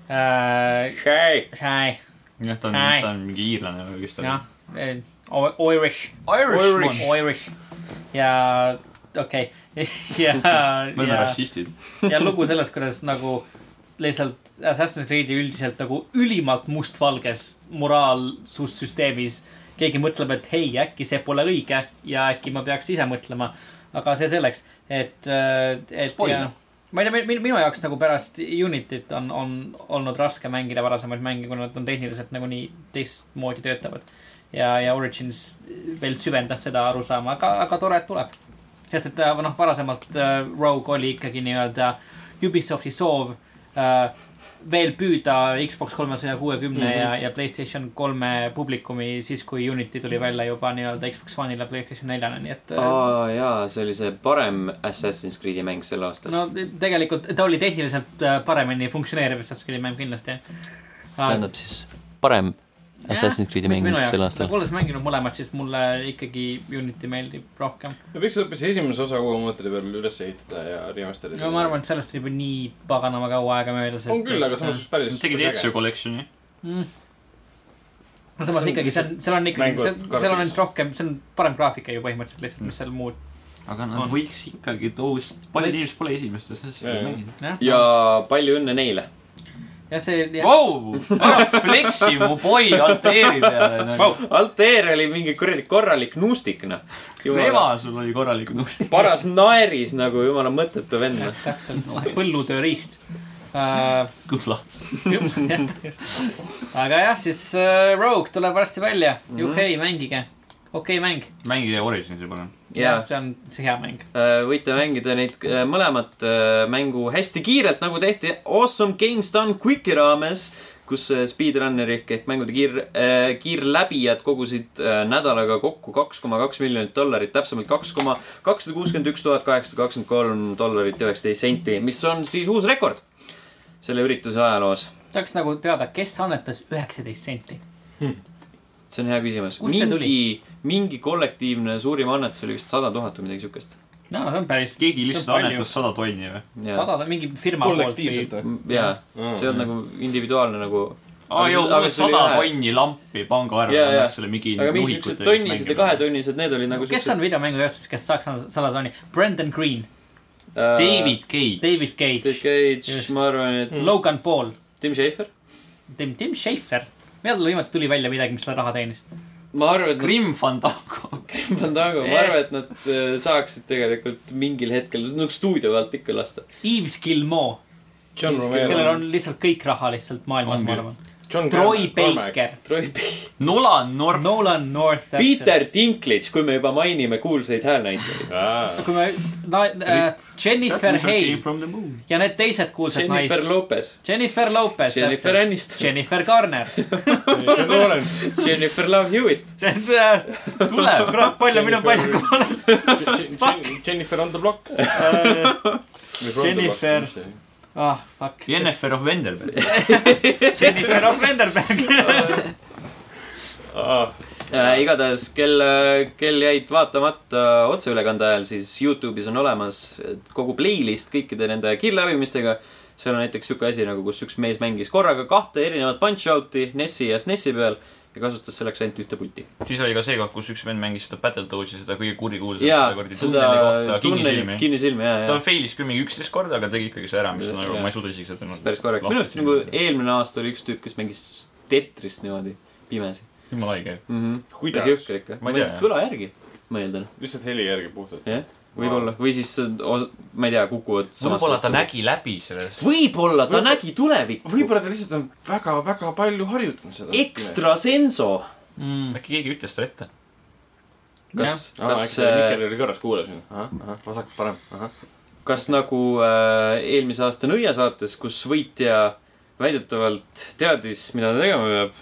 Äh, Shay , jah , ta on , Ai. ta on mingi iirlane või kes ta jah on ., Äh, Irish , Irishman . Irish ja okei ja , me oleme ja , rassistid . ja lugu sellest , kuidas nagu lihtsalt Assassin's Creed'i üldiselt nagu ülimalt mustvalges moraalsussüsteemis . keegi mõtleb , et hei , äkki see pole õige ja äkki ma peaks ise mõtlema , aga see selleks , et , et Spoiler. ja ma ei tea , minu , minu jaoks nagu pärast Unity't on , on olnud raske mängida varasemaid mänge , kuna nad on tehniliselt nagunii teistmoodi töötavad . ja , ja Origins veel süvendas seda arusaama , aga , aga tore , et tuleb . sest et äh, noh , varasemalt äh, Rogue oli ikkagi nii-öelda Ubisofti soov äh, veel püüda Xbox kolmesaja kuuekümne Mhm. ja , ja Playstation kolme publikumi siis , kui Unity tuli välja juba nii-öelda Xbox One'ile , Playstation neljale , nii et äh, aa oh, jaa , see oli see parem Assassin's Creed'i mäng sel aastal no, . no tegelikult ta oli tehniliselt äh, paremini funktsioneeriv , sest see oli mäng kindlasti . tähendab siis parem Assassin's Creed'i mäng sel aastal . nagu olles mänginud mõlemat , siis mulle ikkagi Unity meeldib rohkem . me võiks hoopis esimese osa uue mootori peal üles ehitada ja remaster'ida . no ma arvan , et sellest oli juba nii paganama kaua aega äh, möödas . on küll , aga samas oleks päris . Nad tegid Ezio kollektsiooni . mm. . no samas ikkagi , seal , seal on ikkagi , mängud seal , seal on karbis. ainult rohkem , see on parem graafika ju põhimõtteliselt lihtsalt , mis seal muud , aga nad On. on. võiks ikkagi toos , paljud Võiks. inimesed pole esimest asjast Jaa, jaa. mänginud . jah . ja palju õnne neile . ja see , jah , Vau , ära flexi mu boi alteeri peale nagu Vau. wow. . Altair oli mingi kuradi korralik nuustik , noh . ema sul oli korralik nuust . paras naeris nagu jumala mõttetu vend , noh . täpselt , põllutööriist uh, . kõhla . aga jah , siis uh, Rogue tuleb varsti välja , juhhei , mängige , okei okay, mäng . mängige Originsi palun . jaa , see on , see hea mäng . võite mängida neid äh, mõlemat äh, mängu hästi kiirelt , nagu tehti Awesome Games Done Quicki raames , kus äh, speedrunner ehk , ehk mängude kiir , kiirläbijad kogusid äh, nädalaga kokku kaks koma kaks miljonit dollarit , täpsemalt kaks koma kakssada kuuskümmend üks tuhat kaheksasada kakskümmend kolm dollarit üheksateist senti , mis on siis uus rekord selle ürituse ajaloos . tahaks nagu teada , kes annetas üheksateist senti . see on hea küsimus . Kust see tuli? mingi , mingi kollektiivne suurim annetus oli vist sada tuhat või midagi siukest . no see on päris keegi lihtsalt See on palju. annetas sada tonni või ? jaa , sada , mingi firma poolt või kollektiivselt eh. või ? jaa , see Mm-hmm. on nagu individuaalne nagu aa Aga see- jõu , mul aga on see oli sada ühe- tonni lampi pangaarvel Jaa, yeah, , jaa. annaks selle mingi . aga mingi siuksed tonnised ja kahetonnised , need olid nagu kes on videomängutööstuses , kes saaks anda sada tonni ? Brendan Green , David Cage . David Cage äh, David . Cage Just. , Mm. ma arvan , et Logan Paul , Tim Schafer . Tim , Tim Schafer , millal tal viimati tuli välja midagi , mis selle raha teenis ? ma arvan , et Grim Fandango . Grim Fandango , ma arvan , et nad äh, saaksid tegelikult mingil hetkel , nagu stuudio alt ikka lasta . Yves Gilmore , John kellel Romero . on lihtsalt kõik raha lihtsalt maailmas , Ongi. ma arvan . Troy . Baker , Troy P- , Nolan North . Nolan North . Peter Dinklage , kui me juba mainime kuulsaid häälnäitlejaid . kui me na, , äh, Jennifer Hale ja need teised kuulsad Jennifer naised . Lopez , Jennifer Lopez . Jennifer Aniston , Jennifer Garner . John Lawrence . Jennifer Love Hewitt , tuleb . kurat , Äh, palju minu palju kui ma olen . Jennifer on the block . Jennifer. ah , fuck . Jennifer of Vendelberg . Jennifer of Vanderberg . äh, . igatahes , kel , kel jäid vaatamata otseülekande ajal , siis Youtube'is on olemas kogu playlist kõikide nende kiirläbimistega . seal on näiteks sihuke asi nagu , kus üks mees mängis korraga kahte erinevat punch-out'i NES-i ja SNES-i peal ja kasutas selleks ainult ühte pulti . siis oli ka see koht , kus üks vend mängis seda Battletoadsi , seda kõige jaa kurikuulsamat , seda tunnelit kinnisilmi . kinnisilmi , jaa , ta jaa . failis küll mingi üksteist korda , aga tegi ikkagi see ära , mis on nagu , Jaa. ma ei suuda isegi seda . päris korralik . minu arust nagu . eelmine aasta oli üks tüüp , kes mängis Tetrist niimoodi pimesi jumala haige . mm . -hmm. Kuidas? jõhker ikka . Ma ei tea, jah. kõla järgi , ma eeldan . lihtsalt heli järgi puhtalt . jah , võib-olla . või siis , ma ei tea , kukuvad võib-olla nagu- ta . nägi läbi sellest . võib-olla ta Võib- nägi tulevikku . võib-olla ta lihtsalt on väga-väga palju harjutanud seda .. ekstra senso . Mm, äkki keegi ütles talle ette . kas , aa , kas äh, äkki , Mikker oli korras , kuulasin . ahah , ahah , vasak , parem , ahah . kas nagu äh, eelmise aasta nõiasaates , kus võitja väidetavalt teadis , mida ta tegema peab .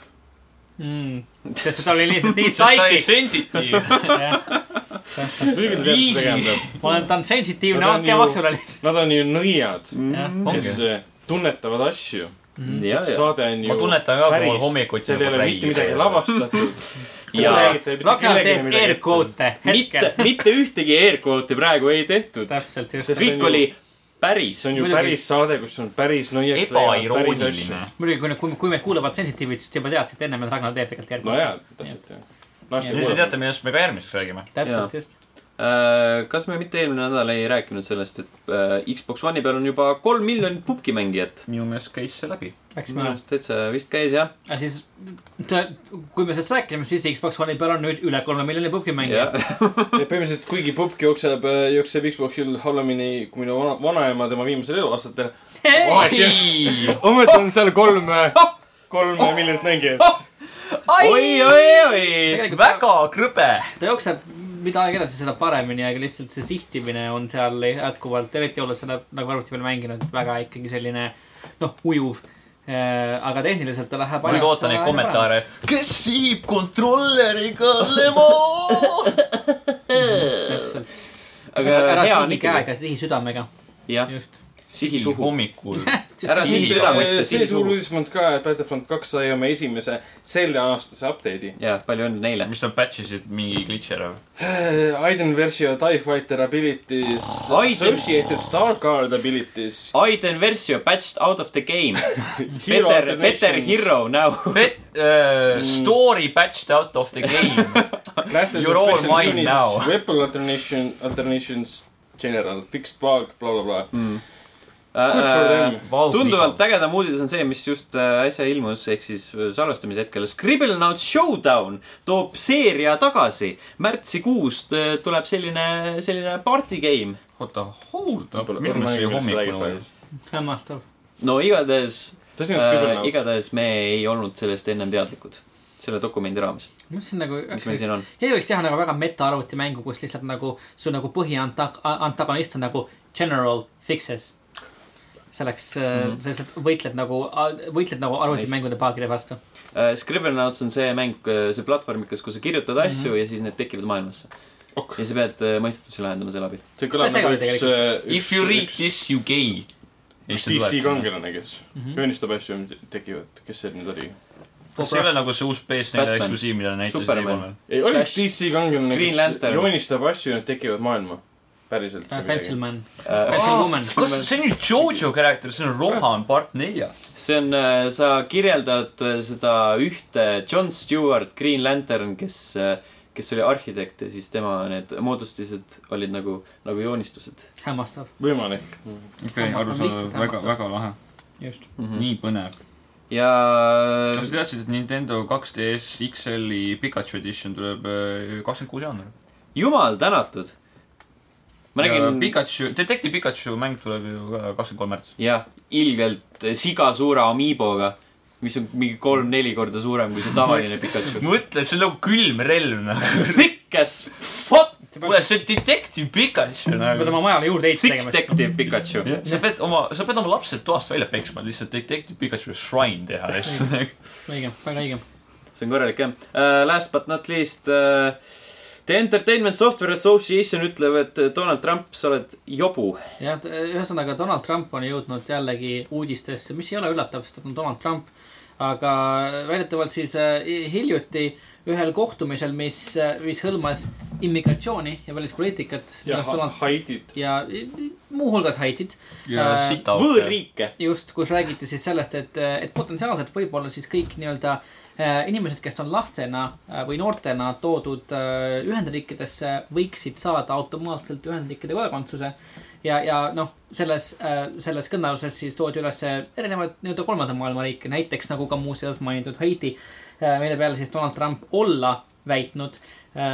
mm. sest ta oli lihtsalt nii ta oli psychic . sensitiivne . muidugi ta teab , mis ta tegema peab . ma olen , ta on sensitiivne No ta on altkäemaksule lihtsalt . Nad on ju nõiad , Mm. kes ongi . eh, tunnetavad asju . ja , ja , saade on ju . ma tunnetan ka , kui mul päris. hommikuti seal ei ole mitte midagi . lavastatud . Ja- Ragnar teeb air quote'e mitte hetkel ., mitte ühtegi air quote'i praegu ei tehtud . täpselt just . Sest- kõik oli päris see . on ju Muidugi. päris saade , kus on päris nõiaks . ebairooniline . muidugi , kui , kui , kui meid kuulavad sensitiivid , siis te juba teadsite ennem , et Ragnar teeb tegelikult järgmine . nojah , täpselt jah . Ja nüüd te teate , millest me ka järgmiseks räägime . täpselt just . Äh, kas me mitte eelmine nädal ei rääkinud sellest , et äh, Xbox One'i peal on juba kolm miljonit pubgimängijat ? minu meelest käis see läbi . eks minu me oleme . arust täitsa vist käis jah . aga siis , kui me sellest räägime , siis Xbox One'i peal on nüüd üle kolme miljoni puhkimängija . jah , Ja põhimõtteliselt , kuigi pubg jookseb , jookseb Xboxil halvemini kui minu vana , vanaema tema viimasel eluaastatel . ometi on seal kolm , kolm miljonit mängijat . oi , oi , oi . tegelikult väga krõbe . ta- ta jookseb , mida aeg edasi , seda paremini , aga lihtsalt see sihtimine on seal jätkuvalt , eriti olles seda nagu arvuti peal mänginud , väga ikkagi selline noh , ujuv . aga tehniliselt ta läheb . ma nüüd ootan neid kommentaare . kes sihib kontrolleriga lemo ? aga ära hea on sihi ikkagi . käega , sihi südamega , jah , just . sihi suhu . hommikul . ära sihi Sihi- südamesse , see sihi suur suhu . uudismond ka , et Battlefront kaks sai oma esimese selleaastase update'i . ja palju õnne neile . mis nad patch isid mingi glitch'i ära . Äh, Aiden Versio TIE Fighter abilities , Aiden- Associated Starguard abilities . Aiden Versio patched out of the game . Better , better . hero now . Bet- , äh, Mm. story patched out of the game . You're all mine now. Weapon alternation , alternations general , fixed bug , blablabla . Good for Äh, them . Oh, tunduvalt . ägedam uudis on see , mis just äh, äsja ilmus , ehk siis äh, salvestamise hetkel . Scribblenauts Showdown toob seeria tagasi . märtsikuus äh, tuleb selline , selline party game . oota , hold up , Võib-olla- minu võib-olla meelest oli mängimine hommikul räägib praegu. uudis . hämmastav . no igatahes tõsi on äh, , Scribblenauts . igatahes me ei olnud sellest ennem teadlikud . selle dokumendi raames , ma mõtlesin nagu . mis meil siin on . ja ei võiks teha nagu väga metaarvuti mängu , kus lihtsalt nagu su nagu põhianta- , antagonist on nagu general fixes . selleks mm Mhm. -hmm. , sa lihtsalt võitled nagu , võitled nagu arvutimängude paagide vastu . Äh, Scribblenauts on see mäng , see platvormikas , kus sa kirjutad asju mm -hmm. ja siis need tekivad maailmasse Ok. ja sa pead äh, mõistetusi lahendama selle abil . see kõlab See nagu oli üks , If you read this , Hmm? you gay . üks DC . kangelane , kes Mhm. joonistab asju , mis tekivad , kes see nüüd oli ? kas see ei ole nagu see uus PS4 Batman. eksklusiiv , mida nad näitasid Superman. Superman. ei , oli Flash. üks DC kangelane , Green kes Lantern. joonistab asju , need tekivad maailma . päriselt . nagu- Pencilman , Oh, Äh, Pencilwoman . kas see on nüüd Jojo karakter , see on Rohan part nelja . see on , sa kirjeldad äh, seda ühte John Stewart Green Lantern , kes , kes oli arhitekt ja siis tema need moodustised olid nagu , nagu joonistused hämmastav , võimalik . okei , Hmm. Hammastav, lihtsalt arusaadav , väga , hammastav. väga lahe . Mhm. just . mm . -hmm. nii põnev . ja äh, kas te teadsite , et Nintendo 2DS XL-i Pikachu Edition tuleb äh, kakskümmend kuus jaanuar ? jumal tänatud . ma nägin , Pikachu , Detective Pikachu mäng tuleb ju ka kakskümmend kolm märts . jah , ilgelt siga suure amiiboga , mis on mingi kolm-neli korda suurem kui see tavaline Pikachu . mõtle , see on nagu külm relv , noh . nagu. Thick as fuck , kuule , see on Detective Pikachu , sa pead nagu . oma majale juurde ehituse thick tegema . detective Pikachu . sa pead oma , sa pead oma lapsed toast välja peksma , lihtsalt Detective Pikachu shrine teha ja siis Nagu. õige , väga õige . see on korralik jah uh, . Last but not least uh, . The Entertainment Software Association ütleb , et äh, Donald Trump , sa oled jobu . jah , ühesõnaga Donald Trump on jõudnud jällegi uudistesse , mis ei ole üllatav , sest ta on Donald Trump . aga väidetavalt siis äh, hiljuti ühel kohtumisel , mis , mis hõlmas immigratsiooni ja välispoliitikat . ja ha- ja Haitit . i- i- muuhulgas Haitit , ja Äh, sita . võõrriike . just , kus räägiti siis sellest , et , et potentsiaalselt võib-olla siis kõik nii-öelda äh, inimesed , kes on lastena äh, või noortena toodud äh, Ühendriikidesse , võiksid saada automaatselt Ühendriikide kodakondsuse . ja , ja noh , selles , selles kõnealuses siis toodi üles erinevaid nii-öelda kolmanda maailma riike , näiteks nagu ka muuseas mainitud Haiti , mille peale siis Donald Trump olla väitnud .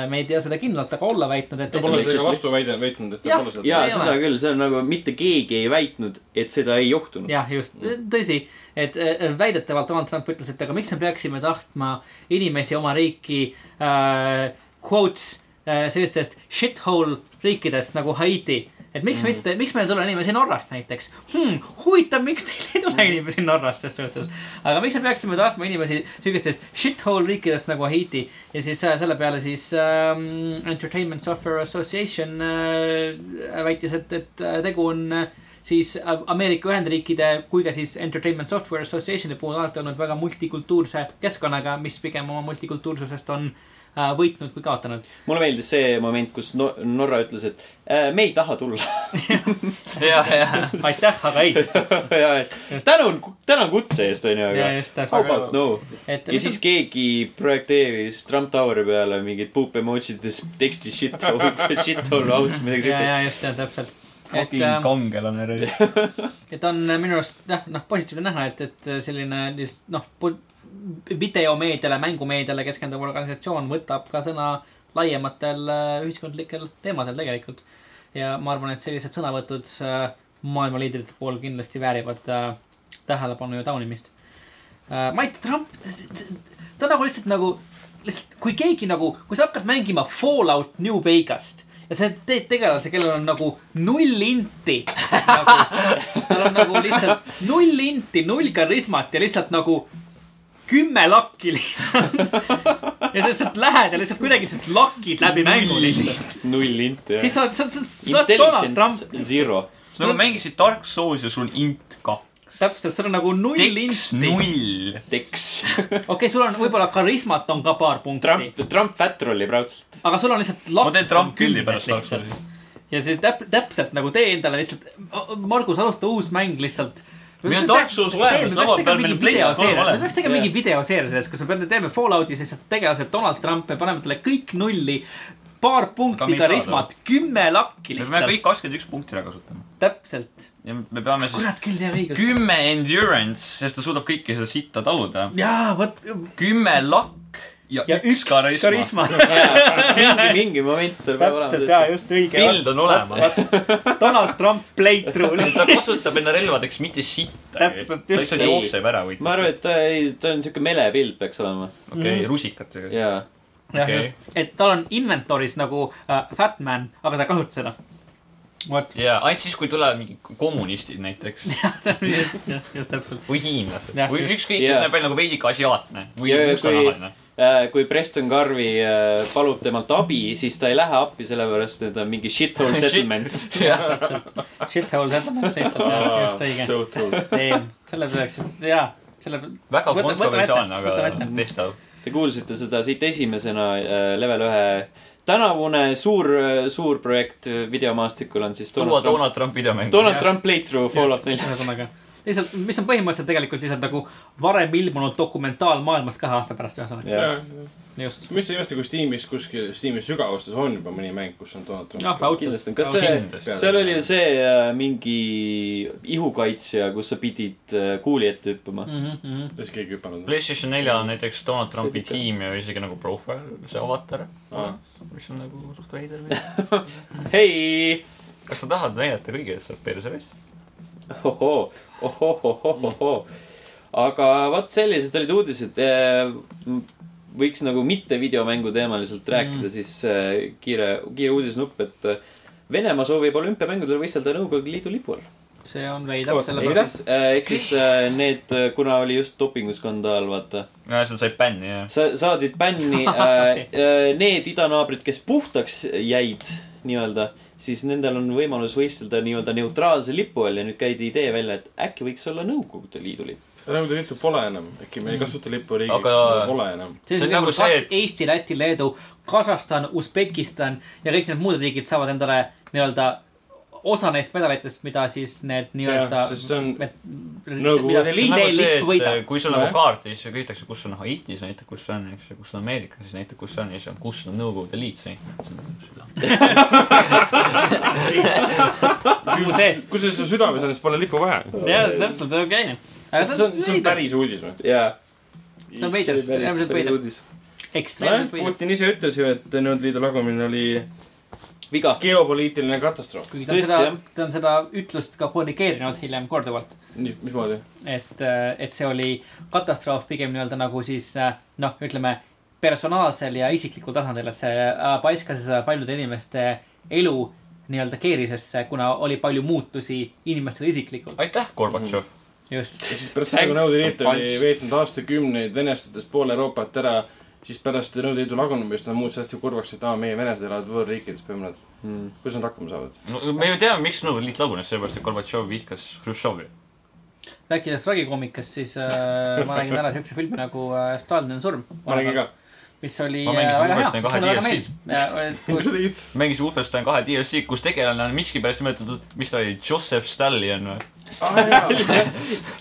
me ei tea seda kindlalt , aga olla väitnud , et . ta pole isegi vastu väide , väitnud , et ta Jah. pole seda . ja Ei seda ole. küll , see on nagu mitte keegi ei väitnud , et seda ei juhtunud . jah , just , Äh, tõsi , et äh, väidetavalt Donald Trump ütles , et aga miks me peaksime tahtma inimesi oma riiki äh, , quotes äh, sellistest shithole riikidest nagu Haiti . et miks mm. mitte , miks meil ei tule inimesi Norrast näiteks hmm, . huvitav , miks teil ei tule inimesi Norrast selles suhtes . aga miks me peaksime tahtma inimesi sihukestest shithole riikidest nagu Haiti ja siis äh, selle peale siis äh, Entertainment Software Association äh, väitis , et , et äh, tegu on äh, siis äh, Ameerika Ühendriikide kui ka siis Entertainment Software Associationi puhul alati olnud väga multikultuurse keskkonnaga , mis pigem oma multikultuursusest on äh, võitnud kui kaotanud . mulle meeldis see moment , kus no Norra ütles , et äh, me ei taha tulla . ja , ja . aitäh , aga ei . tänan , tänan kutse eest , onju , ja aga just täpselt how . about no . et ja siis keegi projekteeris Trump Toweri peale mingid poop emojides teksti shit hole , shit hole house , midagi ja , siukest . ja just jah, täpselt . et ähm, fucking , ähm, kangelane relv . et on minu arust jah , noh , positiivne näha , et , et selline lihtsalt noh , videomeediale , mängumeediale keskenduv organisatsioon võtab ka sõna laiematel äh, ühiskondlikel teemadel tegelikult . ja ma arvan , et sellised sõnavõtud äh, maailma liidrite pool kindlasti väärivad äh, tähelepanu ja taunimist . Mait Trump , ta on nagu lihtsalt nagu , lihtsalt kui keegi nagu , kui sa hakkad mängima Fallout New Vegast ja sa teed tegelase , kellel on nagu null inti nagu, . tal on nagu lihtsalt null inti , null karismat ja lihtsalt nagu kümme lakki lihtsalt . ja sa lihtsalt lähed ja lihtsalt kuidagi lihtsalt lakid läbi mängu lihtsalt . null inti , siis jah . sa oled , sa oled , sa oled Donald Trump Intelligence . zero . sa nagu mängisid Dark Soulsi ja sul on int kah . täpselt , sul on nagu null teks insti . null . teks . okei okay, , sul on võib-olla karismat on ka paar punkti Trump , Trump fat rolli praudselt . aga sul on lihtsalt ma teen Trump külli pärast Dark lihtsalt . Soulsi . ja siis täp- , täpselt nagu tee endale lihtsalt , Margus , alusta uus mäng lihtsalt . Meil on Dark Souls olemas, laua peal meil on PlayStation kolm me olemas. peaks tegema Jah. mingi videoseeria sellest , kus me peame , teeme Falloutis lihtsalt tegelased Donald Trump , me paneme talle kõik nulli , paar Aga me punkti ei saa karismat , kümme lakki me peame lihtsalt , kõik kakskümmend üks punkti ära kasutama . täpselt . ja me peame siis kurat küll , jah õigus . kümme endurance , sest ta suudab kõike seda sitta taluda . jaa , vot , kümme lakk ja, ja üks karisma . karisma . sest mingi , mingi moment seal peab täpselt , jaa , olema . just õige . pild on olemas . Donald Trump playthrough lihtsalt . ta kasutab enda relvadeks mitte sitta . Täpselt, ta just lihtsalt nii. jookseb ära või . ma arvan , et ta ei , ta on siuke melepild peaks olema . okei okay, , rusikatega . jaa . jah Okei. okay. , just , et tal on inventory's nagu äh, fat man , aga ta ei kasuta seda . vot , ja ainult siis , kui tulevad mingid kommunistid näiteks just , just täpselt . või hiinlased Jah, või just. ükskõik , Jaa. kes näeb välja nagu veidike asiaatne või Ja, ja, mustanahaline . Äh, kui Preston Garvey äh, palub temalt abi , siis ta ei lähe appi , sellepärast et ta on mingi shithole settlements . Shithole settlements lihtsalt , jah , just õige . So true . ei , selle tuleks siis , jaa , selle , väga Võta- võtame kontroversiaalne , ette, võtame aga ette. tehtav . Te kuulsite seda siit esimesena äh, level ühe tänavune suur , suur projekt äh, videomaastikul on siis tuua Donald Trump , Donald Trump videomäng . Donald Trump playthrough Fallout neljas . ühesõnaga , lihtsalt , mis on põhimõtteliselt tegelikult lihtsalt nagu varem ilmunud dokumentaalmaailmas kahe aasta pärast , ühesõnaga . jaa . just . ma üldse ei imesta , kui Steamis kuskil , Steamis sügavustes on juba mõni mäng , kus on Donald Trump . jah , raudselt . kindlasti on , kas see , kindlasti. seal oli ju see äh, mingi ihukaitsja , kus sa pidid äh, kuuli ette hüppama . Mhm. Mhm, kas keegi hüpanud on ? PlayStation neljal on näiteks Donald Trumpi See ikka- tiim ja isegi nagu profile , see avatar , aa , mis on nagu suht veider veidi . hei , kas sa tahad näidata kõigile , et sa oled perseris ? ohoo , ohohohohohoo . aga vot sellised olid uudised . võiks nagu mitte videomängu teemaliselt rääkida , siis eh, kiire , kiire uudisnupp , et eh, Venemaa soovib olümpiamängudel võistelda Nõukogude Liidu lipu all . see on veidav , Oota, ehk sellepärast . siis , ehk siis eh, need , kuna oli just dopinguskandaal , vaata . nojah , seal sai bänni ja . sa saadid bänni äh, äh, need idanaabrid , kes puhtaks jäid nii-öelda , siis nendel on võimalus võistelda nii-öelda neutraalse lipu all ja nüüd käidi idee välja , et äkki võiks olla Nõukogude Liidu lipp . Nõukogude Liitu pole enam , äkki me ei kasuta lippu riigiks Aga- aga... , pole enam . See siis on nagu nagu kas see, see, et- Eesti , Läti , Leedu , Kasahstan , Usbekistan ja kõik need muud riigid saavad endale nii-öelda osa neist medalitest , mida siis need nii-öelda jah ,. sest see on , mida Nõukogude see on see nagu see , lipp et võidab võida. . kui sul on nagu Nojah. kaart ja siis küsitakse , kus on Haitis , näitab , kus see on , eks ju , kus on Ameerika , siis näitab , kus see on ja siis on , kus on Nõukogude Liit , see nagu näitab . Suu sees. kui see su südames on , siis pole lippu vaja . äh, jah , täpselt , okei . aga see on , see on . päris uudis või ? jaa . See on veider, äärmiselt veider. uudis . ekstreemselt võidab . Putin ise ütles ju , et Nõukogude Liidu lagumine oli viga . geopoliitiline katastroof . kuigi ta on Tõesti, seda jah. , ta on seda ütlust ka korrigeerinud hiljem korduvalt . nii , mismoodi ? et , et see oli katastroof pigem nii-öelda nagu siis äh, noh , ütleme personaalsel ja isiklikul tasandil , et see äh, paiskas paljude inimeste elu nii-öelda keerisesse , kuna oli palju muutusi inimestel isiklikult . aitäh , Gorbatšov . just , ehk siis pärast seda , kui Nõukogude Liit oli Punch. veetnud aastakümneid venestades pool Euroopat ära , siis pärast Nõukogude Liidu lagunemist nad muutusid hästi kurvaks , et aa , meie venelased elavad võõrriikides , peame nad , kuidas nad hakkama saavad . no me ju teame , miks Nõukogude Liit lagunes , sellepärast et Gorbatšov vihkas Hruštšovi . rääkides tragikoomikast , siis äh, ma räägin ära siukse filmi nagu äh, Stalin on surm . ma nägin . ka . mis oli Ma äh, mängisin väga hea , uuesti kahe mulle väga Äh, DLC-s. meeldis . mängis Wolfenstein kahe DLC , kus tegelane on miskipärast nimetatud , mis ta oli , Joseph Stalin või ? Ah,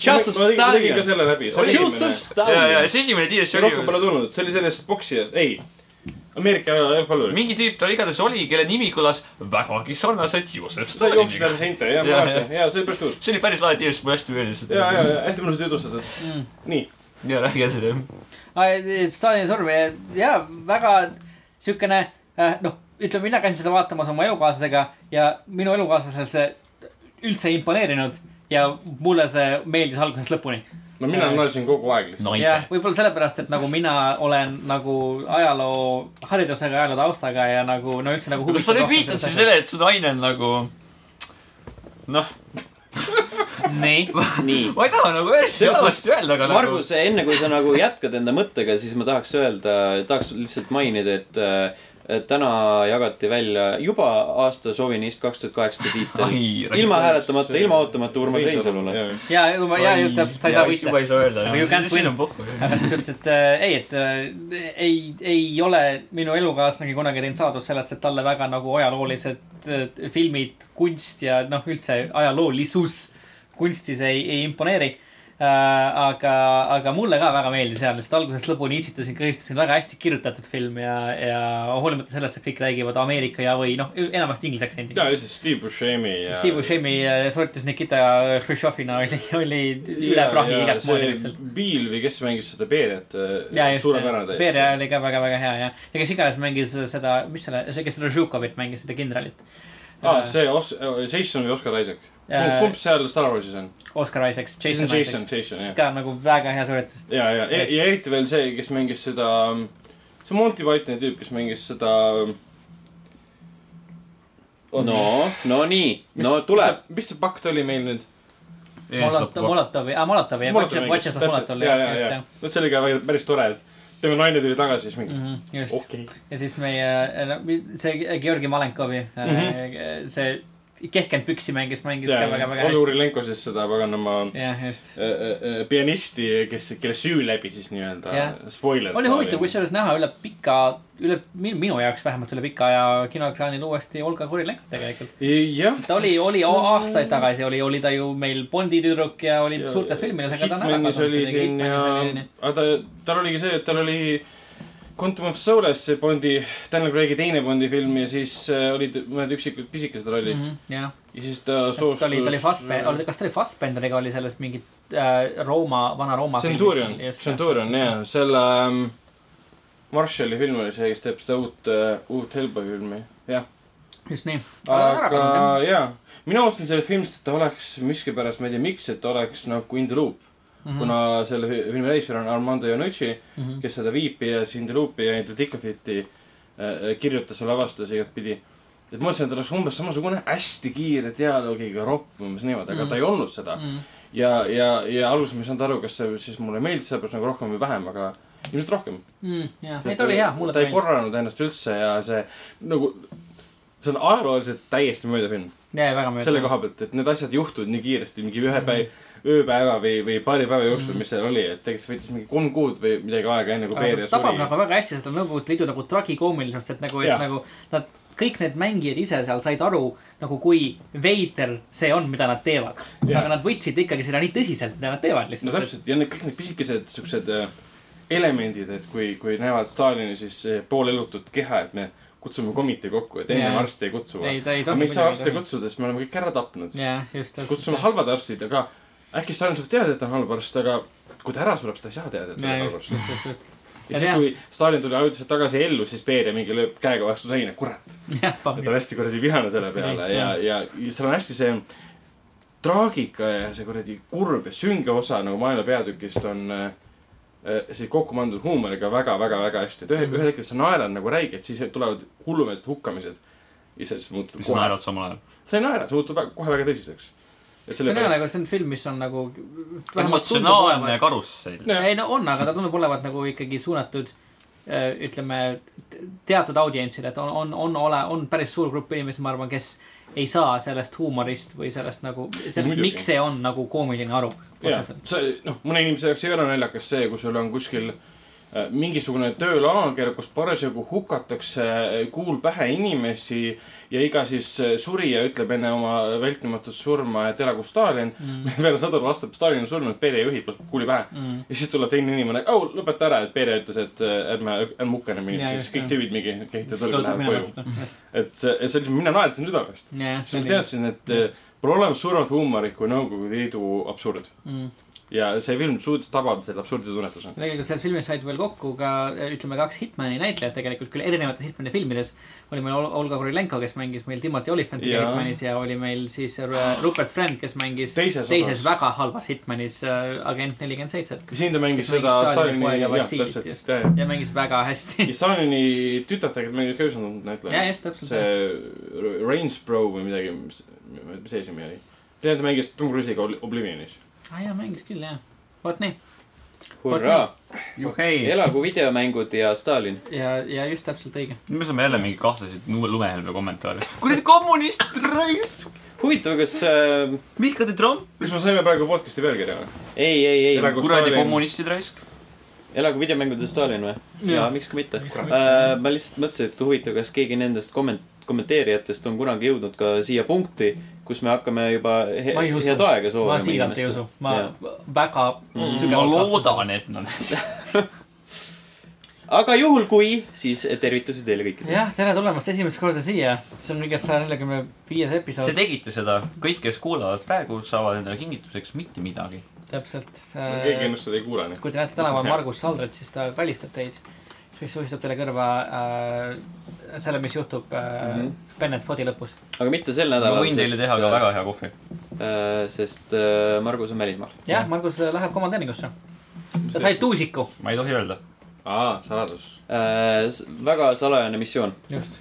Joseph ma tegin ka Stalin . selle läbi . Joseph ja , ja Stalin . see esimene DLC see rohkem oli pole tulnud , see oli selles boksi ees , ei . Ameerika jalgpallur . mingi tüüp ta igatahes oli , kelle nimi kõlas vägagi sarnaselt Joseph ta jooksis Staliniga läbi . seinte , jah , ma Jaa, mäletan , jaa , see oli päris tõus . see oli päris lahe DLC , mulle hästi meeldis . ja , ja , ja hästi mõnusalt jutustatud . Mm. nii , ja räägi edasi , jah . Stalini surm ja , ja väga siukene äh, noh , ütleme , mina käisin seda vaatamas oma elukaaslasega ja minu elukaaslasel see üldse ei imponeerinud ja mulle see meeldis algusest lõpuni . no mina Jaa. naersin kogu aeg lihtsalt . naise ja . võib-olla sellepärast , et nagu mina olen nagu ajaloo , haridusega , ajaloo taustaga ja nagu no üldse nagu . kas sa nüüd viitad siis ? sellele , et su naine on nagu noh , nii , nii . ma ei taha nagu päris Selles halvasti öelda , aga Margus , enne kui sa nagu jätkad enda mõttega , siis ma tahaks öelda , tahaks lihtsalt mainida , et äh, täna jagati välja juba aasta šovinist kaks tuhat kaheksateist tiitel . nagu ilma hääletamata , ilma ootamata Urmas Reinsalule . ja , ja just täpselt , sa ei saa võita juba . ei saa öelda Aga you can't , siin win. on puhku . aga siis ütles , et äh, ei , et äh, ei , ei ole minu elukaaslane kunagi teinud saladust sellest , et talle väga nagu ajaloolised äh, filmid , kunst ja noh , üldse ajaloolisus kunstis ei , ei imponeeri . Äh, aga , aga mulle ka väga meeldis ja lihtsalt algusest lõpuni itsitasin , kõhistasin , väga hästi kirjutatud film ja , ja hoolimata sellest , et kõik räägivad Ameerika ja , või noh , enamasti inglise aktsendiga . jaa , lihtsalt Steve Buscemi ja . Steve Buscemi äh, sooritus Nikita Hruštšovina oli , oli üle prahi igat moodi lihtsalt . Bill või kes mängis seda Beeriat , äh, ja just , suurepärane täiesti . Beria oli ka väga-väga hea ja , ja kes iganes mängis seda , mis selle , see , kes seda Žukovit mängis , seda kindralit . aa , Ah, see Os- , Jason või Oscar Isaac ? Äh, kumb seal Star Warsis on ? Oscar Isaacs , Jason Jason , Jason , Isaacs , Jason , jah . ka nagu väga hea sooritus . ja , ja , E- ja eriti veel see , kes mängis seda , see Monty Pythoni tüüp , kes mängis seda . mm, no , no nii , no tuleb .. mis see pakt oli meil nüüd ? Molotovi , aa Molotovi , Molotov mängis Vatšas seda täpselt , Molotovi , ja , ja , just ja jah ., vot see oli ka väga- päris tore , et tema naine tuli tagasi , siis mingi Mhm, just , okei . äh, Mhm. ja siis meie , äh, see Georgi Malenkovi , see kehkend püksi mängis , mängis ka väga-väga Olli hästi . Urilenko siis seda paganama jah , just . äh, äh, pianisti , kes , kelle süü läbi siis nii-öelda Jah. spoiler . oli huvitav , kusjuures näha üle pika , üle minu, minu jaoks vähemalt üle pika aja kinoekraanil uuesti Olga Kurilenko tegelikult . jah . ta oli , oli äh, o- aastaid tagasi oli , oli ta ju meil Bondi tüdruk ja oli suurtes filmides , aga ta on ära Hitmanis kadunud oli kuidagi, siin ja Hitmanis oli, nii. , aga ta , tal oligi see , et tal oli Quantum of Solace , see Bondi , Daniel Craig'i teine Bondi film ja siis äh, olid mõned üksikud pisikesed rollid mm . Mhm, jah , -hmm. ja siis ta soostus . ta oli , ta oli Fassbender , kas ta oli Fassbenderiga oli selles mingit äh, Rooma , Vana-Rooma . Centurion , Centurion jah , selle ähm, Marshalli film oli see , kes teeb seda uut äh, , uut Hellboy filmi , jah . just nii . aga jaa , mina ootasin sellest filmist , et ta oleks miskipärast , ma ei tea miks , et ta oleks nagu In the Loop mm . Mhm. -hmm. kuna selle fi- filmi reisijal on Armando Iannucci , kes seda Viipi ja In the Loopi ja In the Thick of It'i äh, kirjutas ja lavastas igatpidi . et ma mõtlesin , et ta oleks umbes samasugune hästi kiire dialoogiga ropp umbes niimoodi , aga mm -hmm. ta ei olnud seda . Mhm. ja , ja , ja alguses ma ei saanud aru , kas see siis mulle meeldis sellepärast nagu rohkem või vähem , aga ilmselt rohkem . Mhm, jah , ei ta oli hea , mulle ta ta ei meeldis . korranud ennast üldse ja see nagu , see on ajalooliselt täiesti mööda film jaa , väga meeldis . selle koha pealt , et need asjad juhtuvad nii kiiresti , mingi Mm. ühe päev , ööpäeva või , või paari päeva jooksul , mis seal oli , et tegelikult see võttis mingi kolm kuud või midagi aega , enne kui aga Beria ta tabab suri . nagu väga hästi seda Nõukogude Liidu nagu tragikoomilisust , et nagu , et Jah. nagu nad , kõik need mängijad ise seal said aru nagu kui veider see on , mida nad teevad . Jah. aga nad võtsid ikkagi seda nii tõsiselt , mida nad teevad no lihtsalt . täpselt ja need kõik need pisikesed siuksed äh, elemendid , et kui , kui näevad Stalini siis äh, poolelutud keha , et me kutsume komitee kokku , et enne Jaa. arste ei kutsu . ei , ta ei aga me tohi ei saa arste . kutsuda , sest me oleme kõik ära tapnud . jah , just . kutsume . halvad arstid , aga äkki Stalin saab teada , et ta on halb arst , aga kui ta ära sureb , siis ta ei saa teada , et ta jaa , on halb just , arst . just , just , just . ja siis , kui Stalin tuli ajutiselt tagasi ellu , siis Beria mingi lööb käega vastu seina , kurat . jah , ta pabli on . hästi kuradi vihane selle peale ja , ja ja seal on hästi see traagika ja see kuradi kurb ja sünge osa nagu maailma peatükist on äh, äh, siis kokku pandud huumoriga väga-väga-väga hästi , et ühe , Mhm. ühel hetkel sa naerad nagu räigelt , siis tulevad hullumeelsed hukkamised . ja siis muutub siis kohe , naerad samal ajal . sa ei naera , see muutub väga- kohe väga tõsiseks . see et selle on hea peale , nagu , see on film , mis on nagu . emotsionaalne karussell . Jah. ei no on , aga ta tundub olevat nagu ikkagi suunatud öö, ütleme te- teatud audientsile , et on , on , on ole , on päris suur grupp inimesi , ma arvan , kes ei saa sellest huumorist või sellest nagu , sellest , Muidugi. miks see on nagu koomiline aru jah , otseselt . see noh , mõne inimese jaoks ei ole naljakas see , kui sul on kuskil äh, mingisugune töölaager , kus parasjagu hukatakse äh, kuul pähe inimesi ja iga siis äh, surija ütleb enne oma vältimatut surma , et elagu Stalin mm. . peale sõdur vastab , Stalin on surnud , Pere juhib , laseb kuuli pähe mm. . ja siis tuleb teine inimene , au , lõpeta ära , et Pere ütles , et äh, ärme , ärme hukka enam Jaa, inimesi , just, siis kõik jah. tüübid mingi kehitavad õlga , lähevad koju . jah , et see , see oli , mina naersin südamest . siis ma teadsin , et eh, pole olemas suuremat huumorit kui Nõukogude Liidu absurd . Mm. ja see film suutis tabada selle absurdi tunnetuse . tegelikult selles filmis said veel kokku ka ütleme kaks Hitmani näitlejat tegelikult küll erinevates Hitmani filmides . oli meil Ol- Olga Kurilenko , kes mängis meil Timothy Oliphant'i Jaa. Hitmanis ja oli meil siis Ru- Rupert Friend , kes mängis Teises teises osas. väga halvas Hitmanis äh, Agent nelikümmend seitse siin ta mängis Kes mängis seda Stalini Stalini , poega jah , Vassilit täpselt , just. jah , jah . ja mängis väga hästi . ja Stalini tütart tegelikult mängis ka üsna tuntud ja näitleja . just täpselt see see... . R- Rainsbro või midagi , mis , mis see nimi oli ? tegelikult ta mängis Tom Cruise'iga Ob- Oblivionis . aa ah, jaa , mängis küll jah . vot nii hurraa , juhei , elagu videomängud ja Stalin . ja , ja just täpselt õige . nüüd me saame jälle mingi kahtlaseid nu- lumehelme kommentaare . kuradi kommunist , raisk , huvitav , kas äh, , Mihkel de Trump . kas me saime praegu podcast'i pealkirja või ? ei , ei , ei , Elagu- kuradi Stalin. kommunistid raisk . elagu videomängude Stalin või ? jaa , miks ka mitte . ma lihtsalt mõtlesin , et huvitav , kas keegi nendest komment- , kommenteerijatest on kunagi jõudnud ka siia punkti , kus me hakkame juba he Ma ei usu. head aega ma soovima . siiralt ei usu , ma Jaa. väga ma Mm. sügavalt loodan , et nad . aga juhul kui , siis tervitusi teile kõikidele . jah , tere tulemast esimest korda siia , see on kõigest saja neljakümne viies Te episood , tegite seda , kõik , kes kuulavad praegu , saavad endale kingituseks mitte midagi . täpselt . keegi ennast seda ei kuule nüüd . kui te näete tänaval Margus Saldret , siis ta kallistab teid , siis suhistab teile kõrva äh, selle , mis juhtub äh, mm Mhm. -hmm. Bennett Fodi lõpus . aga mitte sel ma nädalal . võin teile teha ka väga hea kohvi . äh, . sest äh, Margus on välismaal . jah , Margus läheb komandöringusse , ta sai tuusiku . ma ei tohi öelda . aa , saladus . Äh, s- väga salajane missioon . just ,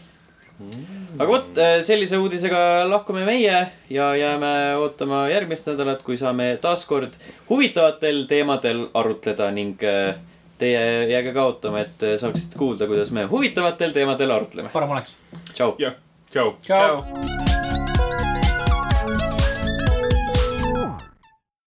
aga vot äh, sellise uudisega lahkume meie ja jääme ootama järgmist nädalat , kui saame taas kord huvitavatel teemadel arutleda ning äh, teie jääge ka ootama , et eh, äh, saaksite kuulda , kuidas me huvitavatel teemadel arutleme . parem oleks . tšau . jah , tšau . Tšau. .